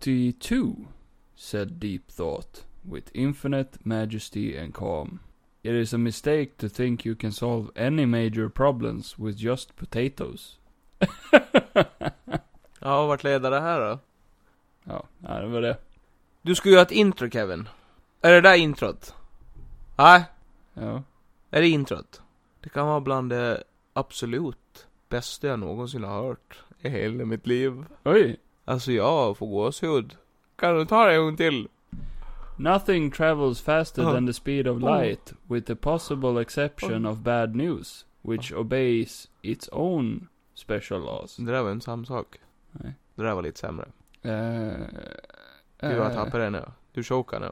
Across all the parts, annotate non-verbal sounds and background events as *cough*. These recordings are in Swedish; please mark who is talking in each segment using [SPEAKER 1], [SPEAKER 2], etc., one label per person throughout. [SPEAKER 1] 42, said Deep Thought, with infinite majesty and calm. It is a mistake to think you can solve any major problems with just potatoes.
[SPEAKER 2] Ja, vart leder det här då?
[SPEAKER 1] ja, ja, det var det.
[SPEAKER 2] Du ska göra ett intro Kevin. Är det där introt? Nej,
[SPEAKER 1] Ja.
[SPEAKER 2] är det introt? Det kan vara bland det absolut bästa jag någonsin har hört i hela mitt liv.
[SPEAKER 1] Oj!
[SPEAKER 2] Alltså jag får gåshud. Kan du ta det en gång till?
[SPEAKER 1] Nothing travels faster
[SPEAKER 2] Oh.
[SPEAKER 1] than the speed of light, with the possible exception of bad news, which obeys its own special laws.
[SPEAKER 2] Det där var inte samma sak.
[SPEAKER 1] Nej.
[SPEAKER 2] Det där var lite sämre.
[SPEAKER 1] Uh,
[SPEAKER 2] Du, jag tappar det nu. Du chokar nu.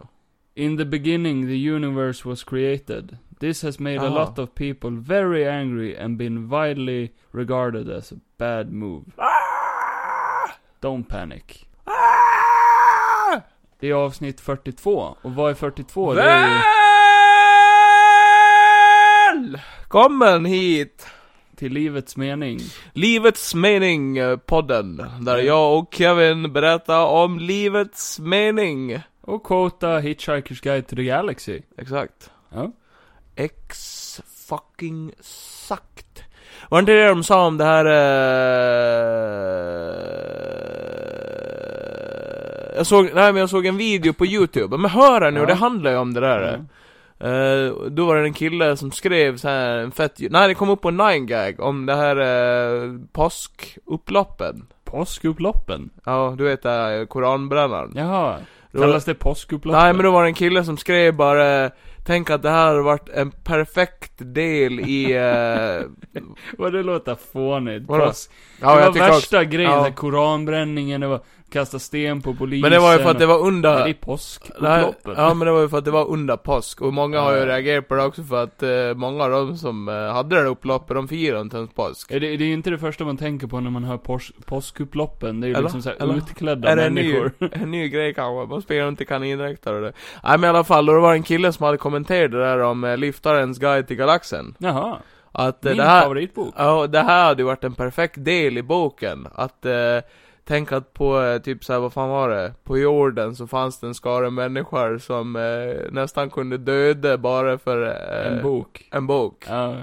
[SPEAKER 1] In the beginning, the universe was created. This has made a
[SPEAKER 2] Ah.
[SPEAKER 1] lot of people very angry and been widely regarded as a bad move. Don't panic. Det är avsnitt 42, och vad är 42? Det är ju
[SPEAKER 2] Välkommen hit!
[SPEAKER 1] till livets mening.
[SPEAKER 2] Livets mening eh, podden, där jag och Kevin berättar om livets mening.
[SPEAKER 1] Och quota Hitchhiker's Guide to the Galaxy.
[SPEAKER 2] Exakt.
[SPEAKER 1] Ja.
[SPEAKER 2] Ex fucking sagt. Var inte det de sa om det här... Eh... Jag såg, nej men jag såg en video på youtube, men hör här nu,
[SPEAKER 1] Ja. Mm.
[SPEAKER 2] det handlar ju om det där.
[SPEAKER 1] Ja.
[SPEAKER 2] Eh, då var det en kille som skrev så här en fett... Nej, det kom upp på 9gag om det här eh, påskupploppen.
[SPEAKER 1] Påskupploppen?
[SPEAKER 2] Ja, du vet det här eh, koranbrännaren.
[SPEAKER 1] Jaha.
[SPEAKER 2] Då-
[SPEAKER 1] Kallas det påskupploppen?
[SPEAKER 2] Nej men då var det en kille som skrev bara eh, Tänk att det här har varit en perfekt del i...
[SPEAKER 1] *laughs*
[SPEAKER 2] Eh,
[SPEAKER 1] Vad det låter fånigt.
[SPEAKER 2] Vadå?
[SPEAKER 1] Påsk.
[SPEAKER 2] ja,
[SPEAKER 1] det var
[SPEAKER 2] jag tycker också,
[SPEAKER 1] värsta grejen,
[SPEAKER 2] ja.
[SPEAKER 1] ja. koranbränningen, det var kasta sten på polisen.
[SPEAKER 2] Men det var ju för att det var
[SPEAKER 1] Nej, det är
[SPEAKER 2] under... Det här,
[SPEAKER 1] påskupploppen.
[SPEAKER 2] ja men det var ju för att det var under påsk, och många har ju
[SPEAKER 1] Ja.
[SPEAKER 2] reagerat på det också för att eh, många av dem som eh, hade det här upploppet, de firade inte ens påsk.
[SPEAKER 1] Är det, det är inte det första man tänker på när man hör pås, påskupploppen. Det är ju
[SPEAKER 2] Eller?
[SPEAKER 1] liksom såhär
[SPEAKER 2] Eller?
[SPEAKER 1] utklädda
[SPEAKER 2] Är det en ny,
[SPEAKER 1] människor.
[SPEAKER 2] *laughs* en ny grej kanske? Man spelar inte kanindräkter och det. Nej men i alla fall, då var det en kille som hade kommenterat det där om eh, Liftarens guide till galaxen.
[SPEAKER 1] Jaha.
[SPEAKER 2] Att eh,
[SPEAKER 1] Min
[SPEAKER 2] det här...
[SPEAKER 1] favoritbok.
[SPEAKER 2] Ja, och det här hade ju varit en perfekt del i boken. Att eh, tänka att på, eh, typ såhär, vad fan var det? På jorden så fanns det en skara människor som eh, nästan kunde döda bara för eh,
[SPEAKER 1] En bok.
[SPEAKER 2] En bok.
[SPEAKER 1] Ja.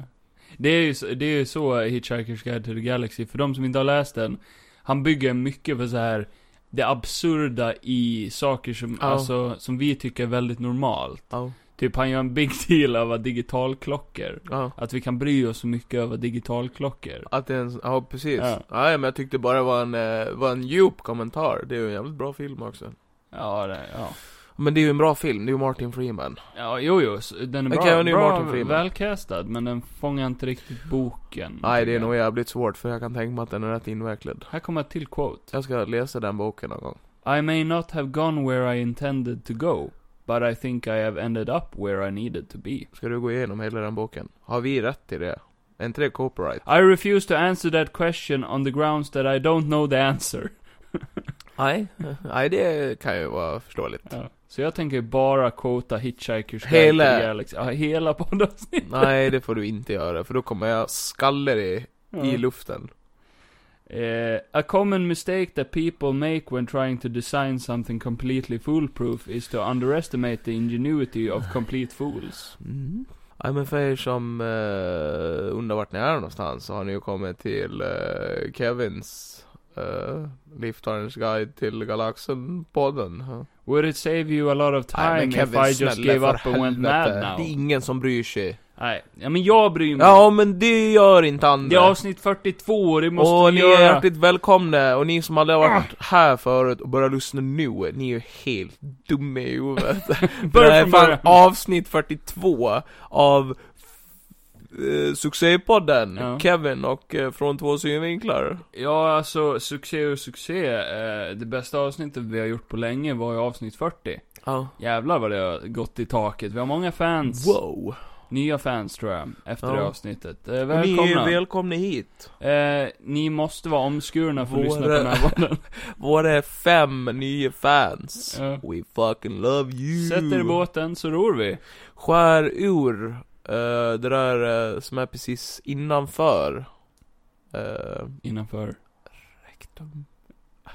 [SPEAKER 1] Det är ju, så- det är ju så Hitchhiker's Guide to the Galaxy, för de som inte har läst den. Han bygger mycket på så här det absurda i saker som,
[SPEAKER 2] Ja.
[SPEAKER 1] alltså, som vi tycker är väldigt normalt.
[SPEAKER 2] Ja.
[SPEAKER 1] Typ han gör en big *laughs* deal av att digitalklockor.
[SPEAKER 2] ja.
[SPEAKER 1] Att vi kan bry oss så mycket över digitalklockor.
[SPEAKER 2] Att det är en, ja precis.
[SPEAKER 1] Ja.
[SPEAKER 2] Ja. men jag tyckte bara det var en, eh, var en djup kommentar. Det är ju en jävligt bra film också.
[SPEAKER 1] Ja, det, ja.
[SPEAKER 2] Men det är ju en bra film, det är ju Martin Freeman.
[SPEAKER 1] Ja, jo, jo. s- Den är bra,
[SPEAKER 2] Okej, men det är ju
[SPEAKER 1] bra
[SPEAKER 2] Martin Freeman.
[SPEAKER 1] välcastad, men den fångar inte riktigt boken.
[SPEAKER 2] Nej, det är
[SPEAKER 1] tycker
[SPEAKER 2] nog
[SPEAKER 1] jag.
[SPEAKER 2] jävligt svårt för jag kan tänka mig att den är rätt invecklad.
[SPEAKER 1] Här kommer ett till quote.
[SPEAKER 2] Jag ska läsa den boken någon gång.
[SPEAKER 1] I may not have gone where I intended to go, but I think I have ended up where I needed to be.
[SPEAKER 2] Ska du gå igenom hela den boken? Har vi rätt till det? Är inte det copyright?
[SPEAKER 1] I refuse to answer that question on the grounds that I don't know the answer.
[SPEAKER 2] Nej. *laughs* Nej, det kan ju vara förståeligt.
[SPEAKER 1] Ja. Så jag tänker bara quota Hitchhiker's
[SPEAKER 2] Hela.
[SPEAKER 1] Guide to the Galaxy. Ja, hela poddavsnittet.
[SPEAKER 2] Nej, det får du inte göra, för då kommer jag skalla dig i
[SPEAKER 1] Ja.
[SPEAKER 2] luften.
[SPEAKER 1] Uh, a common mistake that people make when trying to design something completely foolproof is to underestimate the ingenuity of complete fools.
[SPEAKER 2] Mm. Nej, men för er som eh, undrar vart ni är någonstans, så har ni ju kommit till eh, Kevins uh, Liftarens guide till galaxen-podden. Ja.
[SPEAKER 1] Would it save you a lot of
[SPEAKER 2] Nej,
[SPEAKER 1] time
[SPEAKER 2] men Kevin,
[SPEAKER 1] if I just
[SPEAKER 2] snälla,
[SPEAKER 1] gave
[SPEAKER 2] för
[SPEAKER 1] up and went
[SPEAKER 2] helvete.
[SPEAKER 1] mad now?
[SPEAKER 2] Det är ingen som bryr sig.
[SPEAKER 1] Nej, ja, men jag bryr mig.
[SPEAKER 2] Ja, men det gör inte andra.
[SPEAKER 1] det är avsnitt 42 och det måste
[SPEAKER 2] och
[SPEAKER 1] vi
[SPEAKER 2] ni är
[SPEAKER 1] göra. Ah.
[SPEAKER 2] hjärtligt välkomna, och ni som aldrig har varit här förut och börjar lyssna nu, ni är ju helt dumma i
[SPEAKER 1] *laughs*
[SPEAKER 2] huvudet. det
[SPEAKER 1] Börja
[SPEAKER 2] här är
[SPEAKER 1] från
[SPEAKER 2] fan
[SPEAKER 1] början.
[SPEAKER 2] avsnitt 42 av eh, Succépodden,
[SPEAKER 1] Ja.
[SPEAKER 2] Kevin och eh, Från två synvinklar.
[SPEAKER 1] Ja, alltså succé och succé. Eh, det bästa avsnittet vi har gjort på länge var ju avsnitt 40.
[SPEAKER 2] Ja.
[SPEAKER 1] Jävlar vad det har gått i taket. Vi har många fans.
[SPEAKER 2] Wow.
[SPEAKER 1] Nya fans tror jag, efter
[SPEAKER 2] Ja.
[SPEAKER 1] det avsnittet. Eh,
[SPEAKER 2] Och Ni
[SPEAKER 1] välkomna.
[SPEAKER 2] är välkomna hit.
[SPEAKER 1] Eh, ni måste vara omskurna för att
[SPEAKER 2] Våra-
[SPEAKER 1] lyssna på den här
[SPEAKER 2] *laughs*
[SPEAKER 1] podden.
[SPEAKER 2] Våra fem nya fans.
[SPEAKER 1] Ja.
[SPEAKER 2] We fucking love you.
[SPEAKER 1] Sätt er i båten så ror vi.
[SPEAKER 2] Skär ur eh, det där eh, som är precis innanför. Uh,
[SPEAKER 1] Innanför.
[SPEAKER 2] rektum.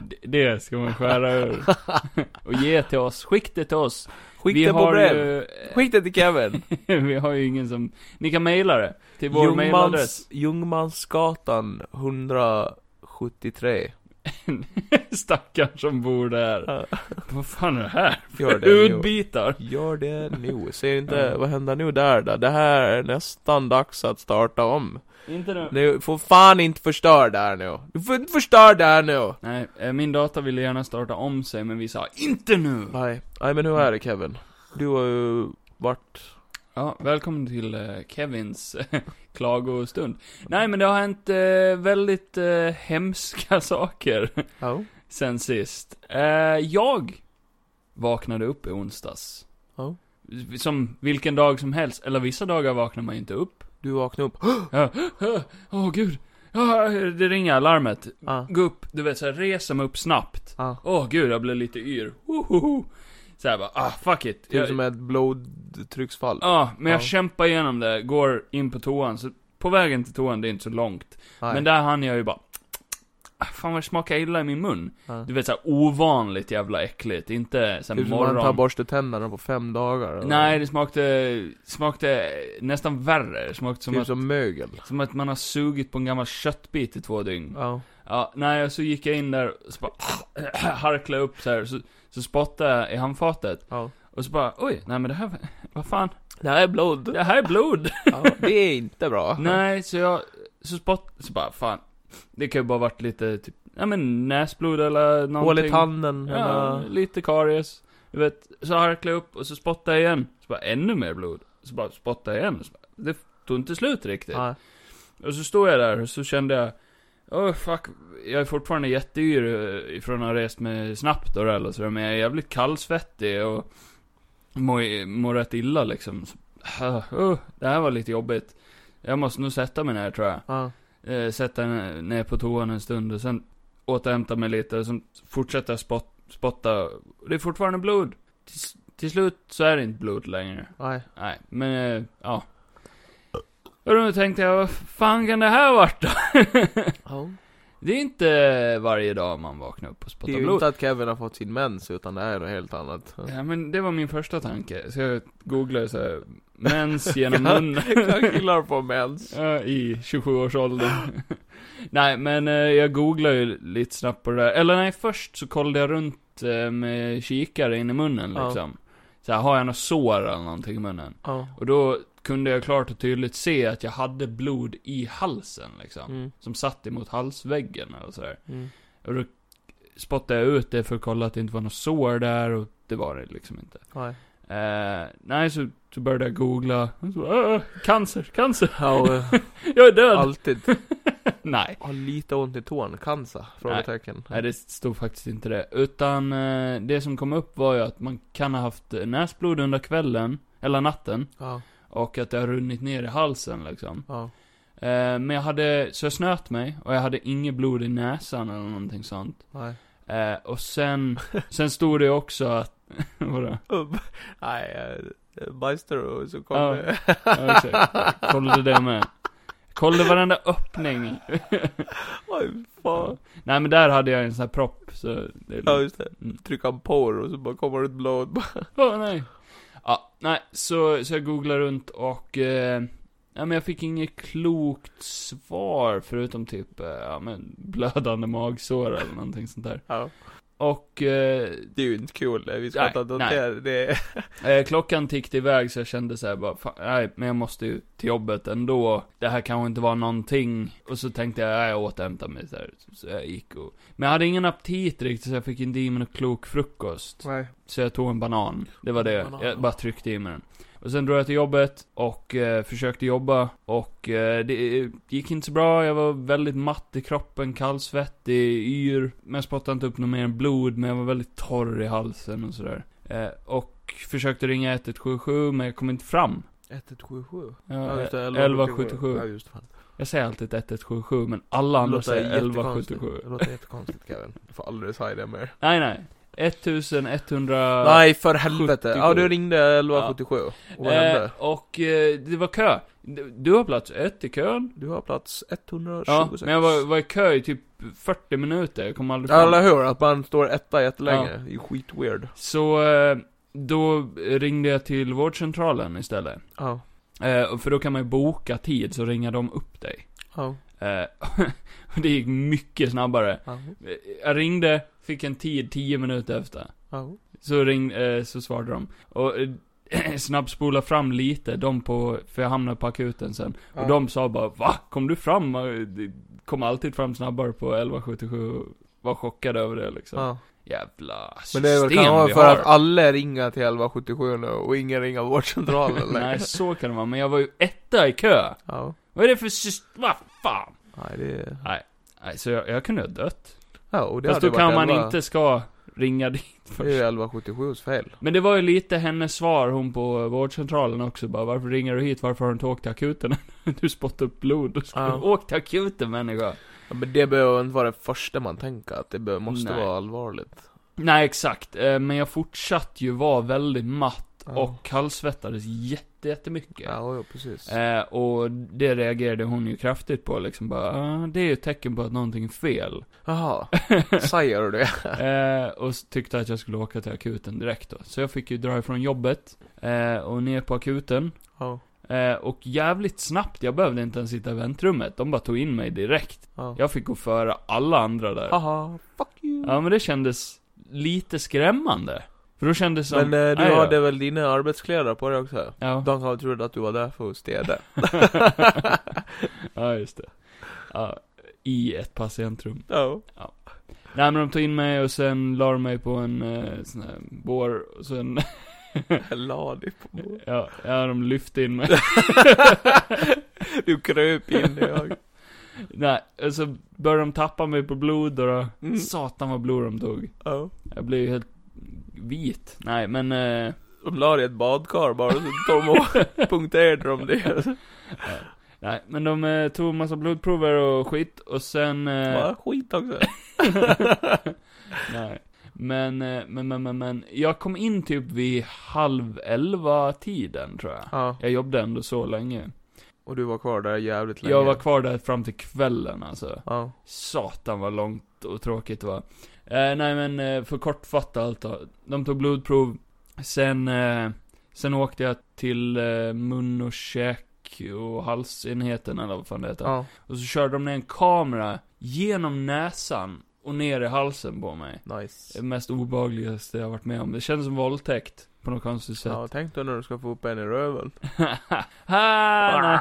[SPEAKER 1] D- Det ska man skära ur. *laughs* Och ge till oss. Skicka det till oss. vi
[SPEAKER 2] Skicka på
[SPEAKER 1] har
[SPEAKER 2] brev.
[SPEAKER 1] ju,
[SPEAKER 2] Skicka det
[SPEAKER 1] *laughs*
[SPEAKER 2] till Kevin.
[SPEAKER 1] vi har ju ingen som, ni kan mejla det. Till vår mejladress.
[SPEAKER 2] Ljungmans, Ljungmansgatan 173.
[SPEAKER 1] Stackarn som bor där.
[SPEAKER 2] Ja.
[SPEAKER 1] *laughs* Vad fan är det här?
[SPEAKER 2] Gör det nu.
[SPEAKER 1] Utbitar.
[SPEAKER 2] Gör det nu. Ser inte,
[SPEAKER 1] Ja.
[SPEAKER 2] vad händer nu där då? Det här är nästan dags att starta om.
[SPEAKER 1] Inte nu.
[SPEAKER 2] Du får fan inte förstöra där nu. Du får inte förstöra där nu.
[SPEAKER 1] Nej, eh, min data ville gärna starta om sig, men vi sa INTE NU!
[SPEAKER 2] Nej, nej men hur är det Kevin? Du har ju varit...
[SPEAKER 1] Ja, välkommen till eh, Kevins *laughs* klagostund. Nej, men det har hänt eh, väldigt eh, hemska *laughs* saker
[SPEAKER 2] Ja.
[SPEAKER 1] sen sist. Eh, jag vaknade upp i onsdags.
[SPEAKER 2] Ja.
[SPEAKER 1] Som vilken dag som helst, eller vissa dagar vaknar man ju inte upp.
[SPEAKER 2] Du vaknade upp. *gasps*
[SPEAKER 1] Ja, Åh, åh, gud. Ja, det ringer alarmet.
[SPEAKER 2] Ah.
[SPEAKER 1] Gå upp, du vet såhär, resa mig upp snabbt.
[SPEAKER 2] Ah.
[SPEAKER 1] Åh gud, jag blev lite yr. Wohoho. Såhär bara, ah fuck it.
[SPEAKER 2] Typ
[SPEAKER 1] Jag,
[SPEAKER 2] som ett blodtrycksfall.
[SPEAKER 1] Ja, men jag
[SPEAKER 2] Ja.
[SPEAKER 1] kämpar igenom det, går in på toan, så på vägen till toan, det är inte så långt.
[SPEAKER 2] Nej.
[SPEAKER 1] Men där hann jag ju bara... "Ah, Fan vad det smakar illa i min mun.
[SPEAKER 2] Ja.
[SPEAKER 1] Du vet såhär ovanligt jävla äckligt, inte såhär
[SPEAKER 2] Typ som man tar
[SPEAKER 1] morgon...
[SPEAKER 2] borste tänderna på fem dagar. eller?
[SPEAKER 1] Nej, det smakade, smakade nästan värre. Det smakade som,
[SPEAKER 2] typ
[SPEAKER 1] att,
[SPEAKER 2] som mögel.
[SPEAKER 1] som att man har sugit på en gammal köttbit i två dygn.
[SPEAKER 2] Ja.
[SPEAKER 1] Ja, nej, och så gick jag in där och så bara *clears throat* harklade upp så här, så, så spottade jag i handfatet.
[SPEAKER 2] ja.
[SPEAKER 1] Och så bara, oj, nej men det här, vad fan,
[SPEAKER 2] Det här är blod.
[SPEAKER 1] det här är blod.
[SPEAKER 2] Ja, det är inte bra.
[SPEAKER 1] Nej, så jag, så spott, så bara fan. Det kan ju bara varit lite typ, ja men näsblod eller
[SPEAKER 2] Hål
[SPEAKER 1] någonting.
[SPEAKER 2] i tanden.
[SPEAKER 1] Ja,
[SPEAKER 2] eller-
[SPEAKER 1] lite karies. Du vet, så harklade jag upp och så spottade jag igen. Så bara ännu mer blod. Så bara spottade jag igen. Så bara, det tog inte slut riktigt.
[SPEAKER 2] Nej.
[SPEAKER 1] Och så stod jag där och så kände jag, oh fuck, jag är fortfarande jätteyr eh, ifrån att ha rest med snabbt och det eller så, men jag är jävligt kallsvettig och mår må rätt illa liksom. Så, ah, oh, det här var lite jobbigt. Jag måste nog sätta mig ner tror jag.
[SPEAKER 2] Ja.
[SPEAKER 1] Eh, sätta mig ner på toan en stund och sen återhämta mig lite och sen fortsätta spot, spotta. Och Det är fortfarande blod. Tills, till slut så är det inte blod längre.
[SPEAKER 2] Nej.
[SPEAKER 1] Nej, men eh, ja. Och då tänkte jag, vad fan kan det här varit då? *laughs*
[SPEAKER 2] Ja.
[SPEAKER 1] Det är inte varje dag man vaknar upp och
[SPEAKER 2] Det är
[SPEAKER 1] spottar
[SPEAKER 2] ju
[SPEAKER 1] blod.
[SPEAKER 2] inte att Kevin har fått sin mens, utan det här är något helt annat.
[SPEAKER 1] Ja, men det var min första tanke. Så jag googlade så här, mens
[SPEAKER 2] *laughs*
[SPEAKER 1] genom munnen.
[SPEAKER 2] Kan killar få mens?
[SPEAKER 1] *laughs* Ja, I 27-årsåldern. *laughs* nej, men eh, jag googlade ju lite snabbt på det där. Eller nej, först så kollade jag runt eh, med kikare in i munnen
[SPEAKER 2] Ja.
[SPEAKER 1] liksom. Så här, har jag något sår eller någonting i munnen?
[SPEAKER 2] Ja.
[SPEAKER 1] Och då kunde jag klart och tydligt se att jag hade blod i halsen liksom.
[SPEAKER 2] Mm.
[SPEAKER 1] Som satt emot halsväggen och sådär.
[SPEAKER 2] Mm.
[SPEAKER 1] Och då spottade jag ut det för att kolla att det inte var något sår där och det var det liksom inte. *laughs*
[SPEAKER 2] Nej.
[SPEAKER 1] Eh, nej, så, så började jag googla. Och så, "Åh, cancer, cancer,
[SPEAKER 2] Ja, och,
[SPEAKER 1] jag är död!
[SPEAKER 2] alltid.
[SPEAKER 1] nej.
[SPEAKER 2] Har lite ont i tån. Cancer? Frågetecken.
[SPEAKER 1] Nej, det stod faktiskt inte det. Utan eh, det som kom upp var ju att man kan ha haft näsblod under kvällen, eller natten.
[SPEAKER 2] Ja.
[SPEAKER 1] Och att det har runnit ner i halsen liksom.
[SPEAKER 2] Ja.
[SPEAKER 1] Eh, men jag hade, så jag snöt mig och jag hade inget blod i näsan eller någonting sånt.
[SPEAKER 2] Nej.
[SPEAKER 1] Eh, och sen, sen stod det också att, *laughs* vadå?
[SPEAKER 2] Upp. *laughs* Nej, eh, bajsar du och så
[SPEAKER 1] Ja.
[SPEAKER 2] kommer...
[SPEAKER 1] Ja, exakt. Kollade det med. Kollade varenda öppning.
[SPEAKER 2] *laughs* Oj, fan.
[SPEAKER 1] *laughs* Nej men där hade jag en sån här propp, så det är
[SPEAKER 2] Ja,
[SPEAKER 1] lugnt.
[SPEAKER 2] just det.
[SPEAKER 1] Mm.
[SPEAKER 2] Trycka han på det och så bara kommer det ett *laughs* blod.
[SPEAKER 1] Åh nej. Ja, nej, så, så jag googlade runt och, eh, ja men jag fick inget klokt svar förutom typ, eh, ja men blödande magsår eller någonting sånt där.
[SPEAKER 2] Ja.
[SPEAKER 1] Och, eh,
[SPEAKER 2] Det är ju inte kul. Vi ska
[SPEAKER 1] Nej,
[SPEAKER 2] inte
[SPEAKER 1] nej.
[SPEAKER 2] notera det.
[SPEAKER 1] Eh, klockan tickade iväg så jag kände så här bara, fan, nej, men jag måste ju till jobbet ändå. Det här kanske inte var någonting. Och så tänkte jag, nej, jag återhämtar mig så här. Så jag gick och... Men jag hade ingen aptit riktigt så jag fick inte i mig någon klok frukost.
[SPEAKER 2] *laughs* Nej.
[SPEAKER 1] Så jag tog en banan. Det var det.
[SPEAKER 2] Banan.
[SPEAKER 1] Jag bara tryckte i mig den. Och sen drog jag till jobbet och eh, försökte jobba. Och eh, det eh, gick inte så bra. Jag var väldigt matt i kroppen, kallsvettig, yr. Men jag spottade inte upp något mer än blod. Men jag var väldigt torr i halsen och sådär. Eh, och försökte ringa 1177 men jag kom inte fram. eh,
[SPEAKER 2] 1177?
[SPEAKER 1] Jag,
[SPEAKER 2] just det,
[SPEAKER 1] 1177.
[SPEAKER 2] Ja, just fan.
[SPEAKER 1] jag säger alltid 1177 men alla andra
[SPEAKER 2] Låter
[SPEAKER 1] säger
[SPEAKER 2] jättekonstigt.
[SPEAKER 1] 1177.
[SPEAKER 2] Det låter jättekonstigt Kevin. Du får aldrig säga det mer.
[SPEAKER 1] Nej, nej. 1100...
[SPEAKER 2] Nej, för helvete. Ja, du
[SPEAKER 1] 77.
[SPEAKER 2] ringde 1177. Och vad hände?
[SPEAKER 1] eh, och eh, det var kö. Du- Du har plats ett i kön.
[SPEAKER 2] Du har plats 126.
[SPEAKER 1] Ja, men jag var, var i kö i typ 40 minuter, jag kom aldrig
[SPEAKER 2] Ja,
[SPEAKER 1] fram.
[SPEAKER 2] eller hur? Att man står etta jättelänge. Det är ju skitweird.
[SPEAKER 1] Så, eh, då ringde jag till vårdcentralen istället.
[SPEAKER 2] Ja.
[SPEAKER 1] Eh, och för då kan man ju boka tid, så ringer de upp dig.
[SPEAKER 2] Ja.
[SPEAKER 1] Eh, *laughs* och det gick mycket snabbare.
[SPEAKER 2] Ja.
[SPEAKER 1] Eh, Jag ringde, fick en tid 10 minuter efter.
[SPEAKER 2] Ja.
[SPEAKER 1] Så ring, eh, så svarade de. Och eh, *clears throat* snabbspola fram lite, de på, för jag hamnade på akuten sen.
[SPEAKER 2] Ja.
[SPEAKER 1] Och de sa bara Va? Kom du fram? Och det Kom alltid fram snabbare på 1177. och Var chockad över det liksom.
[SPEAKER 2] Ja.
[SPEAKER 1] Jävla
[SPEAKER 2] Men
[SPEAKER 1] system
[SPEAKER 2] det är väl kan
[SPEAKER 1] vi
[SPEAKER 2] vara för
[SPEAKER 1] har.
[SPEAKER 2] att alla ringer till 1177 nu och ingen
[SPEAKER 1] *laughs*
[SPEAKER 2] ringer vårdcentralen längre.
[SPEAKER 1] Nej, så kan det vara. Men jag var ju etta i kö.
[SPEAKER 2] Ja.
[SPEAKER 1] Vad är det för system? Vad fan?
[SPEAKER 2] Nej, det är...
[SPEAKER 1] Nej, så jag, jag kunde ha dött.
[SPEAKER 2] Ja, och det
[SPEAKER 1] Fast
[SPEAKER 2] hade
[SPEAKER 1] då
[SPEAKER 2] ju
[SPEAKER 1] kan
[SPEAKER 2] varit
[SPEAKER 1] man
[SPEAKER 2] 11.
[SPEAKER 1] inte ska ringa dit *laughs*
[SPEAKER 2] Det är ju
[SPEAKER 1] först.
[SPEAKER 2] 1177s fel.
[SPEAKER 1] Men det var ju lite hennes svar, hon på vårdcentralen också bara, varför ringer du hit? Varför har du inte åkt till akuten? *laughs* du spottar upp blod och ska
[SPEAKER 2] Ja.
[SPEAKER 1] åk till akuten människa.
[SPEAKER 2] Ja, men det behöver inte vara det första man tänker, att det be- måste
[SPEAKER 1] Nej.
[SPEAKER 2] vara allvarligt.
[SPEAKER 1] Nej exakt, Eh, men jag fortsatte ju vara väldigt matt
[SPEAKER 2] Ja.
[SPEAKER 1] och kallsvettades jätte, jättemycket.
[SPEAKER 2] Ja, ja precis.
[SPEAKER 1] Eh, och det reagerade hon ju kraftigt på liksom bara, "Ah, det är ju ett tecken på att någonting är
[SPEAKER 2] *laughs*
[SPEAKER 1] fel. *laughs*
[SPEAKER 2] Jaha, säger du det?
[SPEAKER 1] Eh, och s- tyckte att jag skulle åka till akuten direkt då. Så jag fick ju dra ifrån jobbet, eh, och ner på akuten.
[SPEAKER 2] Ja.
[SPEAKER 1] Eh, och jävligt snabbt, jag behövde inte ens sitta i väntrummet. De bara tog in mig direkt.
[SPEAKER 2] Ja.
[SPEAKER 1] Jag fick gå före alla andra där.
[SPEAKER 2] Haha, fuck you.
[SPEAKER 1] Ja men det kändes lite skrämmande. För då kändes det som...
[SPEAKER 2] Men eh, du
[SPEAKER 1] "Aj då."
[SPEAKER 2] hade väl dina arbetskläder på dig också?
[SPEAKER 1] Ja.
[SPEAKER 2] De kanske trodde att du var där för att städa.
[SPEAKER 1] *laughs* ja, just det. Ja, I ett patientrum.
[SPEAKER 2] Ja.
[SPEAKER 1] Nej men de tog in mig och sen la de mig på en eh, sån här bår och sen... *laughs*
[SPEAKER 2] La dig på bordet.
[SPEAKER 1] ja, ja, de lyfte in mig. *laughs*
[SPEAKER 2] Du kröp in i jag.
[SPEAKER 1] Nej, och så började de tappa mig på blod då. då.
[SPEAKER 2] Mm.
[SPEAKER 1] Satan vad blod de tog.
[SPEAKER 2] Ja.
[SPEAKER 1] Jag blev ju helt vit. Nej, men... Eh,
[SPEAKER 2] De la dig i ett badkar bara, så de och punkterade de det.
[SPEAKER 1] nej, men de eh, tog massa blodprover och skit och sen... Eh,
[SPEAKER 2] Bara skit också.
[SPEAKER 1] *laughs* nej. Men, eh, men, men, men, men. Jag kom in typ vid halv elva-tiden, tror jag.
[SPEAKER 2] Ja.
[SPEAKER 1] Jag jobbade ändå så länge.
[SPEAKER 2] Och du var kvar där jävligt länge.
[SPEAKER 1] Jag var kvar där fram till kvällen, alltså.
[SPEAKER 2] Ja.
[SPEAKER 1] Satan vad långt och tråkigt det var. Eh, nej men, eh, för kortfatta allt då. De tog blodprov. Sen, eh, sen åkte jag till eh, mun och käk och halsenheten eller vad fan det heter.
[SPEAKER 2] Ja.
[SPEAKER 1] Och så körde de ner en kamera genom näsan och ner i halsen på mig.
[SPEAKER 2] Nice.
[SPEAKER 1] Det mest obehagligaste jag har varit med om. Det kändes som våldtäkt. På något konstigt sätt. *laughs*
[SPEAKER 2] Ja, tänk dig när du ska få upp en i röven.
[SPEAKER 1] ah, nej.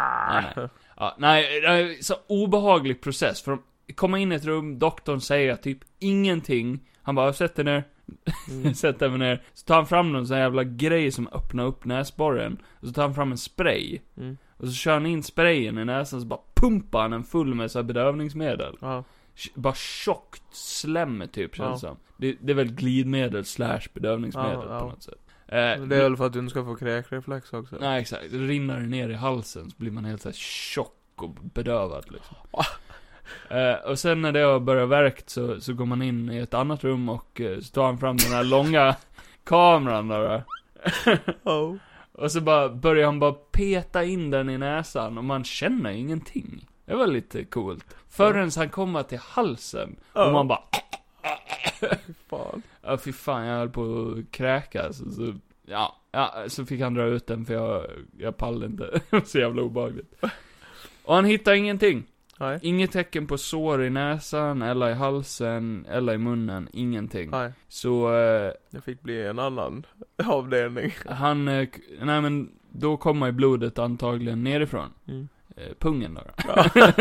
[SPEAKER 1] nej. Ja, nej, det är så obehaglig process. För de kommer in i ett rum, doktorn säger typ ingenting. Han bara, sätt dig ner, *laughs*
[SPEAKER 2] Mm.
[SPEAKER 1] sätt dig ner. Så tar han fram någon sån här jävla grej som öppnar upp näsborren. Och så tar han fram en spray.
[SPEAKER 2] Mm.
[SPEAKER 1] Och så kör han in sprayen i näsan, så bara pumpar han den full med så här bedövningsmedel.
[SPEAKER 2] Ja.
[SPEAKER 1] Sh- Bara tjockt slem typ, känns
[SPEAKER 2] Ja.
[SPEAKER 1] det som. Det, det är väl glidmedel slash bedövningsmedel
[SPEAKER 2] Ja, ja.
[SPEAKER 1] på något sätt. Eh,
[SPEAKER 2] Det är väl för att du inte ska få kräkreflex också?
[SPEAKER 1] Nej, exakt. Det rinner ner i halsen så blir man helt så här tjock och bedövad liksom.
[SPEAKER 2] *laughs*
[SPEAKER 1] Eh, och sen när det har börjat verkt så, så går man in i ett annat rum och eh, så tar han fram den här långa
[SPEAKER 2] *laughs*
[SPEAKER 1] kameran där. va.
[SPEAKER 2] Oh.
[SPEAKER 1] Och så bara börjar han bara peta in den i näsan och man känner ingenting. Det var lite coolt. Förrän han kommer till halsen och man
[SPEAKER 2] *laughs*
[SPEAKER 1] bara
[SPEAKER 2] Fan.
[SPEAKER 1] Ja, fy fan, jag höll på att kräkas. Så, så, ja, ja, så fick han dra ut den för jag, jag pallade inte. *laughs* så jävla obehagligt. Och han hittade ingenting.
[SPEAKER 2] Nej.
[SPEAKER 1] Inget tecken på sår i näsan, eller i halsen, eller i munnen. Ingenting.
[SPEAKER 2] Nej.
[SPEAKER 1] Så eh,
[SPEAKER 2] Jag fick bli en annan avdelning.
[SPEAKER 1] han, eh, k- nej men, då kommer ju blodet antagligen nerifrån.
[SPEAKER 2] Mm.
[SPEAKER 1] Eh, pungen då. *laughs*
[SPEAKER 2] *laughs*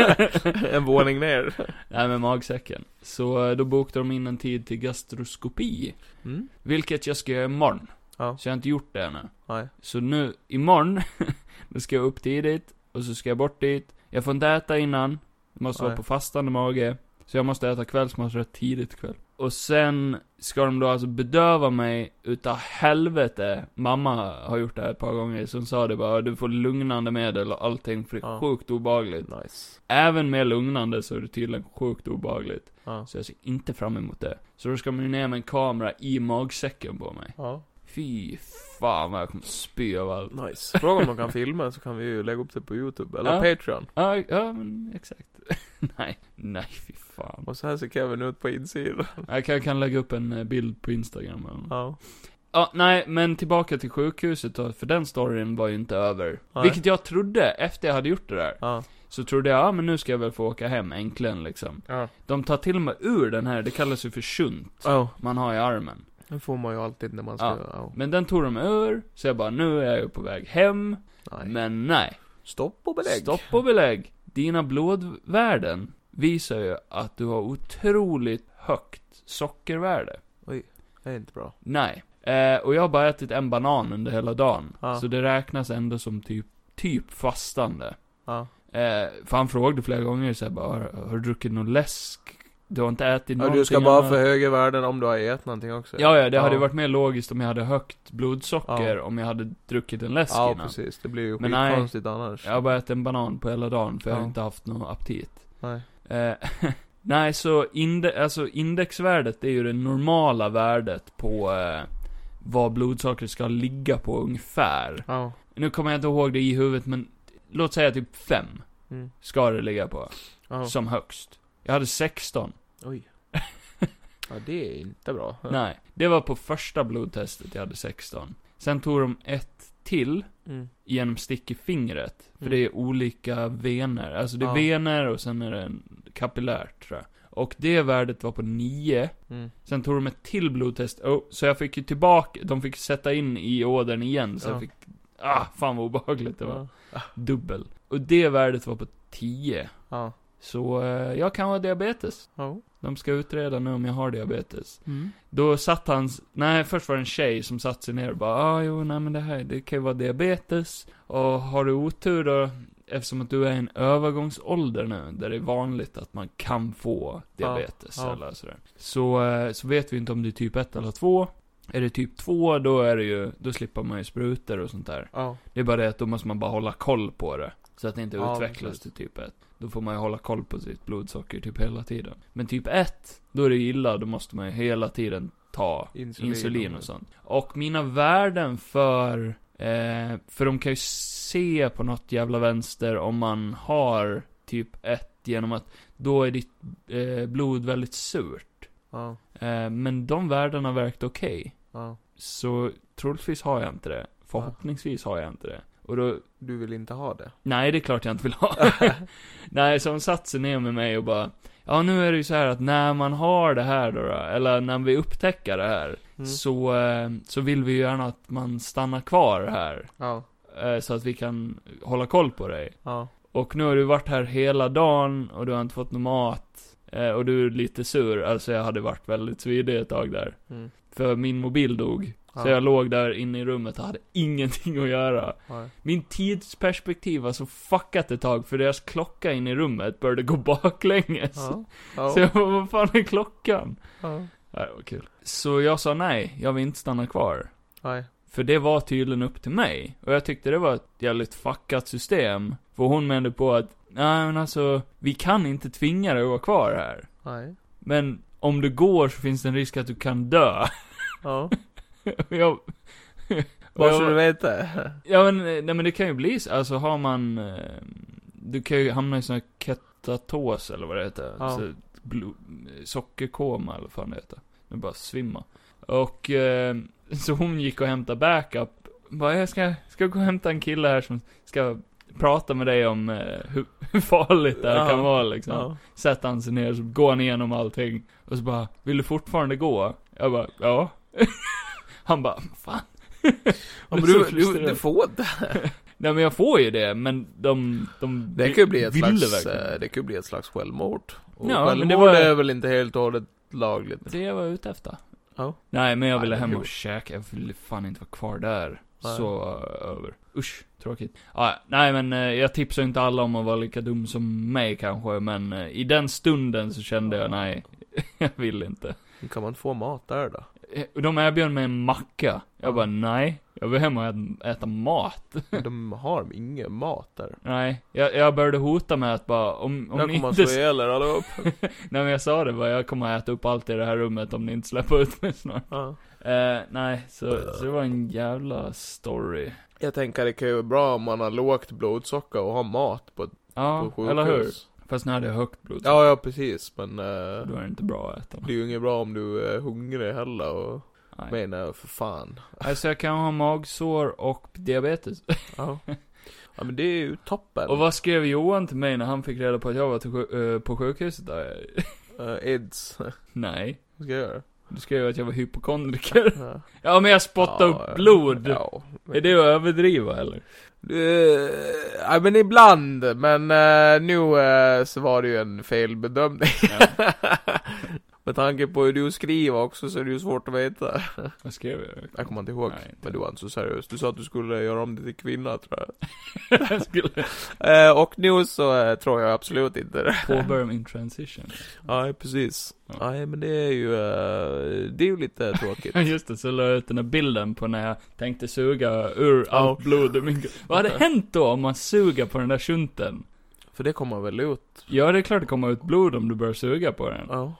[SPEAKER 2] en våning ner.
[SPEAKER 1] nej men magsäcken. Så eh, då bokade de in en tid till gastroskopi.
[SPEAKER 2] Mm.
[SPEAKER 1] Vilket jag ska göra imorgon.
[SPEAKER 2] Ja.
[SPEAKER 1] Så jag har inte gjort det ännu.
[SPEAKER 2] Nej.
[SPEAKER 1] Så nu, imorgon, *laughs* då ska jag upp tidigt, och så ska jag bort dit. Jag får inte äta innan, jag måste
[SPEAKER 2] Nej.
[SPEAKER 1] vara på fastande mage. Så jag måste äta kvällsmat rätt tidigt ikväll. Och sen ska de då alltså bedöva mig utav helvete. Mamma har gjort det här ett par gånger, som sa det bara du får lugnande medel och allting för det är
[SPEAKER 2] Ja.
[SPEAKER 1] sjukt obehagligt.
[SPEAKER 2] Nice.
[SPEAKER 1] Även med lugnande så är det tydligen sjukt obehagligt.
[SPEAKER 2] Ja.
[SPEAKER 1] Så jag ser inte fram emot det. Så då ska man ju ner med en kamera i magsäcken på mig.
[SPEAKER 2] Ja.
[SPEAKER 1] Fy fan vad jag kommer spy av allt.
[SPEAKER 2] Nice. Fråga om de kan filma så kan vi ju lägga upp det på Youtube eller
[SPEAKER 1] Ja.
[SPEAKER 2] Patreon.
[SPEAKER 1] *laughs* Ja, ja men exakt. *laughs* nej, nej fy fan.
[SPEAKER 2] Och så här ser Kevin ut på insidan.
[SPEAKER 1] Jag kan, kan lägga upp en eh, bild på Instagram eller något.
[SPEAKER 2] Ja.
[SPEAKER 1] Ja, nej, men tillbaka till sjukhuset då, för den storyn var ju inte över.
[SPEAKER 2] Nej.
[SPEAKER 1] Vilket jag trodde, efter jag hade gjort det där.
[SPEAKER 2] Ja.
[SPEAKER 1] Så trodde jag, ja men nu ska jag väl få åka hem, äntligen liksom.
[SPEAKER 2] Ja.
[SPEAKER 1] De tar till och med ur den här, det kallas ju för shunt,
[SPEAKER 2] Oh.
[SPEAKER 1] man har i armen.
[SPEAKER 2] Det får man ju alltid när man ska...
[SPEAKER 1] Ja.
[SPEAKER 2] Ja.
[SPEAKER 1] Men den tog de ur, så jag bara, nu är jag ju på väg hem.
[SPEAKER 2] Nej.
[SPEAKER 1] Men nej.
[SPEAKER 2] Stopp och belägg.
[SPEAKER 1] Stopp och belägg. Dina blodvärden visar ju att du har otroligt högt sockervärde.
[SPEAKER 2] Oj, det är inte bra.
[SPEAKER 1] Nej. Eh, och jag har bara ätit en banan under hela dagen.
[SPEAKER 2] Ja.
[SPEAKER 1] Så det räknas ändå som typ, typ fastande.
[SPEAKER 2] Ja.
[SPEAKER 1] Eh, för han frågade flera gånger så här, bara, har, har du druckit någon läsk? Du har inte ätit
[SPEAKER 2] ja
[SPEAKER 1] någonting
[SPEAKER 2] du ska bara
[SPEAKER 1] annat?"
[SPEAKER 2] få högre värden om du har ätit någonting också.
[SPEAKER 1] Ja, ja, det hade ju varit mer logiskt om jag hade högt blodsocker
[SPEAKER 2] Ja.
[SPEAKER 1] om jag hade druckit en läsk
[SPEAKER 2] Ja,
[SPEAKER 1] innan.
[SPEAKER 2] precis. Det blir ju
[SPEAKER 1] Men nej.
[SPEAKER 2] skitkonstigt annars.
[SPEAKER 1] Jag har bara ätit en banan på hela dagen för jag har
[SPEAKER 2] Ja.
[SPEAKER 1] inte haft någon aptit.
[SPEAKER 2] Nej.
[SPEAKER 1] Eh, *laughs* nej, så inde, alltså indexvärdet är ju det normala värdet på eh, vad blodsockret ska ligga på ungefär.
[SPEAKER 2] Ja.
[SPEAKER 1] Nu kommer jag inte ihåg det i huvudet, men låt säga typ 5
[SPEAKER 2] Mm.
[SPEAKER 1] ska det ligga på.
[SPEAKER 2] Ja.
[SPEAKER 1] Som högst. Jag hade 16.
[SPEAKER 2] Oj. Ja, det är inte bra.
[SPEAKER 1] *laughs* Nej, det var på första blodtestet jag hade 16. Sen tog de ett till
[SPEAKER 2] Mm.
[SPEAKER 1] genom stick i fingret. För
[SPEAKER 2] Mm.
[SPEAKER 1] det är olika vener. Alltså det är
[SPEAKER 2] Ja.
[SPEAKER 1] vener och sen är det en kapillär tror jag. Och det värdet var på 9.
[SPEAKER 2] Mm.
[SPEAKER 1] Sen tog de ett till blodtest. Oh, så jag fick ju tillbaka, de fick sätta in i ådern igen. Så
[SPEAKER 2] Ja.
[SPEAKER 1] jag fick, ah, fan vad obehagligt det var.
[SPEAKER 2] Ja.
[SPEAKER 1] Dubbel. Och det värdet var på 10.
[SPEAKER 2] Ja.
[SPEAKER 1] Så eh, jag kan ha diabetes.
[SPEAKER 2] Ja.
[SPEAKER 1] De ska utreda nu om jag har diabetes. Då satt hans, nej först var det en tjej som satt sig ner och bara, ah, jo nej men det här, det kan ju vara diabetes. Och har du otur då, eftersom att du är i en övergångsålder nu, där det är vanligt att man kan få diabetes
[SPEAKER 2] ja.
[SPEAKER 1] eller sådär. Så, eh, så vet vi inte om det är typ 1 eller 2. Är det typ 2, då är det ju, då slipper man ju sprutor och sånt där.
[SPEAKER 2] Ja.
[SPEAKER 1] Det är bara det att då måste man bara hålla koll på det. Så att det inte
[SPEAKER 2] Ja,
[SPEAKER 1] utvecklas
[SPEAKER 2] precis.
[SPEAKER 1] till typ 1. Då får man ju hålla koll på sitt blodsocker typ hela tiden. Men typ 1, då är det ju illa. Då måste man ju hela tiden ta
[SPEAKER 2] Insulin.
[SPEAKER 1] insulin, och sånt. Och mina värden för... Eh, för de kan ju se på något jävla vänster om man har typ 1 genom att då är ditt eh, blod väldigt surt.
[SPEAKER 2] Ja.
[SPEAKER 1] Eh, men de värdena verkade okej.
[SPEAKER 2] Ja.
[SPEAKER 1] Så troligtvis har jag inte det. Förhoppningsvis har jag inte det. Och då,
[SPEAKER 2] Du vill inte ha det?
[SPEAKER 1] nej det är klart jag inte vill ha.
[SPEAKER 2] *laughs*
[SPEAKER 1] nej, så hon satte sig ner med mig och bara, ja nu är det ju så här att när man har det här då, då eller när vi upptäcker det här,
[SPEAKER 2] Mm.
[SPEAKER 1] så, eh, så vill vi ju gärna att man stannar kvar här.
[SPEAKER 2] Ja.
[SPEAKER 1] eh, Så att vi kan hålla koll på dig.
[SPEAKER 2] Ja.
[SPEAKER 1] Och nu har du varit här hela dagen och du har inte fått någon mat. eh, Och du är lite sur, alltså jag hade varit väldigt svidig ett tag där.
[SPEAKER 2] Mm.
[SPEAKER 1] För min mobil dog.
[SPEAKER 2] Ja.
[SPEAKER 1] Så jag låg där inne i rummet och hade ingenting att göra.
[SPEAKER 2] Ja.
[SPEAKER 1] Min tidsperspektiv var så fuckat ett tag för deras klocka inne i rummet började gå *laughs* baklänges.
[SPEAKER 2] Ja.
[SPEAKER 1] Så
[SPEAKER 2] Ja.
[SPEAKER 1] jag bara, vad fan är klockan?
[SPEAKER 2] Ja.
[SPEAKER 1] Ja, det var kul. Så jag sa nej, jag vill inte stanna kvar.
[SPEAKER 2] Nej.
[SPEAKER 1] För det var tydligen upp till mig. Och jag tyckte det var ett jävligt fuckat system. För hon menade på att, nej men alltså, vi kan inte tvinga dig att vara kvar här.
[SPEAKER 2] Nej.
[SPEAKER 1] Men om du går så finns det en risk att du kan dö. *laughs*
[SPEAKER 2] Ja.
[SPEAKER 1] Och jag... och
[SPEAKER 2] Bara
[SPEAKER 1] jag
[SPEAKER 2] så
[SPEAKER 1] var-
[SPEAKER 2] du vet det.
[SPEAKER 1] Ja men, eh, nej men det kan ju bli så, alltså har man, eh, du kan ju hamna i sån här ketatos eller vad det heter.
[SPEAKER 2] Ja.
[SPEAKER 1] Alltså, blo- sockerkoma eller vad fan det heter. Nu bara svimma. Och, eh, *laughs* så hon gick och hämtade backup. Bara, jag ska, ska gå och hämta en kille här som ska prata med dig om eh, hur, *laughs* hur farligt det här
[SPEAKER 2] Ja.
[SPEAKER 1] kan vara liksom.
[SPEAKER 2] Ja.
[SPEAKER 1] Sätter han sig ner så går han igenom allting. Och så bara, vill du fortfarande gå? Jag bara, ja. *laughs* han bara, fan.
[SPEAKER 2] Ja,
[SPEAKER 1] Jag
[SPEAKER 2] men
[SPEAKER 1] blev så
[SPEAKER 2] du, du,
[SPEAKER 1] frustrerad.
[SPEAKER 2] du får det.
[SPEAKER 1] Nej men jag får ju det, men de, de
[SPEAKER 2] Det kan ju bli ett
[SPEAKER 1] ville
[SPEAKER 2] slags,
[SPEAKER 1] verkligen.
[SPEAKER 2] eh, det kan ju bli ett slags självmord. Och
[SPEAKER 1] Ja, men
[SPEAKER 2] självmord
[SPEAKER 1] det var-
[SPEAKER 2] är väl inte helt och hållet lagligt?
[SPEAKER 1] Det jag var ute efter.
[SPEAKER 2] Ja.
[SPEAKER 1] Nej men jag ville
[SPEAKER 2] Nej, men
[SPEAKER 1] hem
[SPEAKER 2] jo.
[SPEAKER 1] och käka, jag ville fan inte vara kvar där.
[SPEAKER 2] Nej.
[SPEAKER 1] Så eh, över. Usch, tråkigt. Ah, nej men eh, jag tipsar inte alla om att vara lika dum som mig kanske, men eh, i den stunden så kände *laughs* jag nej, jag vill inte.
[SPEAKER 2] Kan man få mat där då?
[SPEAKER 1] Eh, De erbjöd mig en macka. Jag
[SPEAKER 2] Ja.
[SPEAKER 1] bara, nej. Jag vill hem och ät- äta mat.
[SPEAKER 2] De har ingen mat där.
[SPEAKER 1] Nej. Jag, jag började hota med att bara, om, om
[SPEAKER 2] jag
[SPEAKER 1] ni
[SPEAKER 2] kommer att
[SPEAKER 1] inte...
[SPEAKER 2] slå ihjäl er allihop.
[SPEAKER 1] Nej men jag sa det bara, jag kommer att äta upp allt i det här rummet om ni inte släpper ut mig snart.
[SPEAKER 2] Ja.
[SPEAKER 1] Eh, nej, så, så det var en jävla story.
[SPEAKER 2] Jag tänker det kan ju vara bra om man har lågt blodsocker och har mat på,
[SPEAKER 1] Ja,
[SPEAKER 2] på sjukhus.
[SPEAKER 1] eller hur? Fast nu hade jag högt blodsocker.
[SPEAKER 2] Ja, ja precis. Men eh,
[SPEAKER 1] Då är det inte bra att äta.
[SPEAKER 2] det är ju inget bra om du är hungrig heller och
[SPEAKER 1] Nej.
[SPEAKER 2] menar för fan.
[SPEAKER 1] Alltså jag kan ha magsår och diabetes. *laughs*
[SPEAKER 2] Ja. ja men det är ju toppen.
[SPEAKER 1] Och vad skrev Johan till mig när han fick reda på att jag var till sju- eh, på sjukhuset där?
[SPEAKER 2] Eh, Aids. vad
[SPEAKER 1] *laughs* Nej.
[SPEAKER 2] ska jag
[SPEAKER 1] *laughs*
[SPEAKER 2] göra?
[SPEAKER 1] Du skrev att jag var hypokondriker. *laughs*
[SPEAKER 2] Ja.
[SPEAKER 1] Ja men jag spottade
[SPEAKER 2] Ja,
[SPEAKER 1] upp blod.
[SPEAKER 2] Ja.
[SPEAKER 1] Är det att överdriva eller?
[SPEAKER 2] Eh, Ja men ibland, men eh, nu eh, så var det ju en felbedömning. *laughs* Med tanke på hur du skriver också så är det ju svårt att veta.
[SPEAKER 1] Vad skrev jag?
[SPEAKER 2] Jag kommer inte ihåg,
[SPEAKER 1] Nej, inte. *laughs*
[SPEAKER 2] men du var inte så seriös. Du sa att du skulle göra om det till kvinna tror jag.
[SPEAKER 1] jag
[SPEAKER 2] *laughs*
[SPEAKER 1] skulle
[SPEAKER 2] Eh, och nu så eh, tror jag absolut inte det.
[SPEAKER 1] påbörja min transition.
[SPEAKER 2] Nej, precis.
[SPEAKER 1] Ja.
[SPEAKER 2] Nej, men det är ju, eh, det är ju lite
[SPEAKER 1] *laughs*
[SPEAKER 2] tråkigt.
[SPEAKER 1] Ja just det, så la jag ut den här bilden på när jag tänkte suga ur allt blod ur min Vad hade hänt då om man suger på den där shunten?
[SPEAKER 2] För det kommer väl ut?
[SPEAKER 1] Ja det är klart det kommer ut blod om du börjar suga på den.
[SPEAKER 2] Ja.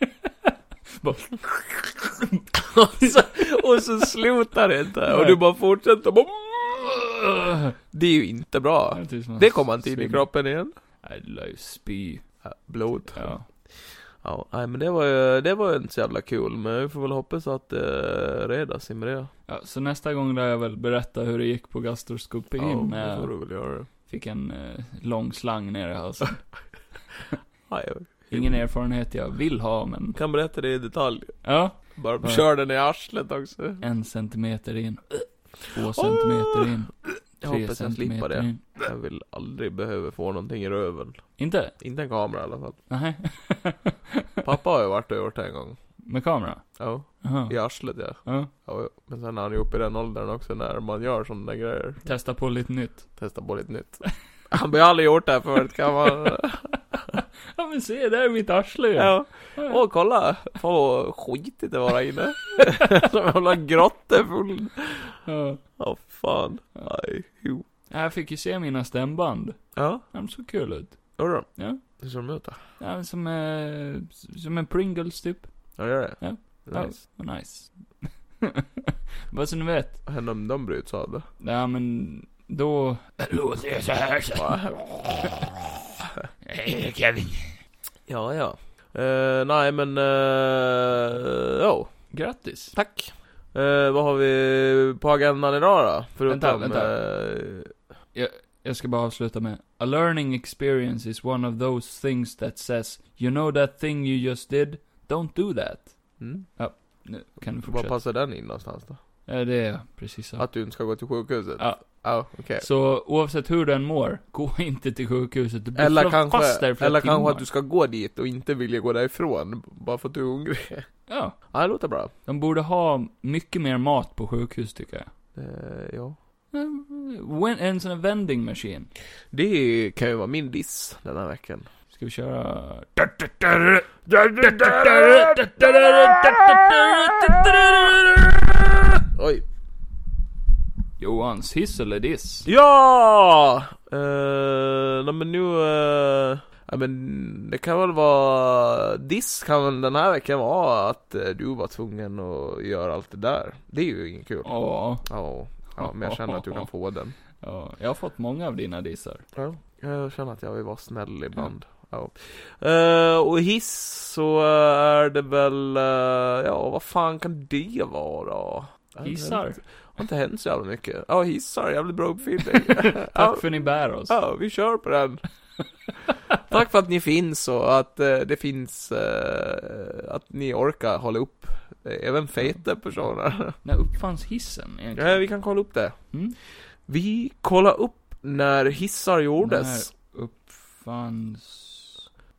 [SPEAKER 1] *laughs* Bara-
[SPEAKER 2] *laughs* och, så, och så slutar det inte, och
[SPEAKER 1] Nej.
[SPEAKER 2] du bara fortsätter bara... Det är ju inte bra.
[SPEAKER 1] Det är typ som att
[SPEAKER 2] Det kommer inte in i
[SPEAKER 1] svimmar.
[SPEAKER 2] kroppen igen.
[SPEAKER 1] Nej, du lär ju spy.
[SPEAKER 2] Ja, Blod.
[SPEAKER 1] Ja.
[SPEAKER 2] Ja, nej men det var ju, det var ju inte så jävla kul, men vi får väl hoppas att det reda sig med det.
[SPEAKER 1] ja. Så nästa gång lär jag väl berätta hur det gick på gastroskopin
[SPEAKER 2] ja,
[SPEAKER 1] när
[SPEAKER 2] det får
[SPEAKER 1] jag
[SPEAKER 2] du väl göra.
[SPEAKER 1] fick en eh, lång slang ner i halsen.
[SPEAKER 2] Ja, jag
[SPEAKER 1] Ingen erfarenhet jag vill ha men,
[SPEAKER 2] kan berätta det i detalj.
[SPEAKER 1] ja.
[SPEAKER 2] Bara
[SPEAKER 1] Ja.
[SPEAKER 2] kör den i arslet också.
[SPEAKER 1] En centimeter in. Två centimeter in.
[SPEAKER 2] Ah! Jag
[SPEAKER 1] Tre
[SPEAKER 2] hoppas jag slipper
[SPEAKER 1] centimeter
[SPEAKER 2] det.
[SPEAKER 1] in.
[SPEAKER 2] Jag vill aldrig behöva få någonting i röven.
[SPEAKER 1] Inte?
[SPEAKER 2] Inte en kamera i alla fall.
[SPEAKER 1] Nej.
[SPEAKER 2] Pappa har ju varit och gjort det en gång.
[SPEAKER 1] Med kamera?
[SPEAKER 2] Ja,
[SPEAKER 1] Jaha.
[SPEAKER 2] i arslet ja.
[SPEAKER 1] Ja.
[SPEAKER 2] ja. Men sen är han ju uppe i den åldern också när man gör sådana där grejer.
[SPEAKER 1] Testa på lite nytt.
[SPEAKER 2] Testa på lite nytt. Han har ju aldrig gjort det här förut kan man...
[SPEAKER 1] Ja men se, där är mitt arsle ju.
[SPEAKER 2] Ja.
[SPEAKER 1] *laughs* Ja.
[SPEAKER 2] Åh kolla! Fan vad skitigt det var där inne. *laughs* Som en jävla grotta full.
[SPEAKER 1] Ja.
[SPEAKER 2] Åh fan. Aj, jo.
[SPEAKER 1] Jag fick ju se mina stämband.
[SPEAKER 2] Ja,
[SPEAKER 1] De såg kul ut.
[SPEAKER 2] gör de?
[SPEAKER 1] Ja.
[SPEAKER 2] Hur ser de ut då?
[SPEAKER 1] Ja, men som, eh, som en Pringles typ.
[SPEAKER 2] Ja, gör det?
[SPEAKER 1] Ja.
[SPEAKER 2] Nice.
[SPEAKER 1] Vad nice. *laughs* Bara så ni vet.
[SPEAKER 2] Vad händer om de bryts av då?
[SPEAKER 1] Ja men, då... Låter jag så här så. *laughs* Hej Kevin.
[SPEAKER 2] Ja, ja. Eh, nej men, eh, ja,
[SPEAKER 1] Grattis.
[SPEAKER 2] tack. Eh, vad har vi på agendan idag då?
[SPEAKER 1] Vänta,
[SPEAKER 2] Förutom,
[SPEAKER 1] vänta.
[SPEAKER 2] eh,
[SPEAKER 1] Jag ska bara avsluta med. A learning experience is one of those things that says, you know that thing you just did? Don't do that.
[SPEAKER 2] mm,
[SPEAKER 1] Nu kan du
[SPEAKER 2] var
[SPEAKER 1] fortsätta.
[SPEAKER 2] passar den in någonstans då?
[SPEAKER 1] Ja, det är jag. precis så.
[SPEAKER 2] Att du inte ska gå till sjukhuset?
[SPEAKER 1] Ja.
[SPEAKER 2] Ja, okej.
[SPEAKER 1] Så oavsett hur den mår, gå *laughs* inte till sjukhuset. Du blir
[SPEAKER 2] Eller
[SPEAKER 1] fast
[SPEAKER 2] kanske,
[SPEAKER 1] där i flera
[SPEAKER 2] eller
[SPEAKER 1] timmar.
[SPEAKER 2] kanske att du ska gå dit och inte vilja gå därifrån, bara för att du är hungrig.
[SPEAKER 1] Ja.
[SPEAKER 2] Ja, det låter bra.
[SPEAKER 1] De borde ha mycket mer mat på sjukhus tycker jag.
[SPEAKER 2] Eh, ja.
[SPEAKER 1] Wen- En sån här vending machine.
[SPEAKER 2] Det kan ju vara min diss den
[SPEAKER 1] *laughs*
[SPEAKER 2] här veckan.
[SPEAKER 1] Ska vi köra...
[SPEAKER 2] Oj.
[SPEAKER 1] Johans hiss eller diss?
[SPEAKER 2] Ja! Uh, nej men nu... eh, ja men det kan väl vara... Diss kan väl den här veckan vara att eh, du var tvungen att göra allt det där. Det är ju inget kul. Ja.
[SPEAKER 1] Ja,
[SPEAKER 2] ja, men jag känner att du kan få den.
[SPEAKER 1] ja, jag har fått många av dina dissar.
[SPEAKER 2] Ja, jag känner att jag vill vara snäll ibland. Ja. Eh, och hiss så är det väl, eh, ja vad fan kan det vara då?
[SPEAKER 1] Hissar.
[SPEAKER 2] Det har inte hänt så jävla mycket. Ja, hissar, jävligt bra uppfinning. ja,
[SPEAKER 1] Tack för att ni bär oss.
[SPEAKER 2] ja, vi kör på den.
[SPEAKER 1] *laughs*
[SPEAKER 2] Tack för att ni finns och att eh, det finns, eh, att ni orkar hålla upp eh, även feta
[SPEAKER 1] Mm. *laughs*
[SPEAKER 2] personer.
[SPEAKER 1] När uppfanns hissen
[SPEAKER 2] ja,
[SPEAKER 1] egentligen?
[SPEAKER 2] vi kan kolla upp det.
[SPEAKER 1] Mm.
[SPEAKER 2] Vi kollar upp när hissar gjordes.
[SPEAKER 1] Uppfanns...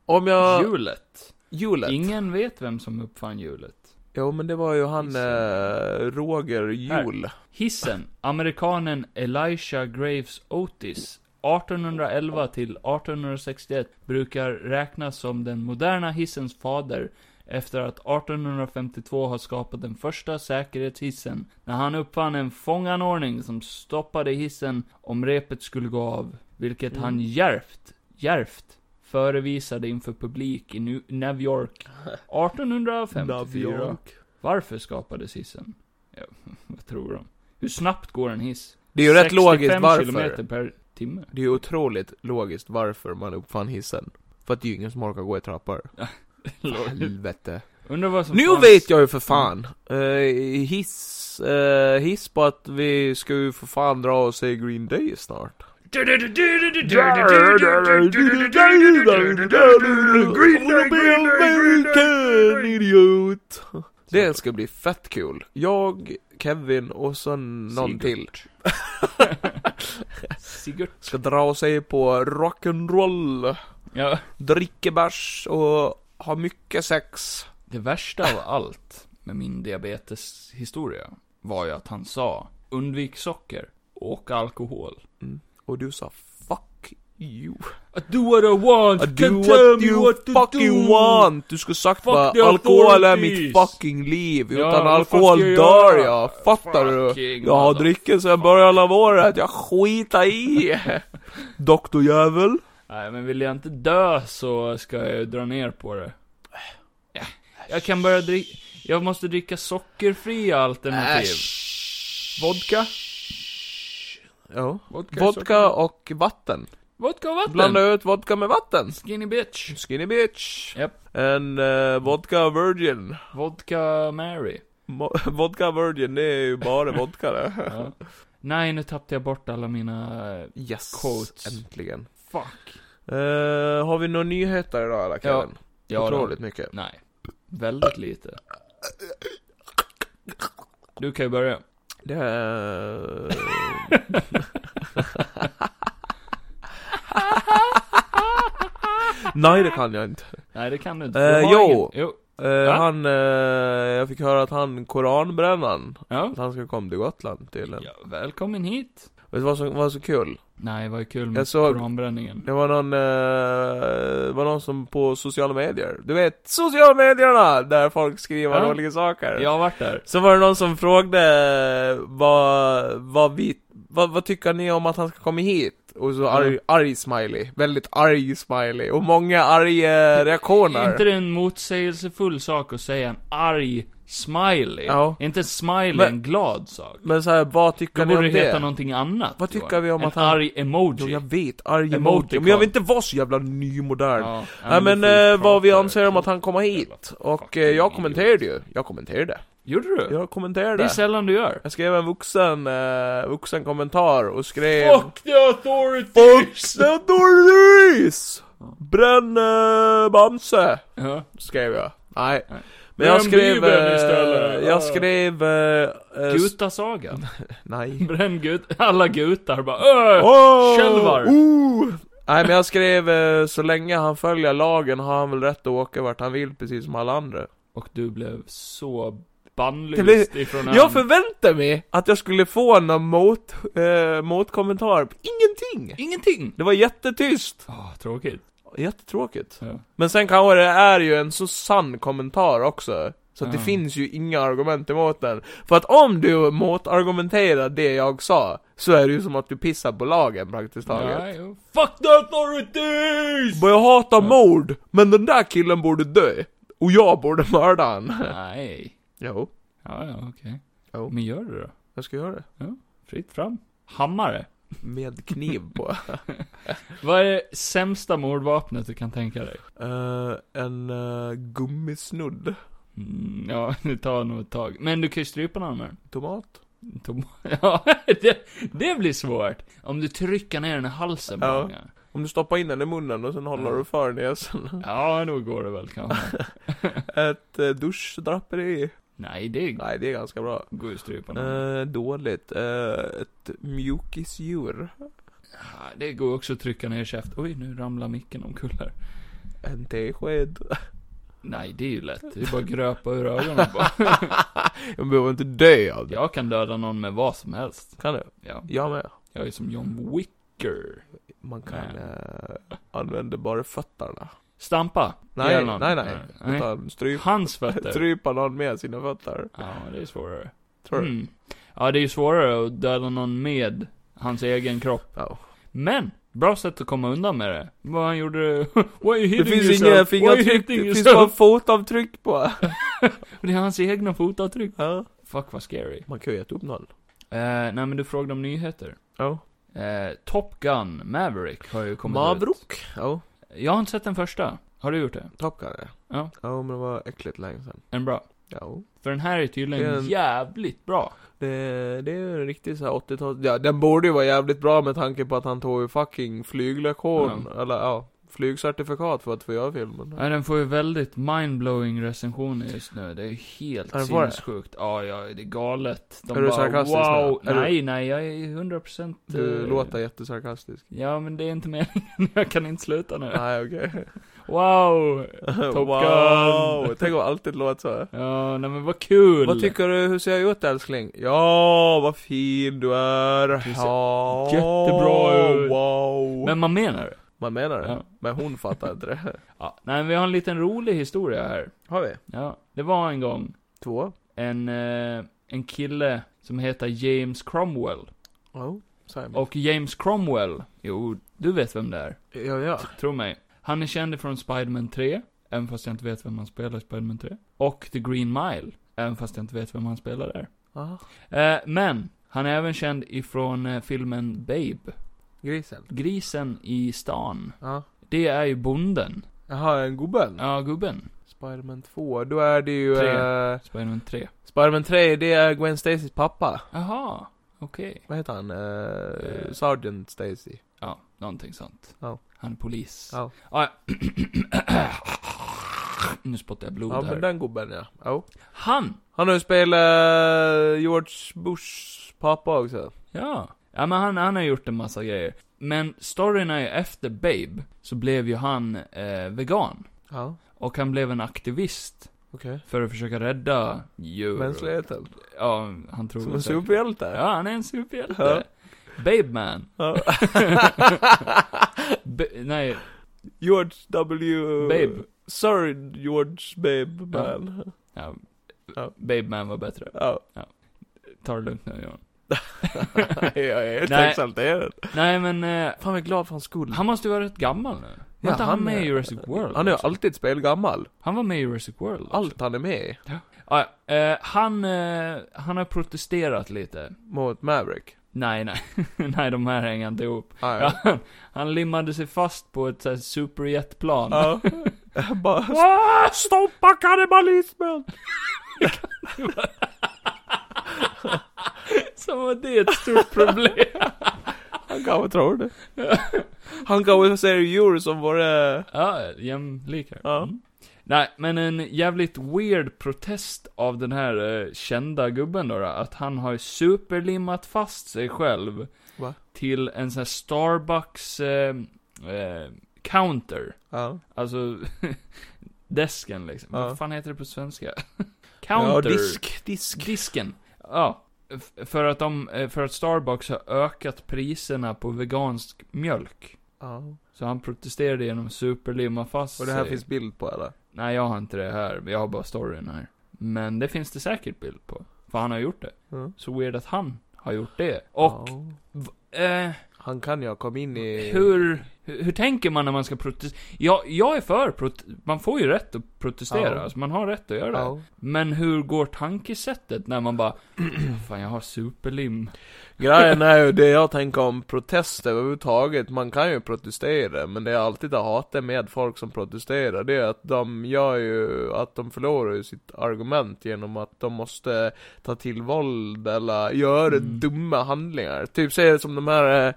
[SPEAKER 2] Om jag...
[SPEAKER 1] Hjulet.
[SPEAKER 2] Hjulet.
[SPEAKER 1] Ingen vet vem som uppfann hjulet.
[SPEAKER 2] Jo men det var ju han
[SPEAKER 1] Hissen.
[SPEAKER 2] eh, Roger Jul.
[SPEAKER 1] Hissen. Amerikanen Elisha Graves Otis. 1811 till 1861 brukar räknas som den moderna hissens fader efter att 1852 ha skapat den första säkerhetshissen, när han uppfann en fånganordning som stoppade hissen om repet skulle gå av, vilket
[SPEAKER 2] Mm.
[SPEAKER 1] han djärvt, djärvt förevisade inför publik i Nu- New York 1854. Varför skapades hissen? Ja, *laughs* vad tror de? Hur snabbt går en hiss?
[SPEAKER 2] Det är ju rätt
[SPEAKER 1] 65
[SPEAKER 2] logiskt varför.
[SPEAKER 1] kilometer per timme.
[SPEAKER 2] Det är ju otroligt logiskt varför man uppfann hissen. För att det är ju ingen som orkar gå i trappor. Helvete.
[SPEAKER 1] Undrar vad som
[SPEAKER 2] Nu
[SPEAKER 1] fanns-
[SPEAKER 2] vet jag ju för fan! Eh, hiss, eh, hiss på att vi ska ju för fan dra och se Green Day snart. American idiot! Det ska bli fett kul. Jag, Kevin och så någon
[SPEAKER 1] Sigurd.
[SPEAKER 2] till. *laughs*
[SPEAKER 1] Sigurd.
[SPEAKER 2] Ska dra och se på rock'n'roll,
[SPEAKER 1] Ja,
[SPEAKER 2] dricka bärs och ha mycket sex.
[SPEAKER 1] det värsta av allt med min diabeteshistoria var ju att han sa undvik socker och alkohol.
[SPEAKER 2] Och du sa 'fuck you'
[SPEAKER 1] I do what I want,
[SPEAKER 2] I
[SPEAKER 1] can't
[SPEAKER 2] do
[SPEAKER 1] tell
[SPEAKER 2] what
[SPEAKER 1] me
[SPEAKER 2] you
[SPEAKER 1] what to
[SPEAKER 2] fucking
[SPEAKER 1] do.
[SPEAKER 2] want! Du skulle sagt
[SPEAKER 1] Fuck
[SPEAKER 2] bara
[SPEAKER 1] the
[SPEAKER 2] alkohol är mitt
[SPEAKER 1] authorities."
[SPEAKER 2] fucking liv,
[SPEAKER 1] Ja,
[SPEAKER 2] utan
[SPEAKER 1] vad fan
[SPEAKER 2] alkohol
[SPEAKER 1] ska jag
[SPEAKER 2] dör
[SPEAKER 1] göra?
[SPEAKER 2] jag, fattar
[SPEAKER 1] Fucking
[SPEAKER 2] du? Jag har
[SPEAKER 1] mother-
[SPEAKER 2] druckit sedan början av året, jag skiter i!
[SPEAKER 1] *laughs*
[SPEAKER 2] Doktorjävel?
[SPEAKER 1] Nej, men vill jag inte dö så ska jag ju dra ner på det. Ja. Jag kan börja dricka... Jag måste dricka sockerfria alternativ.
[SPEAKER 2] Äsch.
[SPEAKER 1] Vodka?
[SPEAKER 2] Ja.
[SPEAKER 1] Vodka, är
[SPEAKER 2] Vodka
[SPEAKER 1] socker.
[SPEAKER 2] och vatten.
[SPEAKER 1] Vodka och vatten.
[SPEAKER 2] Blanda ut vodka med vatten.
[SPEAKER 1] Skinny bitch.
[SPEAKER 2] Skinny bitch.
[SPEAKER 1] Japp.
[SPEAKER 2] En eh, vodka virgin.
[SPEAKER 1] Vodka Mary.
[SPEAKER 2] Mo- *laughs* vodka virgin, det är ju bara vodka det.
[SPEAKER 1] Ja. Nej, nu tappade jag bort alla mina...
[SPEAKER 2] Yes.
[SPEAKER 1] Quotes.
[SPEAKER 2] Äntligen.
[SPEAKER 1] Fuck.
[SPEAKER 2] Eh, har vi några nyheter idag eller
[SPEAKER 1] Ja.
[SPEAKER 2] Kevin? Otroligt mycket.
[SPEAKER 1] Nej. Väldigt lite. Du kan ju
[SPEAKER 2] *laughs*
[SPEAKER 1] börja. *laughs*
[SPEAKER 2] Det
[SPEAKER 1] eh,
[SPEAKER 2] är... *laughs* Nej det kan jag inte.
[SPEAKER 1] Nej, det kan du inte.
[SPEAKER 2] Eh,
[SPEAKER 1] Du har
[SPEAKER 2] jo.
[SPEAKER 1] ingen- jo.
[SPEAKER 2] Eh, Han, eh, jag fick höra att han, koranbrännaren,
[SPEAKER 1] Ja.
[SPEAKER 2] att han ska komma till Gotland tydligen.
[SPEAKER 1] ja. Välkommen hit.
[SPEAKER 2] Vet du vad som var så kul?
[SPEAKER 1] Nej, vad kul med
[SPEAKER 2] Jag såg-
[SPEAKER 1] koranbränningen.
[SPEAKER 2] Det var någon, eh, det var någon som på sociala medier, du vet, sociala medierna! Där folk skriver
[SPEAKER 1] Ja.
[SPEAKER 2] roliga saker.
[SPEAKER 1] Jag har varit där.
[SPEAKER 2] Så var det någon som frågade vad, vad vi, vad, vad tycker ni om att han ska komma hit? Och så arg,
[SPEAKER 1] Mm.
[SPEAKER 2] arg smiley, väldigt arg smiley, och många arga
[SPEAKER 1] Är inte
[SPEAKER 2] reaktioner.
[SPEAKER 1] det en motsägelsefull sak att säga en arg smiley?
[SPEAKER 2] Ja.
[SPEAKER 1] Är inte en smiley
[SPEAKER 2] Men-
[SPEAKER 1] en glad sak?
[SPEAKER 2] Men så här, vad tycker
[SPEAKER 1] Då
[SPEAKER 2] ni
[SPEAKER 1] borde
[SPEAKER 2] om
[SPEAKER 1] det heta
[SPEAKER 2] det?
[SPEAKER 1] någonting annat.
[SPEAKER 2] Vad
[SPEAKER 1] Johan.
[SPEAKER 2] tycker vi om
[SPEAKER 1] en
[SPEAKER 2] att han-
[SPEAKER 1] arg emoji?
[SPEAKER 2] Jo, jag vet, arg emoji.
[SPEAKER 1] Emoticon.
[SPEAKER 2] Men jag vill inte vara så jävla nymodern.
[SPEAKER 1] Ja,
[SPEAKER 2] Nej men
[SPEAKER 1] du får ju
[SPEAKER 2] eh, vad vi
[SPEAKER 1] prata
[SPEAKER 2] anser om
[SPEAKER 1] till-
[SPEAKER 2] att han kommer hit.
[SPEAKER 1] jävla
[SPEAKER 2] Och
[SPEAKER 1] fucking
[SPEAKER 2] eh, jag
[SPEAKER 1] idiot.
[SPEAKER 2] kommenterade ju. Jag kommenterade.
[SPEAKER 1] Gjorde du?
[SPEAKER 2] Jag
[SPEAKER 1] Det är
[SPEAKER 2] kommenterade.
[SPEAKER 1] sällan du gör.
[SPEAKER 2] Jag skrev en vuxen, eh, vuxen kommentar och skrev...
[SPEAKER 1] Fuck the authority!
[SPEAKER 2] Eh, Fuck the authorities! Bränn eh, Bamse!
[SPEAKER 1] Ja.
[SPEAKER 2] Skrev jag. Nej.
[SPEAKER 1] Nej.
[SPEAKER 2] Men jag
[SPEAKER 1] Bränn
[SPEAKER 2] skrev...
[SPEAKER 1] Bibeln
[SPEAKER 2] eh,
[SPEAKER 1] istället. Ja.
[SPEAKER 2] Jag skrev... eh, eh, s-
[SPEAKER 1] Gutasagan.
[SPEAKER 2] Nej.
[SPEAKER 1] Bränn gut... Alla gutar bara öh!
[SPEAKER 2] Åh!
[SPEAKER 1] Kjellvar.
[SPEAKER 2] Oh! Nej men jag skrev eh, så länge han följer lagen har han väl rätt att åka vart han vill precis som alla andra.
[SPEAKER 1] Och du blev så
[SPEAKER 2] Det
[SPEAKER 1] bannlyst
[SPEAKER 2] blev-
[SPEAKER 1] ifrån
[SPEAKER 2] Jag förväntade mig att jag skulle få någon mot, eh, motkommentar. Ingenting!
[SPEAKER 1] Ingenting!
[SPEAKER 2] Det var jättetyst.
[SPEAKER 1] Åh, tråkigt.
[SPEAKER 2] Jättetråkigt.
[SPEAKER 1] Ja.
[SPEAKER 2] Men sen kanske det är ju en så sann kommentar också. Så att det
[SPEAKER 1] Ja.
[SPEAKER 2] finns ju inga argument emot den. För att om du motargumenterar det jag sa, så är det ju som att du pissar på lagen praktiskt taget.
[SPEAKER 1] Ja, jo. Fuck the authorities!
[SPEAKER 2] Men jag hatar mord, men den där killen borde dö. Och jag borde mörda han.
[SPEAKER 1] Nej.
[SPEAKER 2] Jo,
[SPEAKER 1] Ja, ja, okej.
[SPEAKER 2] Jo.
[SPEAKER 1] Men gör det då.
[SPEAKER 2] jag ska göra det.
[SPEAKER 1] Fritt fram. Hammare.
[SPEAKER 2] Med kniv
[SPEAKER 1] *laughs*
[SPEAKER 2] på.
[SPEAKER 1] Vad är det sämsta mordvapnet du kan tänka dig?
[SPEAKER 2] Eh, en eh, gummisnudd.
[SPEAKER 1] Mm, ja, *laughs* det tar nog ett tag. Men du kan ju strypa någon med den.
[SPEAKER 2] Tomat.
[SPEAKER 1] Tom- *laughs* Ja, det, det blir svårt. Om du trycker ner den i halsen på
[SPEAKER 2] Ja.
[SPEAKER 1] många.
[SPEAKER 2] Om du stoppar in den i munnen och sen håller
[SPEAKER 1] Ja.
[SPEAKER 2] du för näsan. *laughs*
[SPEAKER 1] Ja, då går det väl kanske.
[SPEAKER 2] Ett eh, duschdraperi.
[SPEAKER 1] Nej, det
[SPEAKER 2] Nej, det är ganska bra.
[SPEAKER 1] går ju att strypa någon.
[SPEAKER 2] Eh, dåligt. Eh, ett mjukisdjur.
[SPEAKER 1] Ja, Ah, Det går också att trycka ner käft. Oj, nu ramlar micken omkull här.
[SPEAKER 2] En tesked.
[SPEAKER 1] Nej, det är ju lätt. Det är bara att gröpa ur ögonen bara.
[SPEAKER 2] *laughs* Jag behöver inte dö av det.
[SPEAKER 1] Jag kan döda någon med vad som helst.
[SPEAKER 2] Kan du?
[SPEAKER 1] Ja,
[SPEAKER 2] Jag med.
[SPEAKER 1] jag är som John Wicker.
[SPEAKER 2] Man kan
[SPEAKER 1] Nej.
[SPEAKER 2] eh, använda bara fötterna.
[SPEAKER 1] Stampa?
[SPEAKER 2] Nej,
[SPEAKER 1] Göra någon?
[SPEAKER 2] nej, nej. Utan stryp,
[SPEAKER 1] Hans fötter?
[SPEAKER 2] strypa någon med sina fötter.
[SPEAKER 1] Ja, det är svårare.
[SPEAKER 2] Tror du?
[SPEAKER 1] Mm. Ja, det är ju svårare att döda någon med hans egen kropp.
[SPEAKER 2] Ja.
[SPEAKER 1] Men! Bra sätt att komma undan med det. Vad han gjorde... *laughs* Why are you
[SPEAKER 2] Det
[SPEAKER 1] hitting
[SPEAKER 2] finns
[SPEAKER 1] yourself?
[SPEAKER 2] inga
[SPEAKER 1] Why are you
[SPEAKER 2] fingeravtryck,
[SPEAKER 1] hitting
[SPEAKER 2] det finns
[SPEAKER 1] yourself?
[SPEAKER 2] bara fotavtryck på.
[SPEAKER 1] Det är hans egna fotavtryck.
[SPEAKER 2] Ja.
[SPEAKER 1] Fuck vad scary.
[SPEAKER 2] Man kan ju äta upp någon.
[SPEAKER 1] Eh, nej men du frågade om nyheter.
[SPEAKER 2] Ja.
[SPEAKER 1] Eh, Top Gun Maverick har ju kommit ut.
[SPEAKER 2] Mavrok. Ja.
[SPEAKER 1] Jag har inte sett den första. Har du gjort det?
[SPEAKER 2] Top Gun ja.
[SPEAKER 1] Ja.
[SPEAKER 2] Ja, men det var äckligt länge sedan.
[SPEAKER 1] En bra.
[SPEAKER 2] Ja.
[SPEAKER 1] För den här är tydligen
[SPEAKER 2] Det är en-
[SPEAKER 1] jävligt bra.
[SPEAKER 2] Det, det är ju en riktig såhär 80-tal, ja den borde ju vara jävligt bra med tanke på att han tog ju fucking flyglektion, eller ja, flygcertifikat för att få göra filmen.
[SPEAKER 1] Nej, den får ju väldigt mindblowing recensioner just nu. Det är ju helt
[SPEAKER 2] Är det bara det?
[SPEAKER 1] sinnessjukt. Ja, ja, det är galet. De
[SPEAKER 2] Är du
[SPEAKER 1] bara,
[SPEAKER 2] sarkastisk
[SPEAKER 1] wow.
[SPEAKER 2] nu? Är du-
[SPEAKER 1] nej, nej, jag är 100%
[SPEAKER 2] Du
[SPEAKER 1] eh,
[SPEAKER 2] låter jättesarkastisk.
[SPEAKER 1] Ja, men det är inte meningen. *laughs* Jag kan inte sluta nu.
[SPEAKER 2] Nej okej.
[SPEAKER 1] Wow! *laughs* Top Gun.
[SPEAKER 2] Tänk om alltid låter så.
[SPEAKER 1] Ja, nej men vad kul!
[SPEAKER 2] Vad tycker du, hur ser jag ut älskling? Ja, vad fin du är.
[SPEAKER 1] Du ser
[SPEAKER 2] ja,
[SPEAKER 1] jättebra ut.
[SPEAKER 2] Wow.
[SPEAKER 1] Men man menar det?
[SPEAKER 2] Man menar det?
[SPEAKER 1] Ja.
[SPEAKER 2] Men hon fattar inte det.
[SPEAKER 1] *laughs* Ja, nej men vi har en liten rolig historia här.
[SPEAKER 2] Har vi?
[SPEAKER 1] Ja, det var en gång
[SPEAKER 2] Två?
[SPEAKER 1] en, eh, en kille som heter James Cromwell.
[SPEAKER 2] Ja, Simon.
[SPEAKER 1] Och James Cromwell, jo, du vet vem det är.
[SPEAKER 2] Ja, ja.
[SPEAKER 1] Tro mig. Han är känd från Spiderman 3, även fast jag inte vet vem han spelar i Spiderman 3. Och The Green Mile, även fast jag inte vet vem han spelar där.
[SPEAKER 2] Ah,
[SPEAKER 1] Eh, men, han är även känd ifrån eh, filmen Babe.
[SPEAKER 2] grisen.
[SPEAKER 1] Grisen i stan.
[SPEAKER 2] Ja.
[SPEAKER 1] Det är ju bonden.
[SPEAKER 2] Jaha, en gubben?
[SPEAKER 1] Ja, gubben.
[SPEAKER 2] Spiderman 2, då är det ju...
[SPEAKER 1] Tre.
[SPEAKER 2] Eh,
[SPEAKER 1] Spiderman 3.
[SPEAKER 2] Spiderman 3, det är Gwen Stacys pappa.
[SPEAKER 1] Jaha, okej.
[SPEAKER 2] Vad heter han?
[SPEAKER 1] Eh.
[SPEAKER 2] Eh, Sergeant Stacy.
[SPEAKER 1] Ja, någonting sånt.
[SPEAKER 2] Ja.
[SPEAKER 1] Han är polis.
[SPEAKER 2] Ja.
[SPEAKER 1] Ah, ja. *clears throat* nu spottar jag blod
[SPEAKER 2] Ja,
[SPEAKER 1] här.
[SPEAKER 2] men den gubben ja. ja.
[SPEAKER 1] Han!
[SPEAKER 2] Han har ju spelat George Bushs pappa också.
[SPEAKER 1] Ja. Ja, men han, han har gjort en massa grejer. Men storyn är ju efter Babe, så blev ju han eh, vegan.
[SPEAKER 2] Ja,
[SPEAKER 1] Och han blev en aktivist
[SPEAKER 2] okej.
[SPEAKER 1] för att försöka rädda djur.
[SPEAKER 2] Mänskligheten.
[SPEAKER 1] Ja, han tror
[SPEAKER 2] Som en
[SPEAKER 1] säkert-
[SPEAKER 2] superhjälte.
[SPEAKER 1] Ja, han är en superhjälte.
[SPEAKER 2] Ja.
[SPEAKER 1] Babe man.
[SPEAKER 2] Ja.
[SPEAKER 1] *laughs* B- nej,
[SPEAKER 2] George W...
[SPEAKER 1] Babe.
[SPEAKER 2] Sir George Babe Man.
[SPEAKER 1] Ja,
[SPEAKER 2] Ja.
[SPEAKER 1] Babe man var bättre.
[SPEAKER 2] Ja.
[SPEAKER 1] Ta det lugnt nu Johan.
[SPEAKER 2] jag är helt
[SPEAKER 1] Nej.
[SPEAKER 2] exalterad.
[SPEAKER 1] Nej men, eh,
[SPEAKER 2] Fan, jag är glad för hans skull.
[SPEAKER 1] han måste ju vara rätt gammal nu. Var
[SPEAKER 2] Ja,
[SPEAKER 1] inte han,
[SPEAKER 2] han
[SPEAKER 1] med
[SPEAKER 2] är-
[SPEAKER 1] i Jurassic World?
[SPEAKER 2] Han är ju
[SPEAKER 1] också?
[SPEAKER 2] alltid spelgammal.
[SPEAKER 1] han var med i Jurassic World också.
[SPEAKER 2] Allt han är med i.
[SPEAKER 1] Ja, ja. eh, han, eh, han har protesterat lite.
[SPEAKER 2] Mot Maverick.
[SPEAKER 1] Nej, nej. *laughs* nej, de här hänger inte ihop.
[SPEAKER 2] Ah, ja.
[SPEAKER 1] Ja. han limmade sig fast på ett såhär superjetplan. *laughs*
[SPEAKER 2] Ja. *laughs* Bara, stoppa kannibalismen!
[SPEAKER 1] Som att det är ett stort problem.
[SPEAKER 2] Han kanske tror det. Han kanske ser djur som eh, våra...
[SPEAKER 1] ja, jämlikar.
[SPEAKER 2] Ja.
[SPEAKER 1] Mm. Nej, men en jävligt weird protest av den här eh, kända gubben då, då att han har superlimmat fast sig själv
[SPEAKER 2] Va?
[SPEAKER 1] till en sån här Starbucks eh, eh, counter.
[SPEAKER 2] Ja.
[SPEAKER 1] Alltså, *laughs* desken liksom.
[SPEAKER 2] Ja.
[SPEAKER 1] Vad fan heter det på svenska? *laughs* counter.
[SPEAKER 2] ja, disk, disk.
[SPEAKER 1] Disken. Ja. F- För att, de, eh, för att Starbucks har ökat priserna på vegansk mjölk.
[SPEAKER 2] Ja.
[SPEAKER 1] Så han protesterade genom att superlimma fast
[SPEAKER 2] Och det här
[SPEAKER 1] sig.
[SPEAKER 2] finns bild på eller?
[SPEAKER 1] Nej, jag har inte det här. Jag har bara storyn här. Men det finns det säkert bild på. För han har gjort det.
[SPEAKER 2] Ja.
[SPEAKER 1] Så weird att han har gjort det. Och,
[SPEAKER 2] Ja.
[SPEAKER 1] eh,
[SPEAKER 2] Han kan ju ha kommit in i...
[SPEAKER 1] hur, hur, hur tänker man när man ska protestera? Jag, jag är för prot- Man får ju rätt att protestera.
[SPEAKER 2] Ja.
[SPEAKER 1] Alltså, man har rätt att göra det.
[SPEAKER 2] Ja.
[SPEAKER 1] Men hur går tankesättet när man bara, fan jag har superlim.
[SPEAKER 2] Grejen är ju det jag tänker om protest överhuvudtaget, man kan ju protestera men det jag alltid har hatat med folk som protesterar det är att de gör ju, att de förlorar ju sitt argument genom att de måste ta till våld eller göra
[SPEAKER 1] Mm.
[SPEAKER 2] dumma handlingar. Typ säg som de här eh,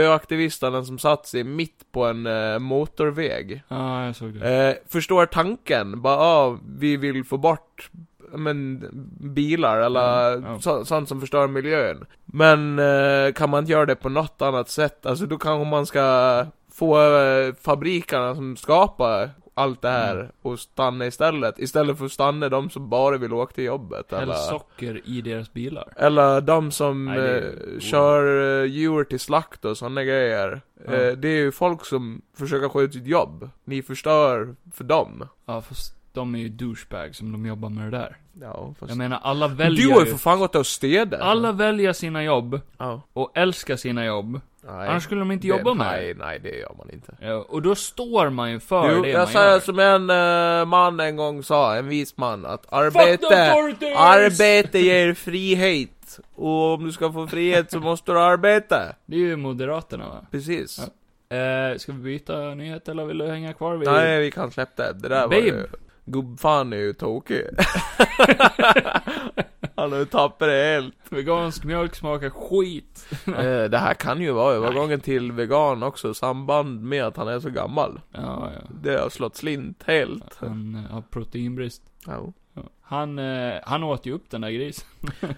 [SPEAKER 2] miljöaktivisterna som satt sig mitt på en eh, motorväg.
[SPEAKER 1] Ja, jag såg det.
[SPEAKER 2] Eh, förstår tanken, bara ah, vi vill få bort men, bilar eller
[SPEAKER 1] Mm, ja.
[SPEAKER 2] så, sånt som förstör miljön. Men eh, kan man inte göra det på något annat sätt? Alltså då kanske man ska få eh, fabrikerna som skapar allt det här
[SPEAKER 1] Mm.
[SPEAKER 2] och stanna istället. Istället för att stanna de som bara vill åka till jobbet.
[SPEAKER 1] Häll
[SPEAKER 2] Eller,
[SPEAKER 1] socker i deras bilar.
[SPEAKER 2] eller de som
[SPEAKER 1] Nej, det är
[SPEAKER 2] eh,
[SPEAKER 1] orimligt.
[SPEAKER 2] kör eh, djur till slakt och sådana grejer.
[SPEAKER 1] Ja.
[SPEAKER 2] Eh, det är ju folk som försöker sköta sitt jobb. Ni förstör för dem.
[SPEAKER 1] Ja, fast de är ju douchebags som de jobbar med det där.
[SPEAKER 2] Ja, fast...
[SPEAKER 1] Jag menar, alla
[SPEAKER 2] du har
[SPEAKER 1] väljer
[SPEAKER 2] ju
[SPEAKER 1] ju,
[SPEAKER 2] för fan gått och städat.
[SPEAKER 1] Alla väljer sina jobb
[SPEAKER 2] Ja.
[SPEAKER 1] och älskar sina jobb.
[SPEAKER 2] Nej.
[SPEAKER 1] Annars skulle de inte jobba
[SPEAKER 2] det,
[SPEAKER 1] med det.
[SPEAKER 2] Nej, nej det gör man inte.
[SPEAKER 1] Ja, Och då står man ju för
[SPEAKER 2] Jo,
[SPEAKER 1] det
[SPEAKER 2] jag
[SPEAKER 1] man gör.
[SPEAKER 2] säger som en eh, man en gång sa, en vis man, att
[SPEAKER 1] Fuck the
[SPEAKER 2] arbete,
[SPEAKER 1] authorities!
[SPEAKER 2] arbete ger frihet. Och om du ska få frihet så måste du arbeta.
[SPEAKER 1] Det är ju Moderaterna va?
[SPEAKER 2] Precis.
[SPEAKER 1] Ja. Eh, ska vi byta nyhet eller vill du hänga kvar vid...
[SPEAKER 2] Nej, vi kan släppa det. Det där var
[SPEAKER 1] Babe.
[SPEAKER 2] ju... Gubbfan är
[SPEAKER 1] *laughs*
[SPEAKER 2] ju tokig. Han har ju tappat det
[SPEAKER 1] *laughs*
[SPEAKER 2] helt.
[SPEAKER 1] Vegansk mjölk smakar skit.
[SPEAKER 2] Eh, det här kan ju vara övergången till vegan också, i samband med att han är så gammal.
[SPEAKER 1] Ja, ja.
[SPEAKER 2] Det har slått slint helt.
[SPEAKER 1] Han eh, har proteinbrist.
[SPEAKER 2] Ja.
[SPEAKER 1] Ja. Han, eh, han åt ju upp den där grisen.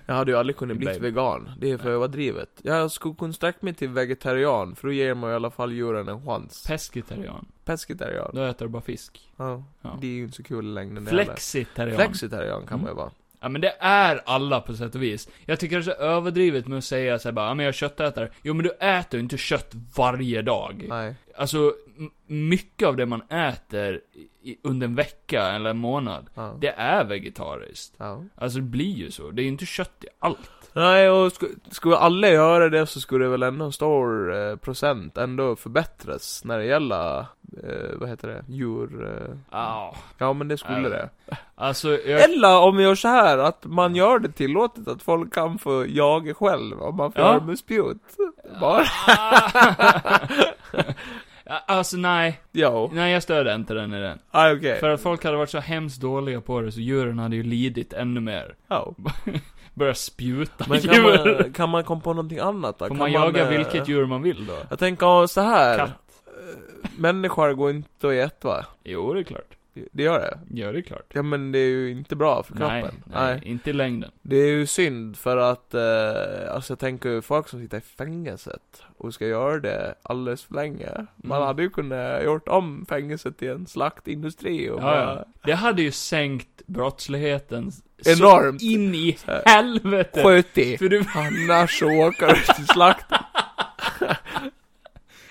[SPEAKER 2] Jag hade ju aldrig kunnat
[SPEAKER 1] Det
[SPEAKER 2] bli
[SPEAKER 1] blev-
[SPEAKER 2] vegan, det är för överdrivet. Jag skulle kunna sträcka mig till vegetarian, för då ger man i alla fall djuren en chans.
[SPEAKER 1] Pescetarian.
[SPEAKER 2] Pescetarian.
[SPEAKER 1] Då äter du bara fisk.
[SPEAKER 2] Ja. Mm.
[SPEAKER 1] Ja.
[SPEAKER 2] Det är ju inte så kul i längden det heller.
[SPEAKER 1] Flexitarian.
[SPEAKER 2] Flexitarian kan man ju vara.
[SPEAKER 1] Ja men det är alla på sätt och vis. Jag tycker det är så överdrivet med att säga såhär bara, ja men jag är köttätare. Jo men du äter ju inte kött varje dag.
[SPEAKER 2] Nej.
[SPEAKER 1] Alltså, m- mycket av det man äter i, under en vecka eller en månad,
[SPEAKER 2] Ja.
[SPEAKER 1] det är vegetariskt.
[SPEAKER 2] Ja.
[SPEAKER 1] Alltså det blir ju så. Det är ju inte kött i allt.
[SPEAKER 2] Nej, och sku- skulle alla göra det så skulle det väl ändå en stor eh, procent ändå förbättras när det gäller, eh, vad heter det, djur... Eh.
[SPEAKER 1] Ja.
[SPEAKER 2] Ja, men det skulle
[SPEAKER 1] Ja.
[SPEAKER 2] det.
[SPEAKER 1] Alltså, jag,
[SPEAKER 2] Eller om vi gör så här att man gör det tillåtet att folk kan få jaga själv, om man får
[SPEAKER 1] Ja.
[SPEAKER 2] göra med spjut. Bara.
[SPEAKER 1] *laughs* Ja, alltså nej.
[SPEAKER 2] Ja.
[SPEAKER 1] Nej jag stöder inte den i den.
[SPEAKER 2] Ah, okej.
[SPEAKER 1] För att folk hade varit så hemskt dåliga på det så djuren hade ju lidit ännu mer. *laughs*
[SPEAKER 2] Ja.
[SPEAKER 1] Börja spjuta
[SPEAKER 2] Men kan
[SPEAKER 1] djur.
[SPEAKER 2] man, kan man komma på någonting annat då?
[SPEAKER 1] Får
[SPEAKER 2] Kan
[SPEAKER 1] man jaga
[SPEAKER 2] eh,
[SPEAKER 1] vilket djur man vill då?
[SPEAKER 2] Jag tänker så här.
[SPEAKER 1] Katt.
[SPEAKER 2] Eh, Människor går inte att äta va?
[SPEAKER 1] Jo, det är klart.
[SPEAKER 2] Det gör det?
[SPEAKER 1] Ja, det är klart.
[SPEAKER 2] Ja men det är ju inte bra för
[SPEAKER 1] Nej, nej,
[SPEAKER 2] kroppen.
[SPEAKER 1] inte i längden.
[SPEAKER 2] Det är ju synd för att, eh, alltså jag tänker ju folk som sitter i fängelset och ska göra det alldeles för länge. Man
[SPEAKER 1] Mm.
[SPEAKER 2] hade ju kunnat gjort om fängelset till en slaktindustri och
[SPEAKER 1] Ja,
[SPEAKER 2] bara,
[SPEAKER 1] ja. Det hade ju sänkt brottsligheten s-
[SPEAKER 2] Enormt.
[SPEAKER 1] så in i
[SPEAKER 2] Så här.
[SPEAKER 1] helvete!
[SPEAKER 2] sköt dig!
[SPEAKER 1] För du,
[SPEAKER 2] Annars så åker du till slakt.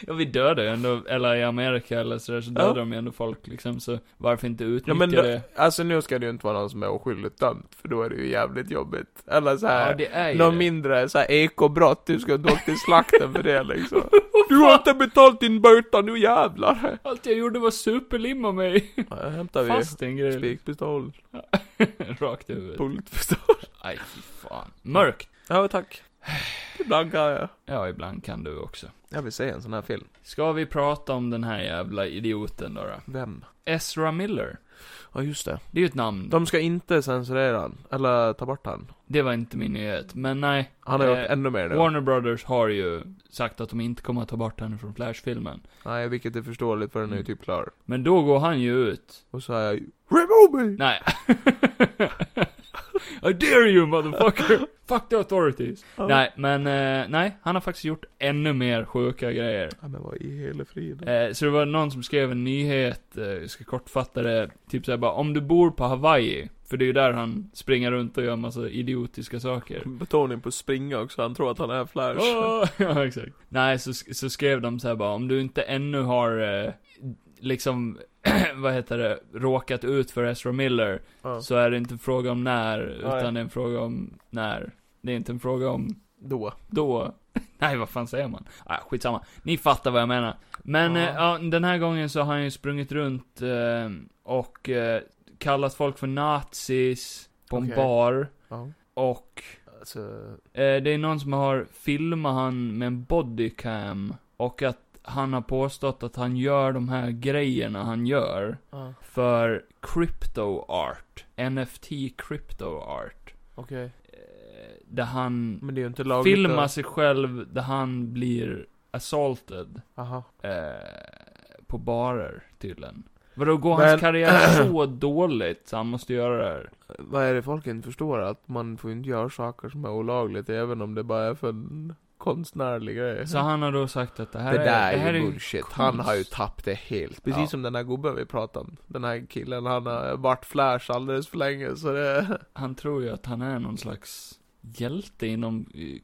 [SPEAKER 1] ja, vi dödar ju ändå, eller i Amerika eller sådär, så dödar
[SPEAKER 2] Ja.
[SPEAKER 1] de ju ändå folk liksom, så varför inte utnyttja
[SPEAKER 2] Ja men då,
[SPEAKER 1] det?
[SPEAKER 2] alltså nu ska det ju inte vara någon som är oskyldigt dömd, för då är det ju jävligt jobbigt. Eller så
[SPEAKER 1] Ja,
[SPEAKER 2] här,
[SPEAKER 1] det är ju
[SPEAKER 2] någon
[SPEAKER 1] det.
[SPEAKER 2] mindre så här ekobrott, du ska inte åka till slakten för det liksom.
[SPEAKER 1] *laughs*
[SPEAKER 2] Du har inte betalt din böta, nu jävlar!
[SPEAKER 1] Allt jag gjorde var superlimma mig
[SPEAKER 2] Ja, här hämtar vi
[SPEAKER 1] fast i en grej.
[SPEAKER 2] spikpistol,
[SPEAKER 1] *laughs* Rakt i huvudet.
[SPEAKER 2] pultpistol.
[SPEAKER 1] Aj, fy fan. Mörkt. *sighs*
[SPEAKER 2] Ja tack. Ibland kan jag.
[SPEAKER 1] Ja, ibland kan du också.
[SPEAKER 2] Jag vill se en sån här film.
[SPEAKER 1] Ska vi prata om den här jävla idioten då? då?
[SPEAKER 2] Vem?
[SPEAKER 1] Ezra Miller.
[SPEAKER 2] Ja just det.
[SPEAKER 1] Det är ju ett namn.
[SPEAKER 2] De ska inte censurera han, eller ta bort han.
[SPEAKER 1] Det var inte min nyhet, men nej.
[SPEAKER 2] Han har
[SPEAKER 1] Eh,
[SPEAKER 2] gjort ännu mer nu.
[SPEAKER 1] Warner Brothers har ju sagt att de inte kommer att ta bort henne från Flash-filmen.
[SPEAKER 2] Nej, vilket är förståeligt för den är ju
[SPEAKER 1] Mm.
[SPEAKER 2] typ klar.
[SPEAKER 1] Men då går han ju ut.
[SPEAKER 2] Och så har jag Remove me!
[SPEAKER 1] Nej. *laughs* I dare you
[SPEAKER 2] *laughs*
[SPEAKER 1] motherfucker! Fuck the authorities!
[SPEAKER 2] Ja.
[SPEAKER 1] Nej, men eh, nej, han har faktiskt gjort ännu mer sjuka grejer.
[SPEAKER 2] Ja, men vad i hela friden?
[SPEAKER 1] Eh, så det var någon som skrev en nyhet, eh, jag ska kortfatta det, typ såhär bara, om du bor på Hawaii, för det är ju där han springer runt och gör massa idiotiska saker.
[SPEAKER 2] Betoning på springa också, han tror att han är Flash.
[SPEAKER 1] Åh, *laughs* ja, exakt. Nej, så, sk- så skrev de så här bara, om du inte ännu har eh, liksom, *clears throat* vad heter det, råkat ut för Ezra Miller,
[SPEAKER 2] Ja.
[SPEAKER 1] så är det inte en fråga om när,
[SPEAKER 2] Nej.
[SPEAKER 1] utan det är en fråga om när. Det är inte en fråga om
[SPEAKER 2] Då.
[SPEAKER 1] då. *laughs* Nej, vad fan säger man? Ah, skitsamma. Ni fattar vad jag menar. Men
[SPEAKER 2] Ja.
[SPEAKER 1] eh, ja, den här gången så har han ju sprungit runt eh, och eh, kallat folk för nazis på en
[SPEAKER 2] Okej.
[SPEAKER 1] bar.
[SPEAKER 2] Ja.
[SPEAKER 1] Och
[SPEAKER 2] Alltså,
[SPEAKER 1] Eh, det är någon som har filmat han med en bodycam. Och att han har påstått att han gör de här grejerna han gör.
[SPEAKER 2] ja.
[SPEAKER 1] För crypto art. NFT crypto art.
[SPEAKER 2] Okej.
[SPEAKER 1] Eh, där han
[SPEAKER 2] Men det är ju inte lagligt
[SPEAKER 1] filmar sig själv där han blir assaulted.
[SPEAKER 2] att- Aha.
[SPEAKER 1] Eh, på barer tydligen. Vadå, går
[SPEAKER 2] Men-
[SPEAKER 1] hans
[SPEAKER 2] *clears throat*
[SPEAKER 1] karriär så dåligt så han måste göra det här?
[SPEAKER 2] Vad är det folk inte förstår? Att man får inte göra saker som är olagligt, även om det bara är för en konstnärlig grej.
[SPEAKER 1] Så han har då sagt att det här
[SPEAKER 2] Mm. det där
[SPEAKER 1] är, det här
[SPEAKER 2] är ju
[SPEAKER 1] är
[SPEAKER 2] bullshit.
[SPEAKER 1] konst.
[SPEAKER 2] Han har ju tappat det helt. Precis
[SPEAKER 1] Ja.
[SPEAKER 2] som den här gubben vi pratade om. Den här killen, han har varit flash alldeles för länge så det... *laughs*
[SPEAKER 1] Han tror ju att han är någon slags hjälte inom eh,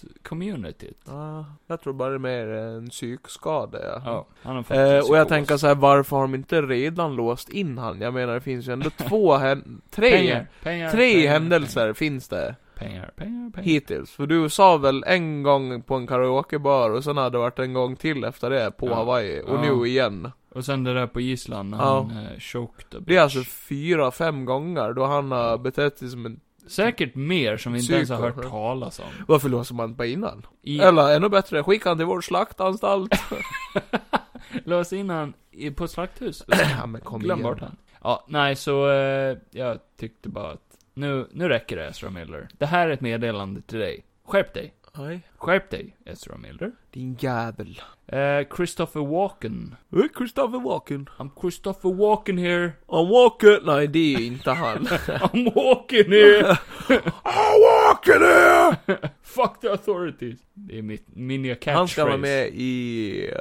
[SPEAKER 1] konstcommunityt.
[SPEAKER 2] Ja, jag tror bara det är mer en psykskada ja.
[SPEAKER 1] Ja, han har fått en
[SPEAKER 2] Eh, och jag
[SPEAKER 1] psykos.
[SPEAKER 2] tänker så här, varför har de inte redan låst in han? Jag menar det finns
[SPEAKER 1] *laughs*
[SPEAKER 2] ju ändå två hän- tre,
[SPEAKER 1] pengar, pengar,
[SPEAKER 2] tre
[SPEAKER 1] pengar,
[SPEAKER 2] händelser finns det
[SPEAKER 1] Pengar, pengar, pengar.
[SPEAKER 2] hittills. För du sa väl en gång på en karaokebar och sen hade det varit en gång till efter det på
[SPEAKER 1] Ja.
[SPEAKER 2] Hawaii. Och
[SPEAKER 1] Ja.
[SPEAKER 2] nu igen.
[SPEAKER 1] Och sen det där på Island när
[SPEAKER 2] Ja.
[SPEAKER 1] han eh, choked the
[SPEAKER 2] Det är
[SPEAKER 1] bitch.
[SPEAKER 2] alltså fyra, fem gånger då han har betett sig som en...
[SPEAKER 1] Säkert mer som vi inte ens har
[SPEAKER 2] Psyko,
[SPEAKER 1] hört
[SPEAKER 2] ja.
[SPEAKER 1] talas om.
[SPEAKER 2] Varför låser man inte bara innan?
[SPEAKER 1] I,
[SPEAKER 2] Eller ännu bättre, skicka han till vår slaktanstalt.
[SPEAKER 1] lås in han i, på ett slakthus.
[SPEAKER 2] *clears throat* ja men kom
[SPEAKER 1] Glöm
[SPEAKER 2] igen.
[SPEAKER 1] bort han. Ja, nej så, eh, jag tyckte bara att nu, nu räcker det Ezra Miller. Det här är ett meddelande till dig. Skärp dig.
[SPEAKER 2] Nej.
[SPEAKER 1] Skärp dig, Ezra Miller.
[SPEAKER 2] Din jävel.
[SPEAKER 1] Eh, Christopher Walken.
[SPEAKER 2] Hey, Christopher Walken.
[SPEAKER 1] I'm Christopher Walken here. *laughs*
[SPEAKER 2] I'm walking. Nej, det är inte *laughs* han.
[SPEAKER 1] I'm walking here.
[SPEAKER 2] *laughs*
[SPEAKER 1] *laughs*
[SPEAKER 2] I'm walking here!
[SPEAKER 1] Fuck the authorities. Det är mitt, min nya catchphrase.
[SPEAKER 2] Han ska vara med i... eh,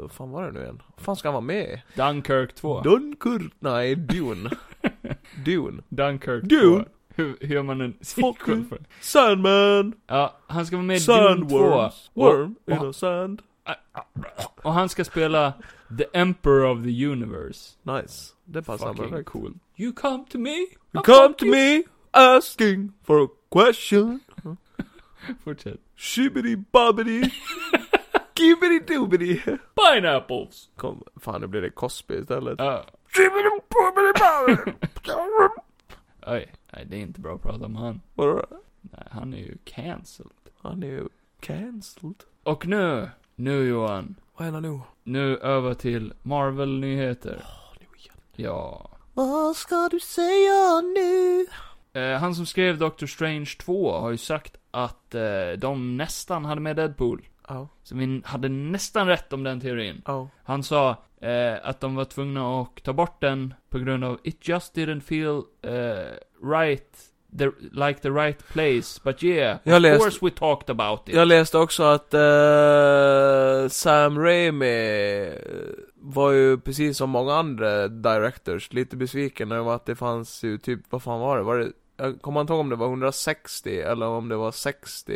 [SPEAKER 2] Vad fan var det nu igen? Vad fan ska han vara med i?
[SPEAKER 1] Dunkirk 2.
[SPEAKER 2] Dunkirk? Nej, *laughs* Dune. Dune.
[SPEAKER 1] Dunkirk 2.
[SPEAKER 2] Dune.
[SPEAKER 1] Hur, hur gör man en
[SPEAKER 2] you.
[SPEAKER 1] sequel för
[SPEAKER 2] Sandman!
[SPEAKER 1] Ja, han ska vara med i Dune 2.
[SPEAKER 2] Sandworms! Worm
[SPEAKER 1] Och-
[SPEAKER 2] in a sand.
[SPEAKER 1] Och han ska spela The Emperor of the Universe.
[SPEAKER 2] Nice. Det passar
[SPEAKER 1] Fucking
[SPEAKER 2] perfekt.
[SPEAKER 1] cool. You come to me.
[SPEAKER 2] You
[SPEAKER 1] I'll
[SPEAKER 2] come
[SPEAKER 1] fuck
[SPEAKER 2] to
[SPEAKER 1] you.
[SPEAKER 2] me asking for a question.
[SPEAKER 1] Fortsätt.
[SPEAKER 2] Shibbity bobbity. Gibbity doobity.
[SPEAKER 1] Pineapples.
[SPEAKER 2] Kom, fan nu blir det Cosby istället.
[SPEAKER 1] Ja.
[SPEAKER 2] Shibbity bobbity bobbity. *laughs*
[SPEAKER 1] Oj, nej det är inte bra att prata om han.
[SPEAKER 2] Vadå?
[SPEAKER 1] Nej, han är ju cancelled.
[SPEAKER 2] Han är ju cancelled.
[SPEAKER 1] Och nu, nu Johan.
[SPEAKER 2] Vad händer nu?
[SPEAKER 1] Nu över till Marvel-nyheter. Ja.
[SPEAKER 2] Vad ska du säga nu?
[SPEAKER 1] Eh, han som skrev Doctor Strange 2 har ju sagt att eh, de nästan hade med Deadpool.
[SPEAKER 2] Ja,
[SPEAKER 1] Så vi hade nästan rätt om den teorin.
[SPEAKER 2] ja.
[SPEAKER 1] Han sa eh, att de var tvungna att ta bort den på grund av It just didn't feel eh, right, the, like the right place, but yeah,
[SPEAKER 2] Jag
[SPEAKER 1] of
[SPEAKER 2] läste,
[SPEAKER 1] course we talked about it.
[SPEAKER 2] jag läste också att eh, Sam Raimi eh, var ju precis som många andra directors lite besviken över att det fanns ju typ, vad fan var det? Var det jag kommer inte ihåg om det var 160 eller om det var 60,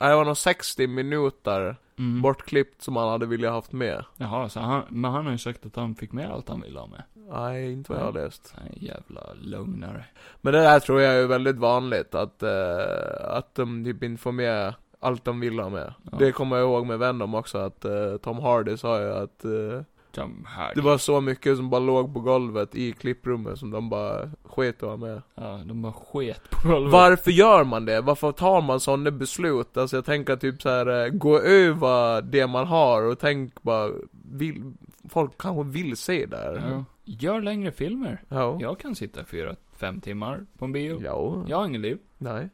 [SPEAKER 2] nej det var nog 60 minuter
[SPEAKER 1] Mm.
[SPEAKER 2] bortklippt som han hade velat haft med.
[SPEAKER 1] Jaha, så han, men han har ju sagt att han fick med allt han ville ha med.
[SPEAKER 2] Nej, inte vad jag har läst.
[SPEAKER 1] Nej, jävla lögnare.
[SPEAKER 2] Men det där tror jag är väldigt vanligt, att, eh, att de typ inte får med allt de vill ha med.
[SPEAKER 1] Ja.
[SPEAKER 2] Det kommer jag ihåg med Venom också, att eh, Tom Hardy sa ju att eh,
[SPEAKER 1] De här.
[SPEAKER 2] det var så mycket som bara låg på golvet i klipprummet som de bara sket att ha med.
[SPEAKER 1] Ja, de bara sket på golvet.
[SPEAKER 2] Varför gör man det? Varför tar man sådana beslut? Alltså jag tänker typ så här, eh, gå över det man har och tänk bara, vill, folk kanske vill se det här.
[SPEAKER 1] Ja. Gör längre filmer.
[SPEAKER 2] Ja.
[SPEAKER 1] Jag kan sitta fyra, fem timmar på en bio.
[SPEAKER 2] Ja.
[SPEAKER 1] Jag har ingen liv.
[SPEAKER 2] Nej.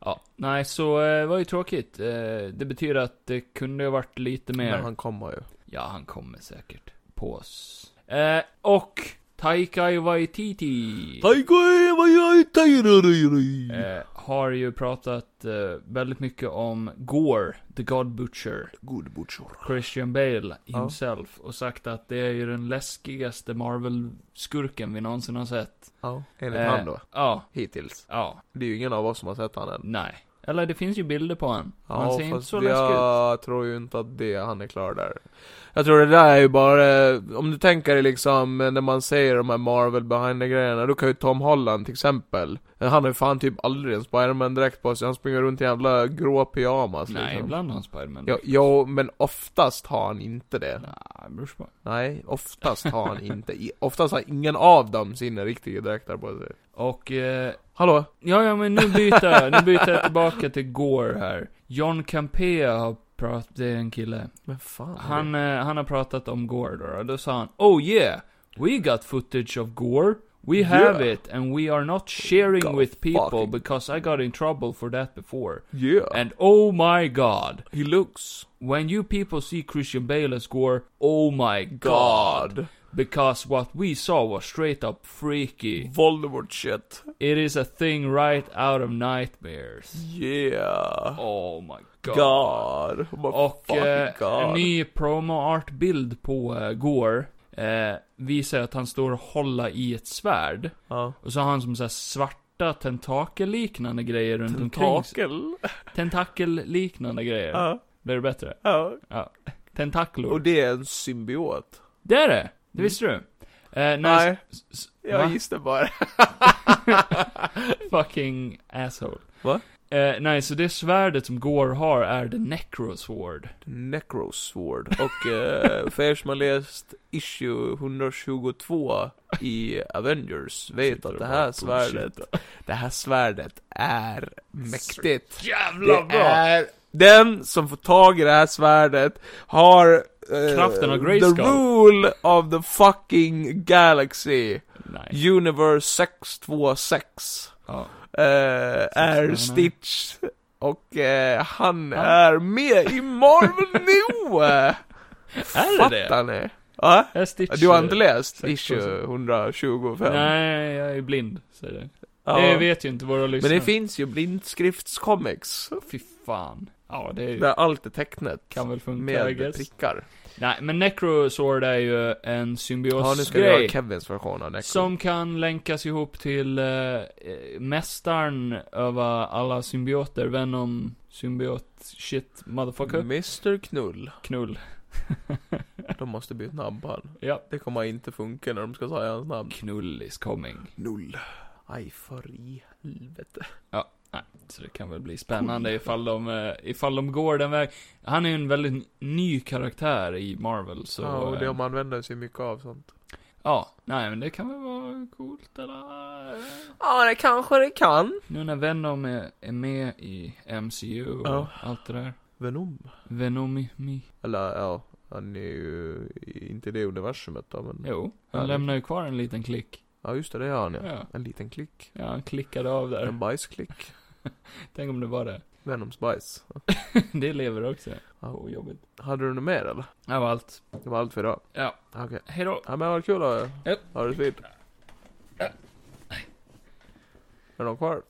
[SPEAKER 1] Ja, nej så eh, det var ju tråkigt. Eh, det betyder att det kunde ha varit lite mer.
[SPEAKER 2] Men han kommer ju.
[SPEAKER 1] Ja, han kommer säkert på oss. Eh, och Taika Waititi.
[SPEAKER 2] Taikoi, vad gör du? Tairori.
[SPEAKER 1] Eh, har ju pratat eh, väldigt mycket om Gore, The God Butcher,
[SPEAKER 2] God butcher.
[SPEAKER 1] Christian Bale himself. Och sagt att det är ju den läskigaste Marvel-skurken vi någonsin har sett.
[SPEAKER 2] Ja. Enligt
[SPEAKER 1] Eh,
[SPEAKER 2] han då.
[SPEAKER 1] Ja,
[SPEAKER 2] Hittills.
[SPEAKER 1] ja,
[SPEAKER 2] Det är ju ingen av oss som har sett han än.
[SPEAKER 1] nej. Eller det finns ju bilder på han.
[SPEAKER 2] Ja,
[SPEAKER 1] han ser inte
[SPEAKER 2] fast
[SPEAKER 1] så läskig ut.
[SPEAKER 2] jag tror ju inte att det, han är klar där. Jag tror det där är ju bara, eh, om du tänker dig liksom eh, när man säger de här Marvel behind the grejerna, då kan ju Tom Holland till exempel. eh, Han har ju fan typ aldrig en Spiderman direkt på sig, han springer runt i en jävla grå pyjamas
[SPEAKER 1] Nej,
[SPEAKER 2] liksom.
[SPEAKER 1] ibland har han Spiderman.
[SPEAKER 2] Jo, jo, men oftast har han inte det.
[SPEAKER 1] Nej, beror på.
[SPEAKER 2] Nej, oftast har han inte. I- Oftast har ingen av dem sina riktiga dräkter på sig.
[SPEAKER 1] Och, eh,
[SPEAKER 2] Hallå?
[SPEAKER 1] ja, ja men nu byter jag, nu byter jag tillbaka till Gore här. John Campea har pratat, det är en kille.
[SPEAKER 2] Men fan.
[SPEAKER 1] Han, eh, han har pratat om Gore då, och då sa han Oh yeah, we got footage of Gore. We have
[SPEAKER 2] Yeah.
[SPEAKER 1] it, and we are not sharing
[SPEAKER 2] God
[SPEAKER 1] with people
[SPEAKER 2] fucking-
[SPEAKER 1] because I got in trouble for that before.
[SPEAKER 2] Yeah.
[SPEAKER 1] And oh my god,
[SPEAKER 2] he looks
[SPEAKER 1] when you people see Christian Bale as Gore, oh my god.
[SPEAKER 2] God.
[SPEAKER 1] Because what we saw was straight up freaky.
[SPEAKER 2] Voldemort shit.
[SPEAKER 1] It is a thing right out of nightmares.
[SPEAKER 2] Yeah.
[SPEAKER 1] Oh my god.
[SPEAKER 2] God. Oh,
[SPEAKER 1] Och
[SPEAKER 2] fucking
[SPEAKER 1] eh,
[SPEAKER 2] god.
[SPEAKER 1] en ny promo-art-bild på eh, Gore eh, visar att han står och håller i ett svärd.
[SPEAKER 2] ja.
[SPEAKER 1] Och så har han som så här svarta tentakelliknande grejer runt omkring sig.
[SPEAKER 2] Tentakel.
[SPEAKER 1] Tentakelliknande grejer.
[SPEAKER 2] Ja.
[SPEAKER 1] Blir det bättre?
[SPEAKER 2] Ja.
[SPEAKER 1] Tentaklor.
[SPEAKER 2] Och det är en symbiot.
[SPEAKER 1] det är det! Det visste du? Eh, när
[SPEAKER 2] Nej,
[SPEAKER 1] s- s-
[SPEAKER 2] jag
[SPEAKER 1] va?
[SPEAKER 2] gissade bara.
[SPEAKER 1] Fucking asshole.
[SPEAKER 2] Va?
[SPEAKER 1] Eh, nej, så det svärdet som Gore har är the Necrosword.
[SPEAKER 2] Necrosword. Och eh, för er som har läst issue 122 i Avengers vet
[SPEAKER 1] Sitter och
[SPEAKER 2] att det
[SPEAKER 1] bara
[SPEAKER 2] här svärdet, det här svärdet är mäktigt.
[SPEAKER 1] Jävla
[SPEAKER 2] Det är den som får tag i det här svärdet har eh,
[SPEAKER 1] Kraften av Grayskull.
[SPEAKER 2] The rule of the fucking galaxy.
[SPEAKER 1] Nej.
[SPEAKER 2] Universe 626.
[SPEAKER 1] Ja.
[SPEAKER 2] eh, är
[SPEAKER 1] Sexton,
[SPEAKER 2] Stitch. Och eh, han
[SPEAKER 1] Ja.
[SPEAKER 2] är med i Marvel nu!
[SPEAKER 1] *laughs* Är det det?
[SPEAKER 2] Fattar ni? Ja?
[SPEAKER 1] Är Stitch...
[SPEAKER 2] Du har inte läst
[SPEAKER 1] sexton,
[SPEAKER 2] issue 125?
[SPEAKER 1] Nej, jag är blind, säger det.
[SPEAKER 2] Ja.
[SPEAKER 1] Det vet ju inte våra
[SPEAKER 2] Men
[SPEAKER 1] lyssnare.
[SPEAKER 2] det finns ju blindskriftscomics.
[SPEAKER 1] Fy fan. Ja, det
[SPEAKER 2] Där allt är tecknat.
[SPEAKER 1] kan väl funka, I
[SPEAKER 2] Med
[SPEAKER 1] guess.
[SPEAKER 2] prickar.
[SPEAKER 1] Nej, men Necrosword är ju en
[SPEAKER 2] Ja, nu ska vi
[SPEAKER 1] symbiosgrej.
[SPEAKER 2] göra Kevins version av Necro.
[SPEAKER 1] som kan länkas ihop till eh, eh, mästaren över alla symbioter, Venom, symbiot, shit, motherfucker.
[SPEAKER 2] Mm. Mr Knull.
[SPEAKER 1] Knull.
[SPEAKER 2] De måste byta namn på han.
[SPEAKER 1] Ja.
[SPEAKER 2] Det kommer inte funka när de ska säga hans namn.
[SPEAKER 1] Knull is coming.
[SPEAKER 2] Knull. Aj, för i helvete.
[SPEAKER 1] Så det kan väl bli spännande ifall de, eh, ifall de går den väg. Han är ju en väldigt ny karaktär i Marvel, så...
[SPEAKER 2] ja, och
[SPEAKER 1] eh,
[SPEAKER 2] det de använder sig mycket av sånt.
[SPEAKER 1] Ja, nej men det kan väl vara coolt eller?
[SPEAKER 2] Ja, det kanske det kan.
[SPEAKER 1] Nu när Venom är, är med i MCU och
[SPEAKER 2] Ja.
[SPEAKER 1] allt det där.
[SPEAKER 2] Venom.
[SPEAKER 1] Venom i me.
[SPEAKER 2] Eller ja, han är ju inte i det universumet då, men...
[SPEAKER 1] Jo, han
[SPEAKER 2] Ja,
[SPEAKER 1] lämnar ju kvar en liten klick.
[SPEAKER 2] Ja, just det, det är han ja. Mm.
[SPEAKER 1] Ja.
[SPEAKER 2] En liten klick.
[SPEAKER 1] ja, han klickade av där.
[SPEAKER 2] En bajsklick.
[SPEAKER 1] Tänk om det var det. *laughs*
[SPEAKER 2] Venoms bajs.
[SPEAKER 1] det lever också.
[SPEAKER 2] Ja.
[SPEAKER 1] Åh, jobbigt.
[SPEAKER 2] Hade du något mer eller?
[SPEAKER 1] Det var allt.
[SPEAKER 2] Det var allt för idag.
[SPEAKER 1] Ja.
[SPEAKER 2] Okej.
[SPEAKER 1] Hejdå.
[SPEAKER 2] Ja men vad kul att
[SPEAKER 1] Japp.
[SPEAKER 2] ha det fint. Är de kvar?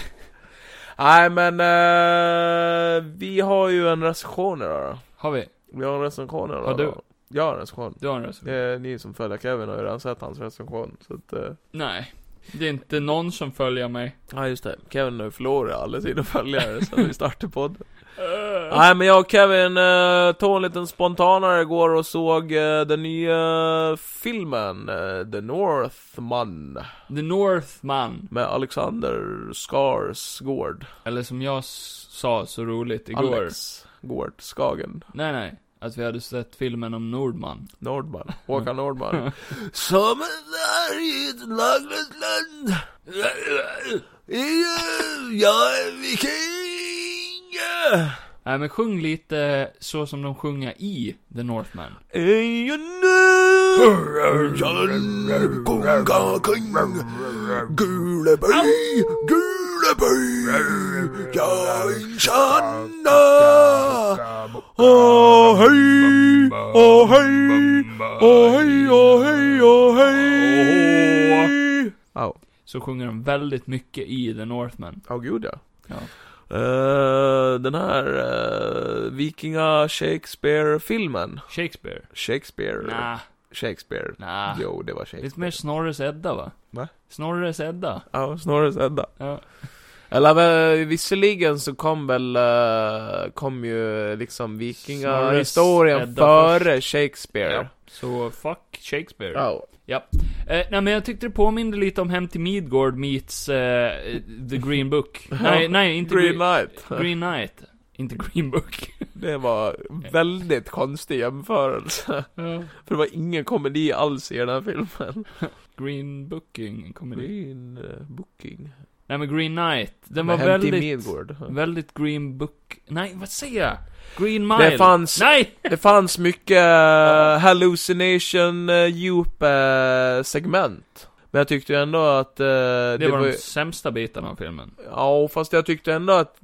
[SPEAKER 2] *laughs* Nej men eh, vi har ju en recension idag då.
[SPEAKER 1] Har vi?
[SPEAKER 2] Vi har en recension idag
[SPEAKER 1] Har du?
[SPEAKER 2] Då. Jag har en recension.
[SPEAKER 1] Du har en röst?
[SPEAKER 2] Det är ni som följer Kevin har ju redan sett hans recension. Så att, eh,
[SPEAKER 1] Nej. Det är inte någon som följer mig.
[SPEAKER 2] Ja just det, Kevin har ju förlorat alla sina följare sen vi startade podden. *laughs* Nej men jag och Kevin eh, tog en liten spontanare igår och såg eh, den nya filmen eh, The Northman
[SPEAKER 1] The Northman.
[SPEAKER 2] med Alexander Skarsgård.
[SPEAKER 1] Eller som jag s- sa så roligt igår.
[SPEAKER 2] Alex Gård Skagen.
[SPEAKER 1] Nej, nej. Att vi hade sett filmen om Nordman.
[SPEAKER 2] Nordman. Håkan Nordman. Som en där i ett laglöst land. Jag är viking.
[SPEAKER 1] Nej men sjung lite så som de sjunger i The Northman.
[SPEAKER 2] Är jag nu? Jag är kung. Guleberg, Guleberg. Jag är Shanna. Åh hej, åh hej, åh hej, åh hej, åh hej. Åh,
[SPEAKER 1] Så sjunger de väldigt mycket i The Northman.
[SPEAKER 2] åh gud ja.
[SPEAKER 1] Ja.
[SPEAKER 2] Eh, den här eh, Vikinga Shakespeare-filmen.
[SPEAKER 1] Shakespeare?
[SPEAKER 2] Shakespeare.
[SPEAKER 1] Nah,
[SPEAKER 2] Shakespeare.
[SPEAKER 1] nah.
[SPEAKER 2] Jo, det var
[SPEAKER 1] Lite
[SPEAKER 2] Shakespeare.
[SPEAKER 1] mer Snorres Edda va?
[SPEAKER 2] Va?
[SPEAKER 1] Snorres Edda.
[SPEAKER 2] Ja, Snorres Edda.
[SPEAKER 1] Ja.
[SPEAKER 2] Eller eh, visserligen så kom väl, eh, kom ju liksom vikingahistorien
[SPEAKER 1] Snorres Edda
[SPEAKER 2] före Shakespeare.
[SPEAKER 1] ja. Så fuck Shakespeare.
[SPEAKER 2] Ja.
[SPEAKER 1] Eh, nej men jag tyckte det påminde lite om Hem till Midgård meets eh, The Green
[SPEAKER 2] *laughs*
[SPEAKER 1] Book. nej, nej, inte
[SPEAKER 2] Green Knight.
[SPEAKER 1] Green Knight. Inte Green Book.
[SPEAKER 2] Det var väldigt konstig jämförelse. För det var ingen komedi alls i den här filmen.
[SPEAKER 1] Green Booking kommer det.
[SPEAKER 2] Green eh, Booking.
[SPEAKER 1] Nej men Green Knight. Den
[SPEAKER 2] Med
[SPEAKER 1] var
[SPEAKER 2] Hem till
[SPEAKER 1] väldigt...
[SPEAKER 2] Midgård.
[SPEAKER 1] Väldigt green book... Nej, vad säger jag? Green mile?
[SPEAKER 2] Det fanns,
[SPEAKER 1] Nej!
[SPEAKER 2] det fanns mycket eh, hallucination eh, djup eh, segment. Men jag tyckte ju ändå att eh, det,
[SPEAKER 1] Det var
[SPEAKER 2] var
[SPEAKER 1] de sämsta bitarna av filmen.
[SPEAKER 2] Ja, fast jag tyckte ändå att...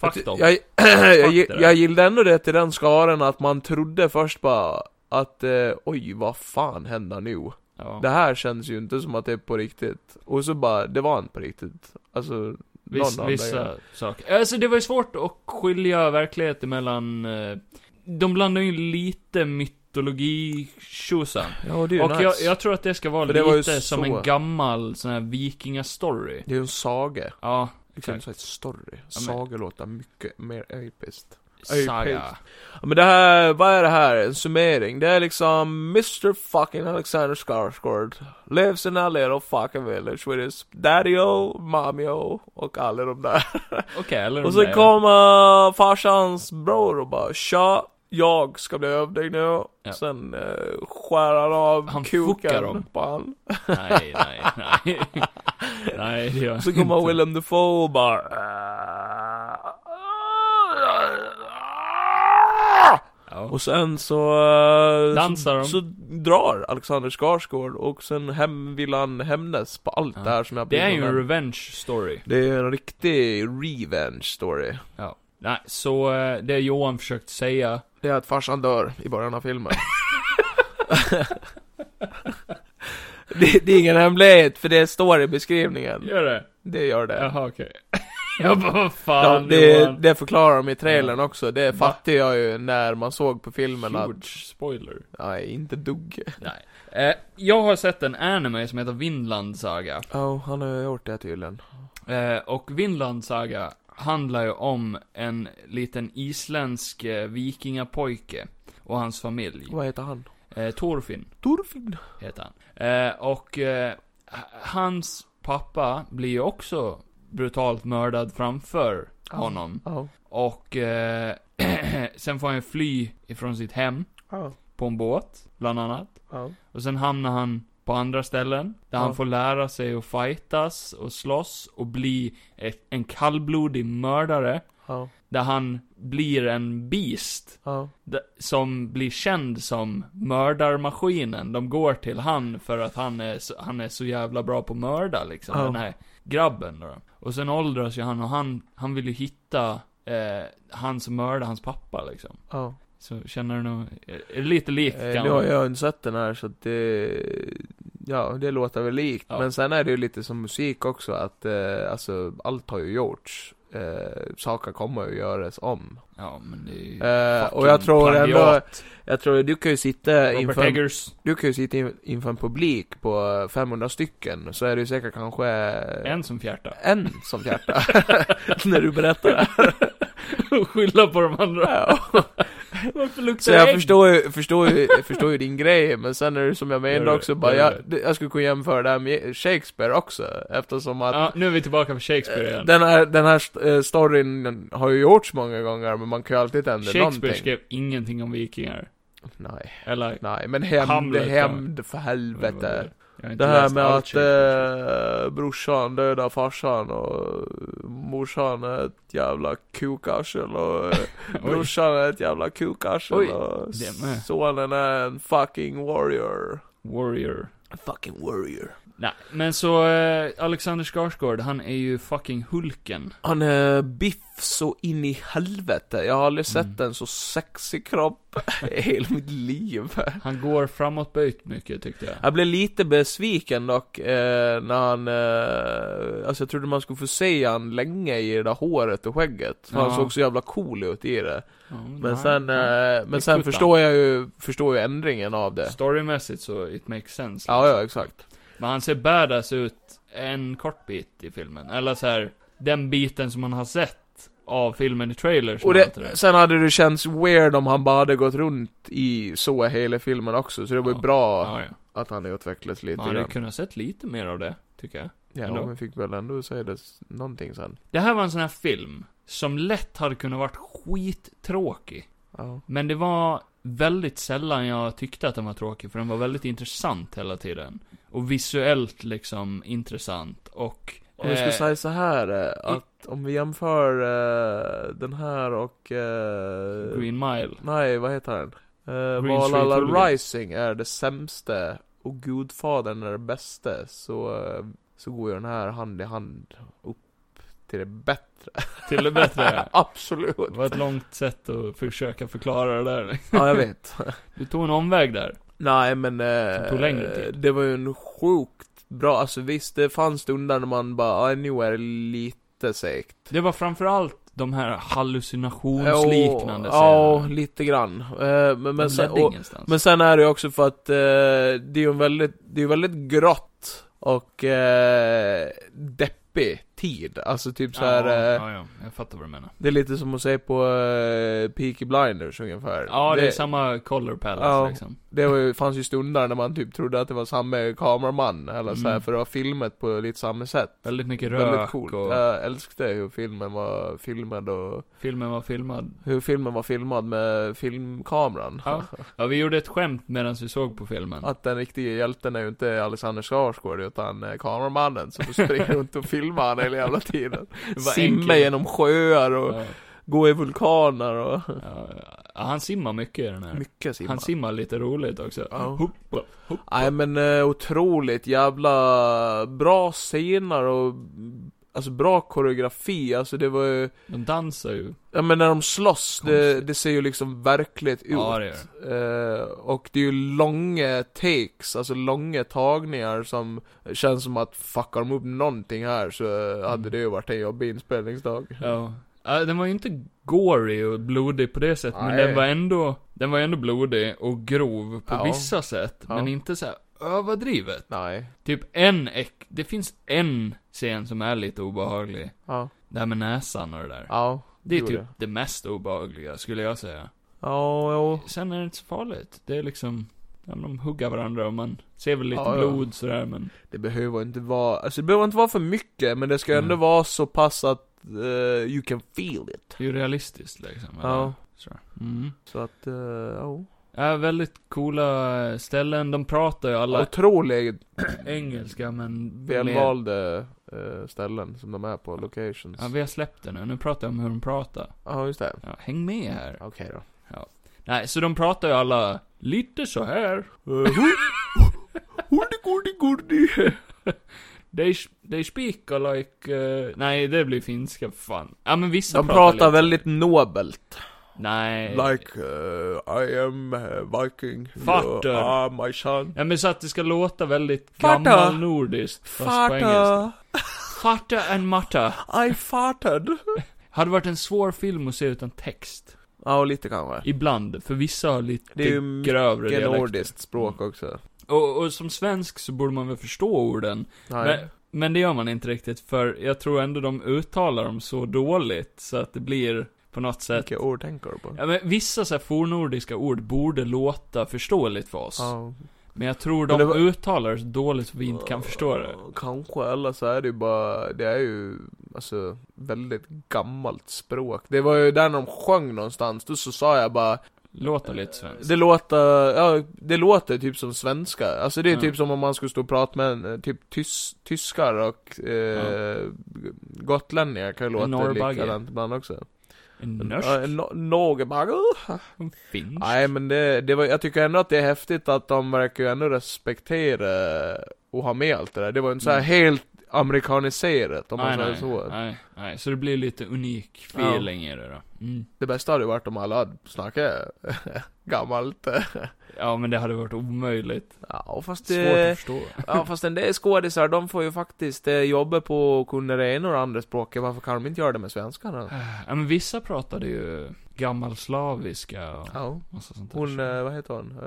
[SPEAKER 1] Fuck
[SPEAKER 2] att
[SPEAKER 1] dem.
[SPEAKER 2] jag, *clears throat* jag,
[SPEAKER 1] Fuck det
[SPEAKER 2] jag,
[SPEAKER 1] där.
[SPEAKER 2] jag gillade ändå det till den skaran att man trodde först bara... att eh, oj vad fan händer nu?
[SPEAKER 1] Ja.
[SPEAKER 2] Det här känns ju inte som att det är på riktigt. Och så bara, det var inte på riktigt. Alltså,
[SPEAKER 1] Viss,
[SPEAKER 2] någon av
[SPEAKER 1] vissa
[SPEAKER 2] dem.
[SPEAKER 1] saker. Alltså det var ju svårt att skilja verkligheten mellan... eh, De blandar ju lite mytologi tjosan.
[SPEAKER 2] Ja, det är ju
[SPEAKER 1] Och
[SPEAKER 2] nice.
[SPEAKER 1] jag, jag tror att det ska vara
[SPEAKER 2] För det var ju
[SPEAKER 1] lite som
[SPEAKER 2] så-
[SPEAKER 1] en gammal sån här vikingastory.
[SPEAKER 2] Det är ju en saga.
[SPEAKER 1] Ja,
[SPEAKER 2] Exakt.
[SPEAKER 1] exakt.
[SPEAKER 2] Som ett story.
[SPEAKER 1] men-
[SPEAKER 2] Saga låter mycket mer episkt. ju
[SPEAKER 1] Saga.
[SPEAKER 2] Ja, men det här, vad är det här? En summering. Det är liksom Mr fucking Alexander Skarsgård. Lives in a little fucking village with his daddy-o, mommy-o och alla de där. *laughs*
[SPEAKER 1] Okej, eller
[SPEAKER 2] Och
[SPEAKER 1] de
[SPEAKER 2] så
[SPEAKER 1] där.
[SPEAKER 2] kommer farsans bror och bara Tja, jag ska bli övning nu.
[SPEAKER 1] Ja.
[SPEAKER 2] Sen eh, skär han av
[SPEAKER 1] Han fuckar dem.
[SPEAKER 2] kuken på han.
[SPEAKER 1] Nej, nej, nej.
[SPEAKER 2] *laughs*
[SPEAKER 1] nej, det gör
[SPEAKER 2] Så
[SPEAKER 1] jag inte. *laughs*
[SPEAKER 2] kommer Willem Dafoe och bara "Ah!"
[SPEAKER 1] Ja.
[SPEAKER 2] Och sen så... eh,
[SPEAKER 1] Dansar de.
[SPEAKER 2] så, så drar Alexander Skarsgård och sen hem vill han hämnas på allt
[SPEAKER 1] Ja.
[SPEAKER 2] det här som jag
[SPEAKER 1] Det är ju
[SPEAKER 2] blivit
[SPEAKER 1] en
[SPEAKER 2] med.
[SPEAKER 1] revenge story.
[SPEAKER 2] Det är en riktig revenge story.
[SPEAKER 1] Ja. Nej, så eh, det Johan försökte säga.
[SPEAKER 2] Det är att farsan dör i början av filmen. *laughs* det, det är ingen hemlighet, för det står i beskrivningen.
[SPEAKER 1] Gör det?
[SPEAKER 2] Det gör det.
[SPEAKER 1] Jaha,
[SPEAKER 2] *laughs*
[SPEAKER 1] okej. jag bara, vad
[SPEAKER 2] Ja,
[SPEAKER 1] fan
[SPEAKER 2] det,
[SPEAKER 1] Johan?
[SPEAKER 2] det förklarar de i trailern också, det
[SPEAKER 1] Va?
[SPEAKER 2] fattade jag ju när man såg på filmen att,
[SPEAKER 1] Huge spoiler.
[SPEAKER 2] nej, inte dugg.
[SPEAKER 1] Nej. Eh, jag har sett en anime som heter Vinland Saga.
[SPEAKER 2] Ja, han har gjort det tydligen.
[SPEAKER 1] Eh, och Vinland Saga handlar ju om en liten isländsk eh, vikingapojke och hans familj.
[SPEAKER 2] Vad heter han?
[SPEAKER 1] Eh, Thorfinn.
[SPEAKER 2] Torfinn?
[SPEAKER 1] heter han. Eh, och eh, h- hans pappa blir ju också brutalt mördad framför
[SPEAKER 2] Ja.
[SPEAKER 1] honom.
[SPEAKER 2] Ja.
[SPEAKER 1] Och eh, *clears throat* sen får han ju fly ifrån sitt hem
[SPEAKER 2] Ja.
[SPEAKER 1] på en båt, bland annat.
[SPEAKER 2] Ja.
[SPEAKER 1] Och sen hamnar han på andra ställen, där
[SPEAKER 2] Ja.
[SPEAKER 1] han får lära sig att fightas och slåss och bli ett, en kallblodig mördare.
[SPEAKER 2] Ja.
[SPEAKER 1] Där han blir en beast.
[SPEAKER 2] Ja.
[SPEAKER 1] D- som blir känd som mördarmaskinen. De går till han för att han är så, han är så jävla bra på att mörda liksom.
[SPEAKER 2] Ja.
[SPEAKER 1] Den här grabben då. Och sen åldras ju han och han, han vill ju hitta eh, han som mördade hans pappa liksom.
[SPEAKER 2] ja.
[SPEAKER 1] Så känner du nog, är det lite likt
[SPEAKER 2] Eh,
[SPEAKER 1] kan
[SPEAKER 2] nu har
[SPEAKER 1] man-
[SPEAKER 2] jag inte sett den här så att det... Ja, det låter väl likt.
[SPEAKER 1] Ja.
[SPEAKER 2] Men sen är det ju lite som musik också att eh, alltså allt har ju gjorts. Eh, saker kommer ju göras om.
[SPEAKER 1] Ja men det är ju
[SPEAKER 2] Eh, och
[SPEAKER 1] fucking
[SPEAKER 2] jag tror ändå,
[SPEAKER 1] plagiat.
[SPEAKER 2] jag tror du kan ju sitta
[SPEAKER 1] Robert
[SPEAKER 2] inför, en-
[SPEAKER 1] Eggers,
[SPEAKER 2] du kan ju sitta in- inför en publik på eh, 500 stycken. Så är det ju säkert kanske Eh.
[SPEAKER 1] en som fjärtar. *laughs*
[SPEAKER 2] en som fjärtar. *laughs* när du berättar det här.
[SPEAKER 1] Och skylla på de andra.
[SPEAKER 2] Ja.
[SPEAKER 1] *laughs* Varför
[SPEAKER 2] Så
[SPEAKER 1] luktar
[SPEAKER 2] jag
[SPEAKER 1] ägg?
[SPEAKER 2] förstår ju, förstår, ju, förstår ju din grej, men sen är det som jag
[SPEAKER 1] Gör
[SPEAKER 2] menar
[SPEAKER 1] det,
[SPEAKER 2] också bara,
[SPEAKER 1] gör
[SPEAKER 2] jag,
[SPEAKER 1] det.
[SPEAKER 2] det- jag skulle kunna jämföra det här med Shakespeare också, eftersom att
[SPEAKER 1] Ja, nu är vi tillbaka på Shakespeare
[SPEAKER 2] eh,
[SPEAKER 1] igen.
[SPEAKER 2] den här, den här st- eh, storyn har ju gjorts många gånger, men man kan ju alltid ändra
[SPEAKER 1] Shakespeare
[SPEAKER 2] någonting.
[SPEAKER 1] skrev ingenting om vikingar.
[SPEAKER 2] Nej,
[SPEAKER 1] Eller,
[SPEAKER 2] nej, men hämnd,
[SPEAKER 1] Hamlet,
[SPEAKER 2] hämnd, för helvete.
[SPEAKER 1] jag har inte
[SPEAKER 2] Det här
[SPEAKER 1] läst
[SPEAKER 2] med
[SPEAKER 1] allt
[SPEAKER 2] att
[SPEAKER 1] Shakespeare.
[SPEAKER 2] eh, brorsan dödar farsan och morsan är ett jävla kukarsel och eh,
[SPEAKER 1] Oj.
[SPEAKER 2] brorsan är ett jävla kukarsel
[SPEAKER 1] Oj,
[SPEAKER 2] och
[SPEAKER 1] det med.
[SPEAKER 2] sonen är en fucking warrior.
[SPEAKER 1] Warrior.
[SPEAKER 2] Fucking warrior.
[SPEAKER 1] Nej, men så eh, Alexander Skarsgård, han är ju fucking Hulken.
[SPEAKER 2] Han är biff så in i helvete. Jag har aldrig sett
[SPEAKER 1] Mm.
[SPEAKER 2] en så sexig kropp *laughs* i hela mitt liv.
[SPEAKER 1] Han går framåtböjt mycket tyckte jag.
[SPEAKER 2] Jag blev lite besviken dock, eh, när han, eh, alltså jag trodde man skulle få se han länge i det där håret och skägget. För han
[SPEAKER 1] Ja.
[SPEAKER 2] såg så jävla cool ut i det.
[SPEAKER 1] Ja,
[SPEAKER 2] Men
[SPEAKER 1] nej,
[SPEAKER 2] sen,
[SPEAKER 1] nej.
[SPEAKER 2] eh, men sen
[SPEAKER 1] Kutan.
[SPEAKER 2] förstår jag ju, förstår ju ändringen av det.
[SPEAKER 1] Storymässigt så it makes sense.
[SPEAKER 2] eh,
[SPEAKER 1] liksom.
[SPEAKER 2] Ja, ja, exakt.
[SPEAKER 1] Men han ser badass ut en kort bit i filmen. Eller så här, den biten som man har sett av filmen i trailers.
[SPEAKER 2] Och
[SPEAKER 1] och allt
[SPEAKER 2] det, sen hade det känts weird om han bara hade gått runt i så hela filmen också, så det var ju
[SPEAKER 1] Ja.
[SPEAKER 2] bra
[SPEAKER 1] Ja, ja.
[SPEAKER 2] att han utvecklats lite
[SPEAKER 1] Man hade
[SPEAKER 2] grann.
[SPEAKER 1] kunnat sett lite mer av det, tycker jag.
[SPEAKER 2] Ja,
[SPEAKER 1] ändå.
[SPEAKER 2] men fick väl ändå säga det, s- någonting sen.
[SPEAKER 1] Det här var en sån här film som lätt hade kunnat varit skittråkig.
[SPEAKER 2] Ja.
[SPEAKER 1] Men det var väldigt sällan jag tyckte att den var tråkig, för den var väldigt intressant hela tiden. Och visuellt liksom intressant och...
[SPEAKER 2] Om vi skulle
[SPEAKER 1] eh,
[SPEAKER 2] säga så här eh, att om vi jämför eh, den här och... Eh,
[SPEAKER 1] Green Mile.
[SPEAKER 2] Nej, vad heter den? Eh,
[SPEAKER 1] Green Street
[SPEAKER 2] Valhalla
[SPEAKER 1] Hooligan.
[SPEAKER 2] Rising är det sämsta och Gudfadern är det bästa, så, eh, så går ju den här hand i hand upp till det bättre.
[SPEAKER 1] *laughs* Till det bättre.
[SPEAKER 2] Absolut.
[SPEAKER 1] Det var ett långt sätt att försöka förklara det där.
[SPEAKER 2] Ja, jag vet.
[SPEAKER 1] Du tog en omväg där.
[SPEAKER 2] Nej, men... Eh,
[SPEAKER 1] Som tog längre tid.
[SPEAKER 2] Det var ju en sjukt bra, alltså visst, det fanns stunder när man bara, ja, nu är det lite segt.
[SPEAKER 1] Det var framförallt de här hallucinationsliknande
[SPEAKER 2] Ja, Ja, lite grann. Eh, men, men, sen,
[SPEAKER 1] alltså.
[SPEAKER 2] och, men sen är det ju också för att eh, det är ju en väldigt, det är ju väldigt grått och eh, deppig tid. Alltså typ så här.
[SPEAKER 1] ja,
[SPEAKER 2] eh,
[SPEAKER 1] ja, ja, jag fattar vad du menar.
[SPEAKER 2] Det är lite som att se på eh, Peaky Blinders ungefär.
[SPEAKER 1] Ja, det, är samma color palette
[SPEAKER 2] Ja.
[SPEAKER 1] liksom.
[SPEAKER 2] det var, ju- fanns ju stunder när man typ trodde att det var samma kameraman eller så här,
[SPEAKER 1] Mm.
[SPEAKER 2] för det var filmat på lite samma sätt.
[SPEAKER 1] Väldigt mycket rök
[SPEAKER 2] Väldigt coolt.
[SPEAKER 1] och
[SPEAKER 2] Jag älskade hur filmen var filmad och
[SPEAKER 1] filmen var filmad.
[SPEAKER 2] hur filmen var filmad med filmkameran.
[SPEAKER 1] Ja. *laughs* Ja, vi gjorde ett skämt medan vi såg på filmen.
[SPEAKER 2] *laughs* Att den riktiga hjälten är ju inte Alexander Skarsgård utan eh, kameramannen som springer
[SPEAKER 1] *laughs*
[SPEAKER 2] runt och filmar han hela jävla tiden.
[SPEAKER 1] Det var
[SPEAKER 2] Simma
[SPEAKER 1] enkelt.
[SPEAKER 2] genom sjöar och
[SPEAKER 1] Ja,
[SPEAKER 2] gå i vulkaner och
[SPEAKER 1] ja, ja, han simmar mycket i den här.
[SPEAKER 2] *laughs* mycket simma.
[SPEAKER 1] Han simmar lite roligt också.
[SPEAKER 2] Ja.
[SPEAKER 1] Hopp, hopp.
[SPEAKER 2] Nej men eh, otroligt jävla bra scener och alltså bra koreografi, alltså det var ju
[SPEAKER 1] De dansar ju.
[SPEAKER 2] Ja men när de slåss, det,
[SPEAKER 1] Konstigt.
[SPEAKER 2] det ser ju liksom verkligt ut.
[SPEAKER 1] Ja, det gör
[SPEAKER 2] Eh, och det är ju långa takes, alltså långa tagningar som känns som att fuckar de upp någonting här så eh,
[SPEAKER 1] Mm.
[SPEAKER 2] hade det ju varit en jobbig inspelningsdag.
[SPEAKER 1] Ja. Ja, den var ju inte gory och blodig på det sättet, men
[SPEAKER 2] Nej.
[SPEAKER 1] den var ändå, den var ändå blodig och grov på
[SPEAKER 2] Ja.
[SPEAKER 1] vissa sätt,
[SPEAKER 2] Ja.
[SPEAKER 1] men inte så här överdrivet.
[SPEAKER 2] Nej.
[SPEAKER 1] Typ en äck, det finns en scen som är lite obehaglig.
[SPEAKER 2] Ja.
[SPEAKER 1] Det här med näsan och det där.
[SPEAKER 2] Ja.
[SPEAKER 1] det är
[SPEAKER 2] jo,
[SPEAKER 1] typ
[SPEAKER 2] det.
[SPEAKER 1] det mest obehagliga, skulle jag säga.
[SPEAKER 2] Ja, jo.
[SPEAKER 1] Sen är det inte så farligt. Det är liksom, ja, men de huggar varandra och man ser väl lite
[SPEAKER 2] Ja, ja.
[SPEAKER 1] blod sådär, men
[SPEAKER 2] Det behöver inte vara, alltså det behöver inte vara för mycket men det ska ändå
[SPEAKER 1] Mm.
[SPEAKER 2] vara så pass att eh, you can feel it.
[SPEAKER 1] det är ju realistiskt liksom.
[SPEAKER 2] Ja.
[SPEAKER 1] eller? Så. Mm.
[SPEAKER 2] Så att, eh, ja.
[SPEAKER 1] Ja, väldigt coola ställen. De pratar ju alla
[SPEAKER 2] Otroligt
[SPEAKER 1] engelska men...
[SPEAKER 2] välvalda eh, ställen som de är på, locations.
[SPEAKER 1] Ja, vi har släppt det nu. Nu pratar jag om hur de pratar.
[SPEAKER 2] Ja, just det.
[SPEAKER 1] Ja, häng med här.
[SPEAKER 2] Okej då.
[SPEAKER 1] Nej, så de pratar ju alla lite så här.
[SPEAKER 2] Eh,
[SPEAKER 1] *laughs* They, they speak are like... eh, nej, det blir finska, fan. Ja, men vissa
[SPEAKER 2] De
[SPEAKER 1] pratar,
[SPEAKER 2] pratar
[SPEAKER 1] lite. Eh.
[SPEAKER 2] väldigt nobelt.
[SPEAKER 1] Nej.
[SPEAKER 2] Like, uh, I am uh, viking.
[SPEAKER 1] Farter.
[SPEAKER 2] You are my son.
[SPEAKER 1] Ja, men så att det ska låta väldigt
[SPEAKER 2] Farta.
[SPEAKER 1] gammalnordiskt, fast på engelska.
[SPEAKER 2] Farter.
[SPEAKER 1] Farta and matta.
[SPEAKER 2] I farted.
[SPEAKER 1] Hade varit en svår film att se utan text.
[SPEAKER 2] Ja, lite kanske.
[SPEAKER 1] Ibland, för vissa har lite
[SPEAKER 2] Det är ju mycket
[SPEAKER 1] grövre
[SPEAKER 2] Vilket
[SPEAKER 1] dialekter.
[SPEAKER 2] nordiskt
[SPEAKER 1] Mm.
[SPEAKER 2] språk också.
[SPEAKER 1] Och, och som svensk så borde man väl förstå orden.
[SPEAKER 2] Nej.
[SPEAKER 1] Men det gör man inte riktigt, för jag tror ändå de uttalar dem så dåligt, så att det blir på något sätt...
[SPEAKER 2] Vilka ord tänker du på?
[SPEAKER 1] Ja, men vissa så här fornordiska ord borde låta förståeligt för oss.
[SPEAKER 2] Ja.
[SPEAKER 1] Men jag tror
[SPEAKER 2] Men
[SPEAKER 1] de
[SPEAKER 2] det var-
[SPEAKER 1] uttalar det så dåligt så vi inte kan förstå det.
[SPEAKER 2] Kanske, eller så är det ju bara, det är ju, alltså, väldigt gammalt språk. Det var ju där när de sjöng någonstans, då så sa jag bara
[SPEAKER 1] Låter lite svenskt.
[SPEAKER 2] Det låter, ja, det låter typ som svenska. Alltså det är
[SPEAKER 1] Ja.
[SPEAKER 2] typ som om man skulle stå och prata med en, eh, typ tys, tyskar och eh, gotlänningar kan ju låta
[SPEAKER 1] norrbagge.
[SPEAKER 2] likadant ibland också.
[SPEAKER 1] En
[SPEAKER 2] Ja,
[SPEAKER 1] norsk?
[SPEAKER 2] en no- Norgebagge.
[SPEAKER 1] En finsk?
[SPEAKER 2] Nej men det, det var, jag tycker ändå att det är häftigt att de verkar ju ändå respektera och ha med allt det där. Det var ju inte såhär
[SPEAKER 1] Mm.
[SPEAKER 2] helt amerikaniserat om man
[SPEAKER 1] nej,
[SPEAKER 2] säger
[SPEAKER 1] nej,
[SPEAKER 2] så.
[SPEAKER 1] nej, nej. Så det blir lite unik feeling i det då. Mm.
[SPEAKER 2] Det bästa hade ju varit om alla hade snackat *laughs* gammalt.
[SPEAKER 1] Ja, men det hade varit omöjligt.
[SPEAKER 2] Ja fast
[SPEAKER 1] Svårt
[SPEAKER 2] det...
[SPEAKER 1] att förstå.
[SPEAKER 2] Ja fast en del skådisar, de får ju faktiskt eh, jobba på att kunna det ena och det andra språket, varför kan de inte göra det med svenskarna?
[SPEAKER 1] Ja, men vissa pratade ju gammalslaviska och
[SPEAKER 2] Ja.
[SPEAKER 1] massa sånt där.
[SPEAKER 2] Hon, eh, vad heter hon?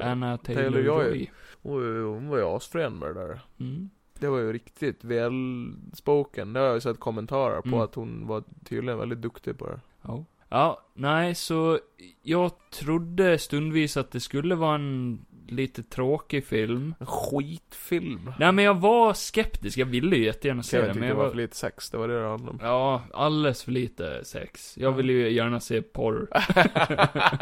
[SPEAKER 2] Eh,
[SPEAKER 1] Anna
[SPEAKER 2] Taylor Joy.
[SPEAKER 1] Taylor-Joy.
[SPEAKER 2] hon- hon var ju asfrän med det där.
[SPEAKER 1] Mm.
[SPEAKER 2] Det var ju riktigt välspoken, det har jag ju sett kommentarer på
[SPEAKER 1] Mm.
[SPEAKER 2] att hon var tydligen väldigt duktig på det.
[SPEAKER 1] Ja. ja, nej, så jag trodde stundvis att det skulle vara en lite tråkig film.
[SPEAKER 2] En skitfilm!
[SPEAKER 1] Nej, men jag var skeptisk. Jag ville ju jättegärna se
[SPEAKER 2] jag
[SPEAKER 1] den,
[SPEAKER 2] tyckte
[SPEAKER 1] men
[SPEAKER 2] det
[SPEAKER 1] jag
[SPEAKER 2] var
[SPEAKER 1] var...
[SPEAKER 2] för lite sex, det var det det handlade om.
[SPEAKER 1] Ja, alldeles för lite sex. Jag vill ju gärna se
[SPEAKER 2] *laughs*
[SPEAKER 1] porr. *laughs*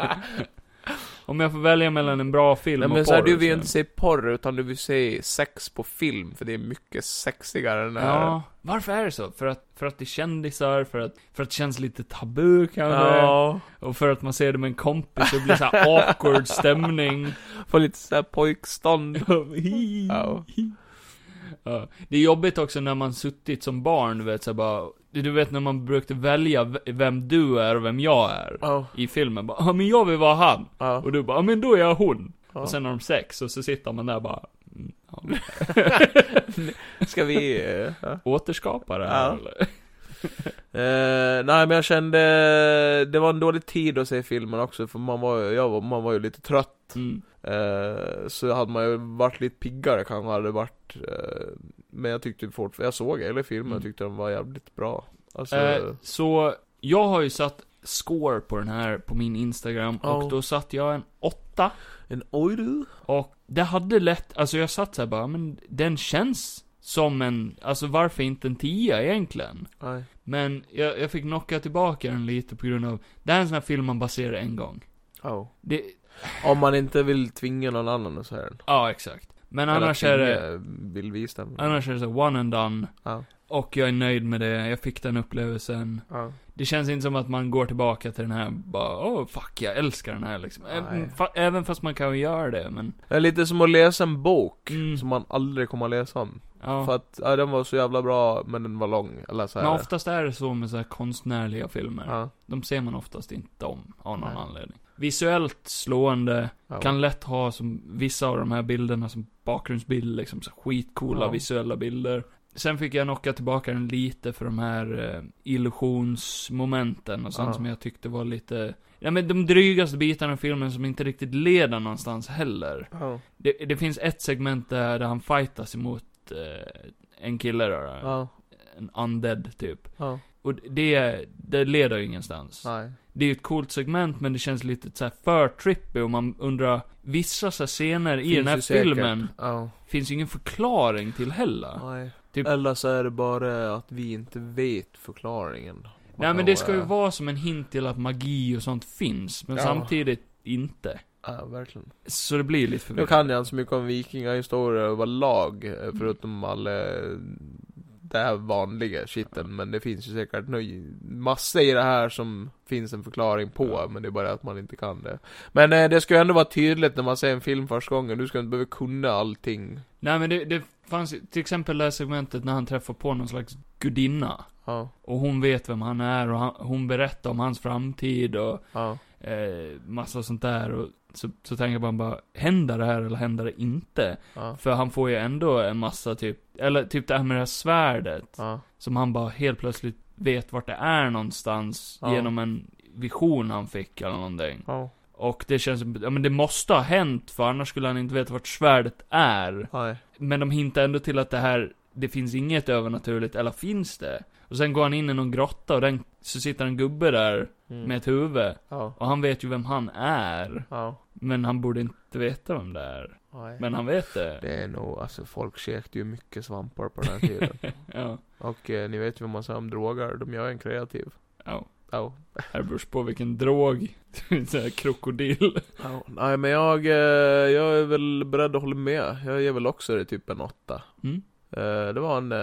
[SPEAKER 1] Om jag får välja mellan en bra film
[SPEAKER 2] Nej men
[SPEAKER 1] och
[SPEAKER 2] såhär,
[SPEAKER 1] porr.
[SPEAKER 2] du vill ju
[SPEAKER 1] så-
[SPEAKER 2] inte se porr liksom. utan du vill se sex på film, för det är mycket sexigare än det här.
[SPEAKER 1] Ja, varför är det så? För att, för att det är kändisar, för att, för att det känns lite tabu kanske?
[SPEAKER 2] ja.
[SPEAKER 1] Och för att man ser det med en kompis, så det blir så här
[SPEAKER 2] *laughs*
[SPEAKER 1] awkward stämning.
[SPEAKER 2] Få lite såhär pojkstånd.
[SPEAKER 1] Hi.
[SPEAKER 2] Ja.
[SPEAKER 1] *laughs* Ja. Det är jobbigt också när man suttit som barn, du vet så här bara, du vet när man brukade välja v- vem du är och vem jag är.
[SPEAKER 2] Ja.
[SPEAKER 1] I filmen bara, ja men jag vill vara han.
[SPEAKER 2] Ja.
[SPEAKER 1] Och du bara, ja men då är jag hon.
[SPEAKER 2] Ja.
[SPEAKER 1] Och sen har de sex och så sitter man där bara, mm, ja.
[SPEAKER 2] Ska vi... eh, ja.
[SPEAKER 1] återskapa det här
[SPEAKER 2] Ja.
[SPEAKER 1] eller?
[SPEAKER 2] Eh, nej men jag kände, det var en dålig tid att se filmen också för man var, jag var, man var ju lite trött
[SPEAKER 1] Mm.
[SPEAKER 2] eh, Så hade man ju varit lite piggare kanske hade varit eh, Men jag tyckte fort, jag såg hela filmen och
[SPEAKER 1] Mm.
[SPEAKER 2] tyckte den var jävligt bra Alltså,
[SPEAKER 1] Eh, så, jag har ju satt score på den här på min Instagram
[SPEAKER 2] Ja.
[SPEAKER 1] och då satte jag en åtta.
[SPEAKER 2] en oj du?
[SPEAKER 1] Och det hade lätt, alltså jag satt såhär bara, men den känns som en, alltså varför inte en 10 egentligen?
[SPEAKER 2] Nej,
[SPEAKER 1] Men jag, jag fick knocka tillbaka den lite på grund av, det här är en sån här film man bara ser en gång.
[SPEAKER 2] oh.
[SPEAKER 1] Det,
[SPEAKER 2] Om man inte vill tvinga någon annan och så här.
[SPEAKER 1] ja exakt. Men
[SPEAKER 2] Eller
[SPEAKER 1] annars är det,
[SPEAKER 2] tvinga, Vill visa den
[SPEAKER 1] annars är det så här, one and done.
[SPEAKER 2] Ja.
[SPEAKER 1] Och jag är nöjd med det, jag fick den upplevelsen.
[SPEAKER 2] Ja.
[SPEAKER 1] Det känns inte som att man går tillbaka till den här, bara, oh fuck, jag älskar den här liksom.
[SPEAKER 2] Nej.
[SPEAKER 1] Även, fa, även fast man kan ju göra det, men,
[SPEAKER 2] Det är lite som att läsa en bok
[SPEAKER 1] Mm.
[SPEAKER 2] Som man aldrig kommer att läsa om
[SPEAKER 1] ja.
[SPEAKER 2] För att, ja, den var så jävla bra men den var lång, eller så här.
[SPEAKER 1] Men oftast är det så med så här konstnärliga filmer.
[SPEAKER 2] ja.
[SPEAKER 1] De ser man oftast inte om, av någon
[SPEAKER 2] Nej.
[SPEAKER 1] anledning. Visuellt slående,
[SPEAKER 2] Ja.
[SPEAKER 1] kan lätt ha som vissa av de här bilderna som bakgrundsbilder, liksom så skitcoola
[SPEAKER 2] Ja.
[SPEAKER 1] visuella bilder. Sen fick jag knocka tillbaka den lite för de här eh, illusionsmomenten och sånt
[SPEAKER 2] Ja.
[SPEAKER 1] som jag tyckte var lite, ja men de drygaste bitarna i filmen som inte riktigt leder någonstans heller.
[SPEAKER 2] Ja.
[SPEAKER 1] Det, det finns ett segment där, där han fightas emot eh, en kille då, då.
[SPEAKER 2] Ja.
[SPEAKER 1] en undead typ.
[SPEAKER 2] Ja.
[SPEAKER 1] Och det, det leder ju ingenstans.
[SPEAKER 2] Nej.
[SPEAKER 1] Det är ju ett coolt segment men det känns lite så här för trippy och man undrar Vissa så här scener i
[SPEAKER 2] Finns
[SPEAKER 1] den här
[SPEAKER 2] ju säkert.
[SPEAKER 1] filmen
[SPEAKER 2] Ja.
[SPEAKER 1] finns ju ingen förklaring till heller.
[SPEAKER 2] Nej.
[SPEAKER 1] Typ-
[SPEAKER 2] Eller så är det bara att vi inte vet förklaringen.
[SPEAKER 1] Nej men det ska ju
[SPEAKER 2] Ja,
[SPEAKER 1] vara som en hint till att magi och sånt finns, men
[SPEAKER 2] Ja.
[SPEAKER 1] samtidigt inte.
[SPEAKER 2] Ja, verkligen.
[SPEAKER 1] Så det blir lite
[SPEAKER 2] Nu
[SPEAKER 1] förvirrat.
[SPEAKER 2] kan alltså. jag inte så mycket om vikingahistoria överlag,
[SPEAKER 1] Mm.
[SPEAKER 2] eh, förutom alla eh, det här vanliga shiten, men det finns ju säkert nu massor i det här som finns en förklaring på,
[SPEAKER 1] Ja.
[SPEAKER 2] men det är bara att man inte kan det. Men eh, det ska ju ändå vara tydligt när man ser en film första gången, du ska inte behöva kunna allting.
[SPEAKER 1] Nej men det, det fanns ju- till exempel det här segmentet när han träffar på någon slags gudinna.
[SPEAKER 2] Ja,
[SPEAKER 1] Och hon vet vem han är och han, hon berättar om hans framtid och
[SPEAKER 2] ja,
[SPEAKER 1] eh, massa sånt där. Och så, så tänker man bara, händer det här eller händer det inte?
[SPEAKER 2] ja,
[SPEAKER 1] För han får ju ändå en massa typ, eller typ det här med det här svärdet.
[SPEAKER 2] ja.
[SPEAKER 1] Som han bara helt plötsligt vet vart det är någonstans
[SPEAKER 2] Ja.
[SPEAKER 1] genom en vision han fick eller någonting.
[SPEAKER 2] Ja,
[SPEAKER 1] Och det känns som, ja men det måste ha hänt för annars skulle han inte veta vart svärdet är.
[SPEAKER 2] nej.
[SPEAKER 1] Men de hintar ändå till att det här, det finns inget övernaturligt, eller finns det? Och sen går han in i någon grotta och den, så sitter en gubbe där
[SPEAKER 2] Mm.
[SPEAKER 1] med ett huvud.
[SPEAKER 2] Ja,
[SPEAKER 1] Och han vet ju vem han är.
[SPEAKER 2] ja,
[SPEAKER 1] Men han borde inte veta vem det är.
[SPEAKER 2] nej.
[SPEAKER 1] Men han vet det.
[SPEAKER 2] Det är nog, alltså folk käkade ju mycket svampar på den här *laughs* tiden.
[SPEAKER 1] *laughs* Ja.
[SPEAKER 2] Och eh, ni vet ju vad man säger om droger, de gör en kreativ.
[SPEAKER 1] Ja.
[SPEAKER 2] Ja.
[SPEAKER 1] Här beror på vilken drog. *laughs* Såhär krokodil.
[SPEAKER 2] Ja, Nej men jag, eh, jag är väl beredd att hålla med. Jag ger väl också det typ en åtta.
[SPEAKER 1] Mm.
[SPEAKER 2] Eh, Det var en, eh,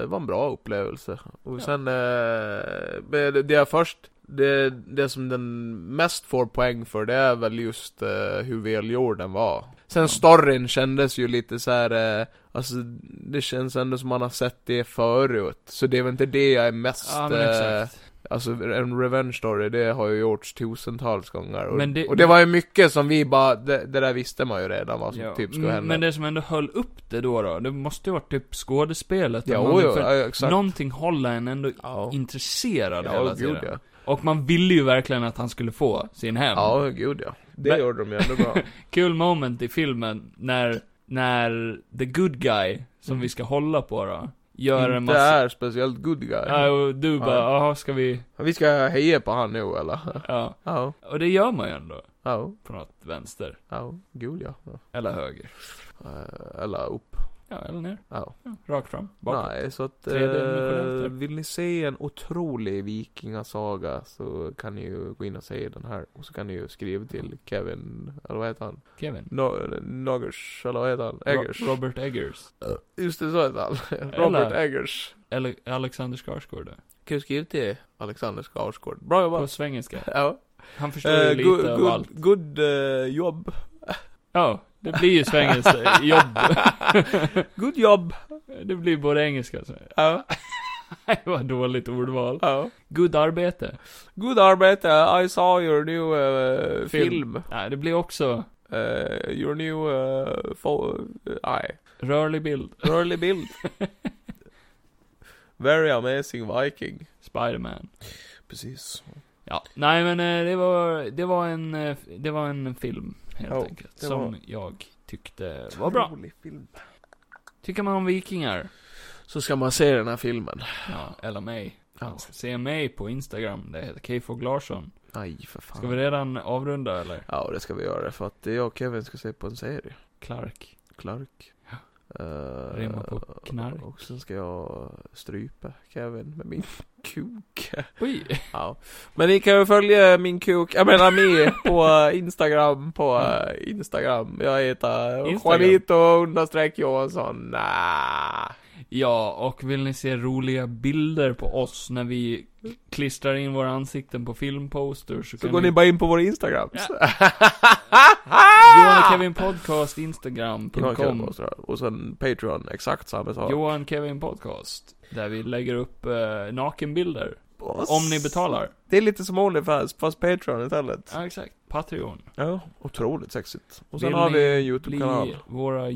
[SPEAKER 2] det var en bra upplevelse. Och
[SPEAKER 1] Ja.
[SPEAKER 2] sen, eh, men det det jag först, det, det som den mest får poäng för det är väl just eh, hur välgjord den var. Sen storyn kändes ju lite så här. eh, alltså det känns ändå som man har sett det förut. Så det är väl inte det jag är mest,
[SPEAKER 1] Ja, men
[SPEAKER 2] eh,
[SPEAKER 1] exakt.
[SPEAKER 2] Alltså en revenge story, det har ju gjorts tusentals gånger. Och
[SPEAKER 1] Men det-
[SPEAKER 2] det, och det var ju mycket som vi bara, det, det där visste man ju redan vad som
[SPEAKER 1] Ja.
[SPEAKER 2] typ skulle hända.
[SPEAKER 1] Mm, Men det som ändå höll upp det då då, det måste ju varit typ skådespelet.
[SPEAKER 2] ja,
[SPEAKER 1] eller
[SPEAKER 2] jo,
[SPEAKER 1] någonting,
[SPEAKER 2] jo,
[SPEAKER 1] för
[SPEAKER 2] ja, exakt.
[SPEAKER 1] Någonting håller en ändå
[SPEAKER 2] ja.
[SPEAKER 1] intresserad
[SPEAKER 2] Ja,
[SPEAKER 1] hela
[SPEAKER 2] gud
[SPEAKER 1] tiden.
[SPEAKER 2] ja.
[SPEAKER 1] Och man ville ju verkligen att han skulle få sin hem.
[SPEAKER 2] Ja, gud ja. Det
[SPEAKER 1] Men-
[SPEAKER 2] gjorde de ju ändå bra.
[SPEAKER 1] Kul moment i filmen när, när the good guy, som
[SPEAKER 2] Mm.
[SPEAKER 1] vi ska hålla på då, *laughs* gör en
[SPEAKER 2] Inte
[SPEAKER 1] massa...
[SPEAKER 2] är speciellt good guy.
[SPEAKER 1] Ja, och du bara,
[SPEAKER 2] Ja.
[SPEAKER 1] jaha, ska vi...
[SPEAKER 2] Vi ska heja på han nu eller?
[SPEAKER 1] Ja.
[SPEAKER 2] Ja,
[SPEAKER 1] Och det gör man ju ändå.
[SPEAKER 2] ja,
[SPEAKER 1] På något vänster.
[SPEAKER 2] ja, gud ja. Ja.
[SPEAKER 1] Eller höger.
[SPEAKER 2] Eh, Eller upp.
[SPEAKER 1] Ja, eller ner.
[SPEAKER 2] Ja.
[SPEAKER 1] Ja, rakt fram. Bakåt.
[SPEAKER 2] Nej, så att...
[SPEAKER 1] Tredje
[SPEAKER 2] Eh,
[SPEAKER 1] dimensionellt.
[SPEAKER 2] vill ni se en otrolig vikingasaga så kan ni ju gå in och se den här. Och så kan ni ju skriva till Kevin, eller vad heter han?
[SPEAKER 1] Kevin.
[SPEAKER 2] No, Noggers, eller vad heter han? Eggers.
[SPEAKER 1] Ro- Robert Eggers.
[SPEAKER 2] Just det, så heter han. *laughs* Robert Eggers.
[SPEAKER 1] Eller Alexander Skarsgård. där.
[SPEAKER 2] Kan du skriva till Alexander Skarsgård? Bra
[SPEAKER 1] På
[SPEAKER 2] jobbat.
[SPEAKER 1] svengelska.
[SPEAKER 2] Ja.
[SPEAKER 1] Han förstår ju
[SPEAKER 2] Eh,
[SPEAKER 1] lite
[SPEAKER 2] good
[SPEAKER 1] av allt.
[SPEAKER 2] good, good eh, jobb. *laughs*
[SPEAKER 1] Ja, det blir ju svengelska jobb.
[SPEAKER 2] good jobb.
[SPEAKER 1] Det blir både engelska och *laughs* svenska.
[SPEAKER 2] Ja,
[SPEAKER 1] Nej, vad dåligt ordval.
[SPEAKER 2] ja.
[SPEAKER 1] Good arbete.
[SPEAKER 2] Good arbete, I saw your new eh,
[SPEAKER 1] Film.
[SPEAKER 2] film.
[SPEAKER 1] Nej, det blir också
[SPEAKER 2] Eh, your new... eh, fo- eh, nej,
[SPEAKER 1] rörlig bild.
[SPEAKER 2] rörlig *laughs* bild. Very amazing viking.
[SPEAKER 1] Spiderman.
[SPEAKER 2] Precis.
[SPEAKER 1] Ja, nej men eh, det var, det var en, eh, det var en film helt
[SPEAKER 2] Ja,
[SPEAKER 1] enkelt.
[SPEAKER 2] det
[SPEAKER 1] Som
[SPEAKER 2] var-
[SPEAKER 1] jag tyckte var bra. Tycker man om vikingar,
[SPEAKER 2] Så ska man se den här filmen.
[SPEAKER 1] ja, eller mig.
[SPEAKER 2] Ja.
[SPEAKER 1] Se mig på Instagram, det heter Keyfog Larsson.
[SPEAKER 2] Nej, för fan.
[SPEAKER 1] Ska vi redan avrunda eller?
[SPEAKER 2] Ja, det ska vi göra för att jag och Kevin ska se på en serie.
[SPEAKER 1] Clark.
[SPEAKER 2] Clark.
[SPEAKER 1] Ja.
[SPEAKER 2] Eh,
[SPEAKER 1] Rimma på knark.
[SPEAKER 2] Och sen ska jag strypa Kevin med min *laughs* kuk.
[SPEAKER 1] Oj! *laughs*
[SPEAKER 2] Ja. Men ni kan ju följa min kuk, jag menar mig, på
[SPEAKER 1] *laughs*
[SPEAKER 2] eh, Instagram, på eh, Instagram. Jag heter
[SPEAKER 1] Instagram.
[SPEAKER 2] Juanito understreck Johansson. Nah.
[SPEAKER 1] Ja, och vill ni se roliga bilder på oss när vi klistrar in våra ansikten på filmposter så,
[SPEAKER 2] Så
[SPEAKER 1] kan
[SPEAKER 2] går ni bara in på vår Instagram. *laughs*
[SPEAKER 1] Ja. Johan och
[SPEAKER 2] Johan
[SPEAKER 1] Kevin Podcast, Instagram.com
[SPEAKER 2] Podcast, ja. Och sen Patreon, exakt samma sak.
[SPEAKER 1] Johan Kevin Podcast. Där vi lägger upp eh, nakenbilder.
[SPEAKER 2] Och
[SPEAKER 1] Om ni betalar.
[SPEAKER 2] Det är lite som Onlyfans, fast Patreon istället.
[SPEAKER 1] Ja, exakt. Patreon.
[SPEAKER 2] Ja, otroligt sexigt. Och sen
[SPEAKER 1] Vill
[SPEAKER 2] har vi en
[SPEAKER 1] Bli
[SPEAKER 2] YouTube-kanal.
[SPEAKER 1] våra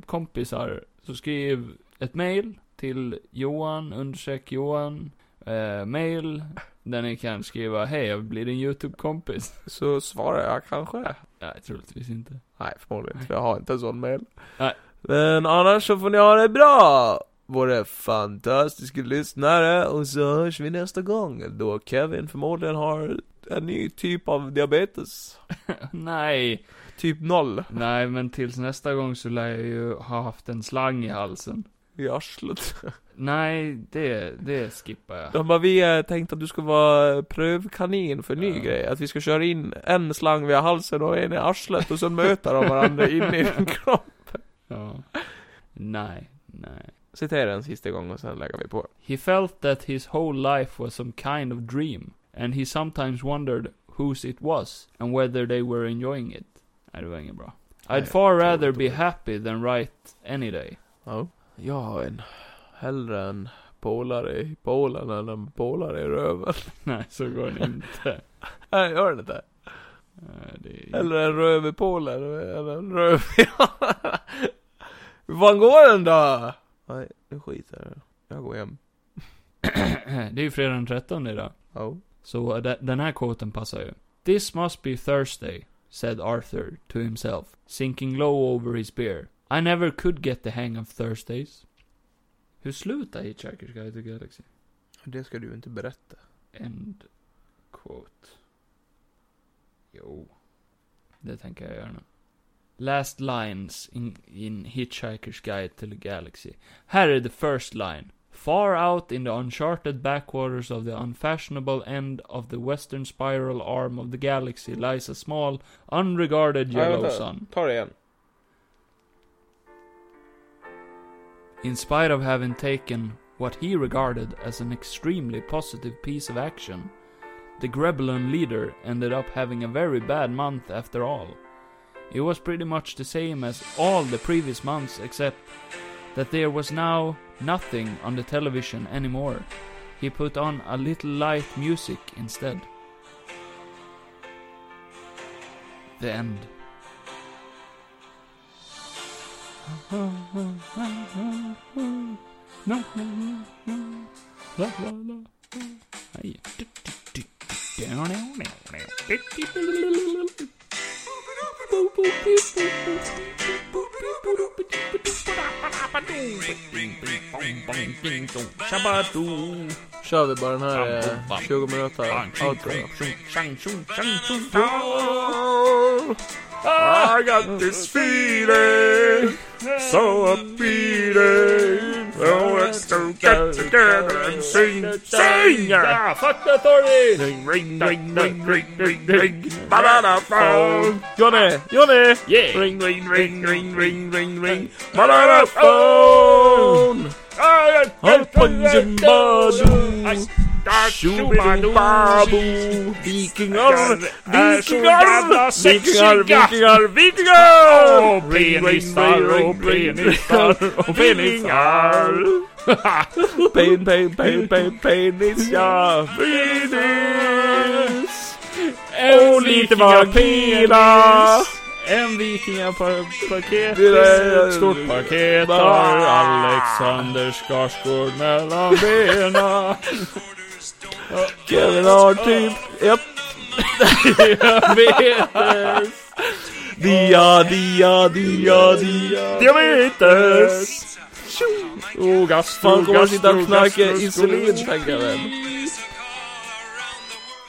[SPEAKER 1] YouTube-kompisar. Så skriv ett mail till Johan, undersök Johan, eh, mail. Där ni kan skriva hej, jag blir din YouTube-kompis. *laughs*
[SPEAKER 2] Så svarar jag kanske.
[SPEAKER 1] Nej, troligtvis inte. *laughs*
[SPEAKER 2] Nej, förmodligen inte, för jag har inte en sån mail.
[SPEAKER 1] Nej.
[SPEAKER 2] Men annars så får ni ha det bra! Våra fantastiska lyssnare, och så hörs vi nästa gång. Då Kevin förmodligen har en ny typ av diabetes.
[SPEAKER 1] Nej,
[SPEAKER 2] Typ noll
[SPEAKER 1] nej men tills nästa gång så lär jag ju ha haft en slang i halsen. *laughs*
[SPEAKER 2] i arslet.
[SPEAKER 1] Nej, det, det skippar jag.
[SPEAKER 2] De bara, vi eh, tänkte att du ska vara prövkanin för en ny
[SPEAKER 1] Ja.
[SPEAKER 2] grej. Att vi ska köra in en slang via halsen och en i arslet och sen möta de varandra in
[SPEAKER 1] *laughs*
[SPEAKER 2] i en kropp.
[SPEAKER 1] Ja. Nej, nej.
[SPEAKER 2] Citera en sista gång och sen lägger vi på.
[SPEAKER 1] He felt that his whole life was some kind of dream, and he sometimes wondered whose it was and whether they were enjoying it. Nej, det var inget bra.
[SPEAKER 2] Nej,
[SPEAKER 1] I'd far
[SPEAKER 2] otroligt
[SPEAKER 1] rather be
[SPEAKER 2] dåligt.
[SPEAKER 1] happy than right any day. *laughs*
[SPEAKER 2] Ja. Jag har en. Hellre en polare i Polen än en polare i röven. *laughs*
[SPEAKER 1] Nej, så går det inte.
[SPEAKER 2] Nej, gör det inte.
[SPEAKER 1] Nej, det är...
[SPEAKER 2] Eller en röv i Polen eller en röv i... *laughs* Hur fan går den då? Nej, nu skiter jag i det. Jag går hem.
[SPEAKER 1] *clears throat* det är ju fredag den 13 idag.
[SPEAKER 2] Ja.
[SPEAKER 1] Så de- den här quoten passar ju. This must be Thursday, said Arthur to himself, sinking low over his beer. I never could get the hang of Thursdays. Hur slutar Hitchhiker's Guide to the Galaxy?
[SPEAKER 2] Det ska du inte berätta.
[SPEAKER 1] End quote. Jo. Det tänker jag göra nu. Last lines in, in Hitchhiker's Guide to the Galaxy. Här är the first line. Far out in the uncharted backwaters of the unfashionable end of the western spiral arm of the galaxy lies a small, unregarded
[SPEAKER 2] Ja,
[SPEAKER 1] yellow
[SPEAKER 2] vänta.
[SPEAKER 1] sun.
[SPEAKER 2] Ta det igen.
[SPEAKER 1] In spite of having taken what he regarded as an extremely positive piece of action, the Grebelin leader ended up having a very bad month after all. It was pretty much the same as all the previous months, except that there was now nothing on the television anymore. He put on a little light music instead. The end. Nej.
[SPEAKER 2] Kör vi bara den här eh, 20 minuter outro. I got this feeling So upbeating So let's go get together and sing Sing!
[SPEAKER 1] Ja, fuck authority!
[SPEAKER 2] Ring, ring, ring, ring, ring, ring, ring Banana phone Johnny, Johnny!
[SPEAKER 1] Yeah.
[SPEAKER 2] Ring, ring, ring, ring, ring, ring, ring Banana phone
[SPEAKER 1] Hoppanjumbajo!
[SPEAKER 2] Tjobadoo! Vikingar! Vikingar!
[SPEAKER 1] Vikingar, vikingar, vikingar!
[SPEAKER 3] Och penisar och penisar och penisar.
[SPEAKER 2] Pain, pain, pain, pain, penis, ja!
[SPEAKER 1] Penis!
[SPEAKER 2] Och lite vagina!
[SPEAKER 1] En vikingapaket
[SPEAKER 2] Det är-
[SPEAKER 1] är ett stort paket har Alexander Skarsgård mellan
[SPEAKER 2] *laughs*
[SPEAKER 1] benen.
[SPEAKER 2] Kevin har typ ett
[SPEAKER 1] Diabetes!
[SPEAKER 2] dia, dia, dia, dia.
[SPEAKER 1] Diabetes! Oh, gastro,
[SPEAKER 2] Fan kommer
[SPEAKER 1] gastro,
[SPEAKER 2] sitta och knarka
[SPEAKER 1] gastro,
[SPEAKER 2] insulin,
[SPEAKER 1] skoli-
[SPEAKER 2] tänker jag väl.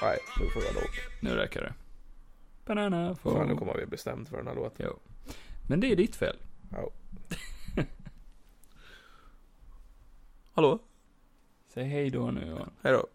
[SPEAKER 2] Nej, nu får jag nog.
[SPEAKER 1] Nu räcker det. Banana
[SPEAKER 2] Fan, nu
[SPEAKER 1] phone.
[SPEAKER 2] kommer vi bestämt för den här låten.
[SPEAKER 1] Jo. Men det är ditt fel.
[SPEAKER 2] Hallå?
[SPEAKER 1] Säg hej då nu Johan.
[SPEAKER 2] Hej då.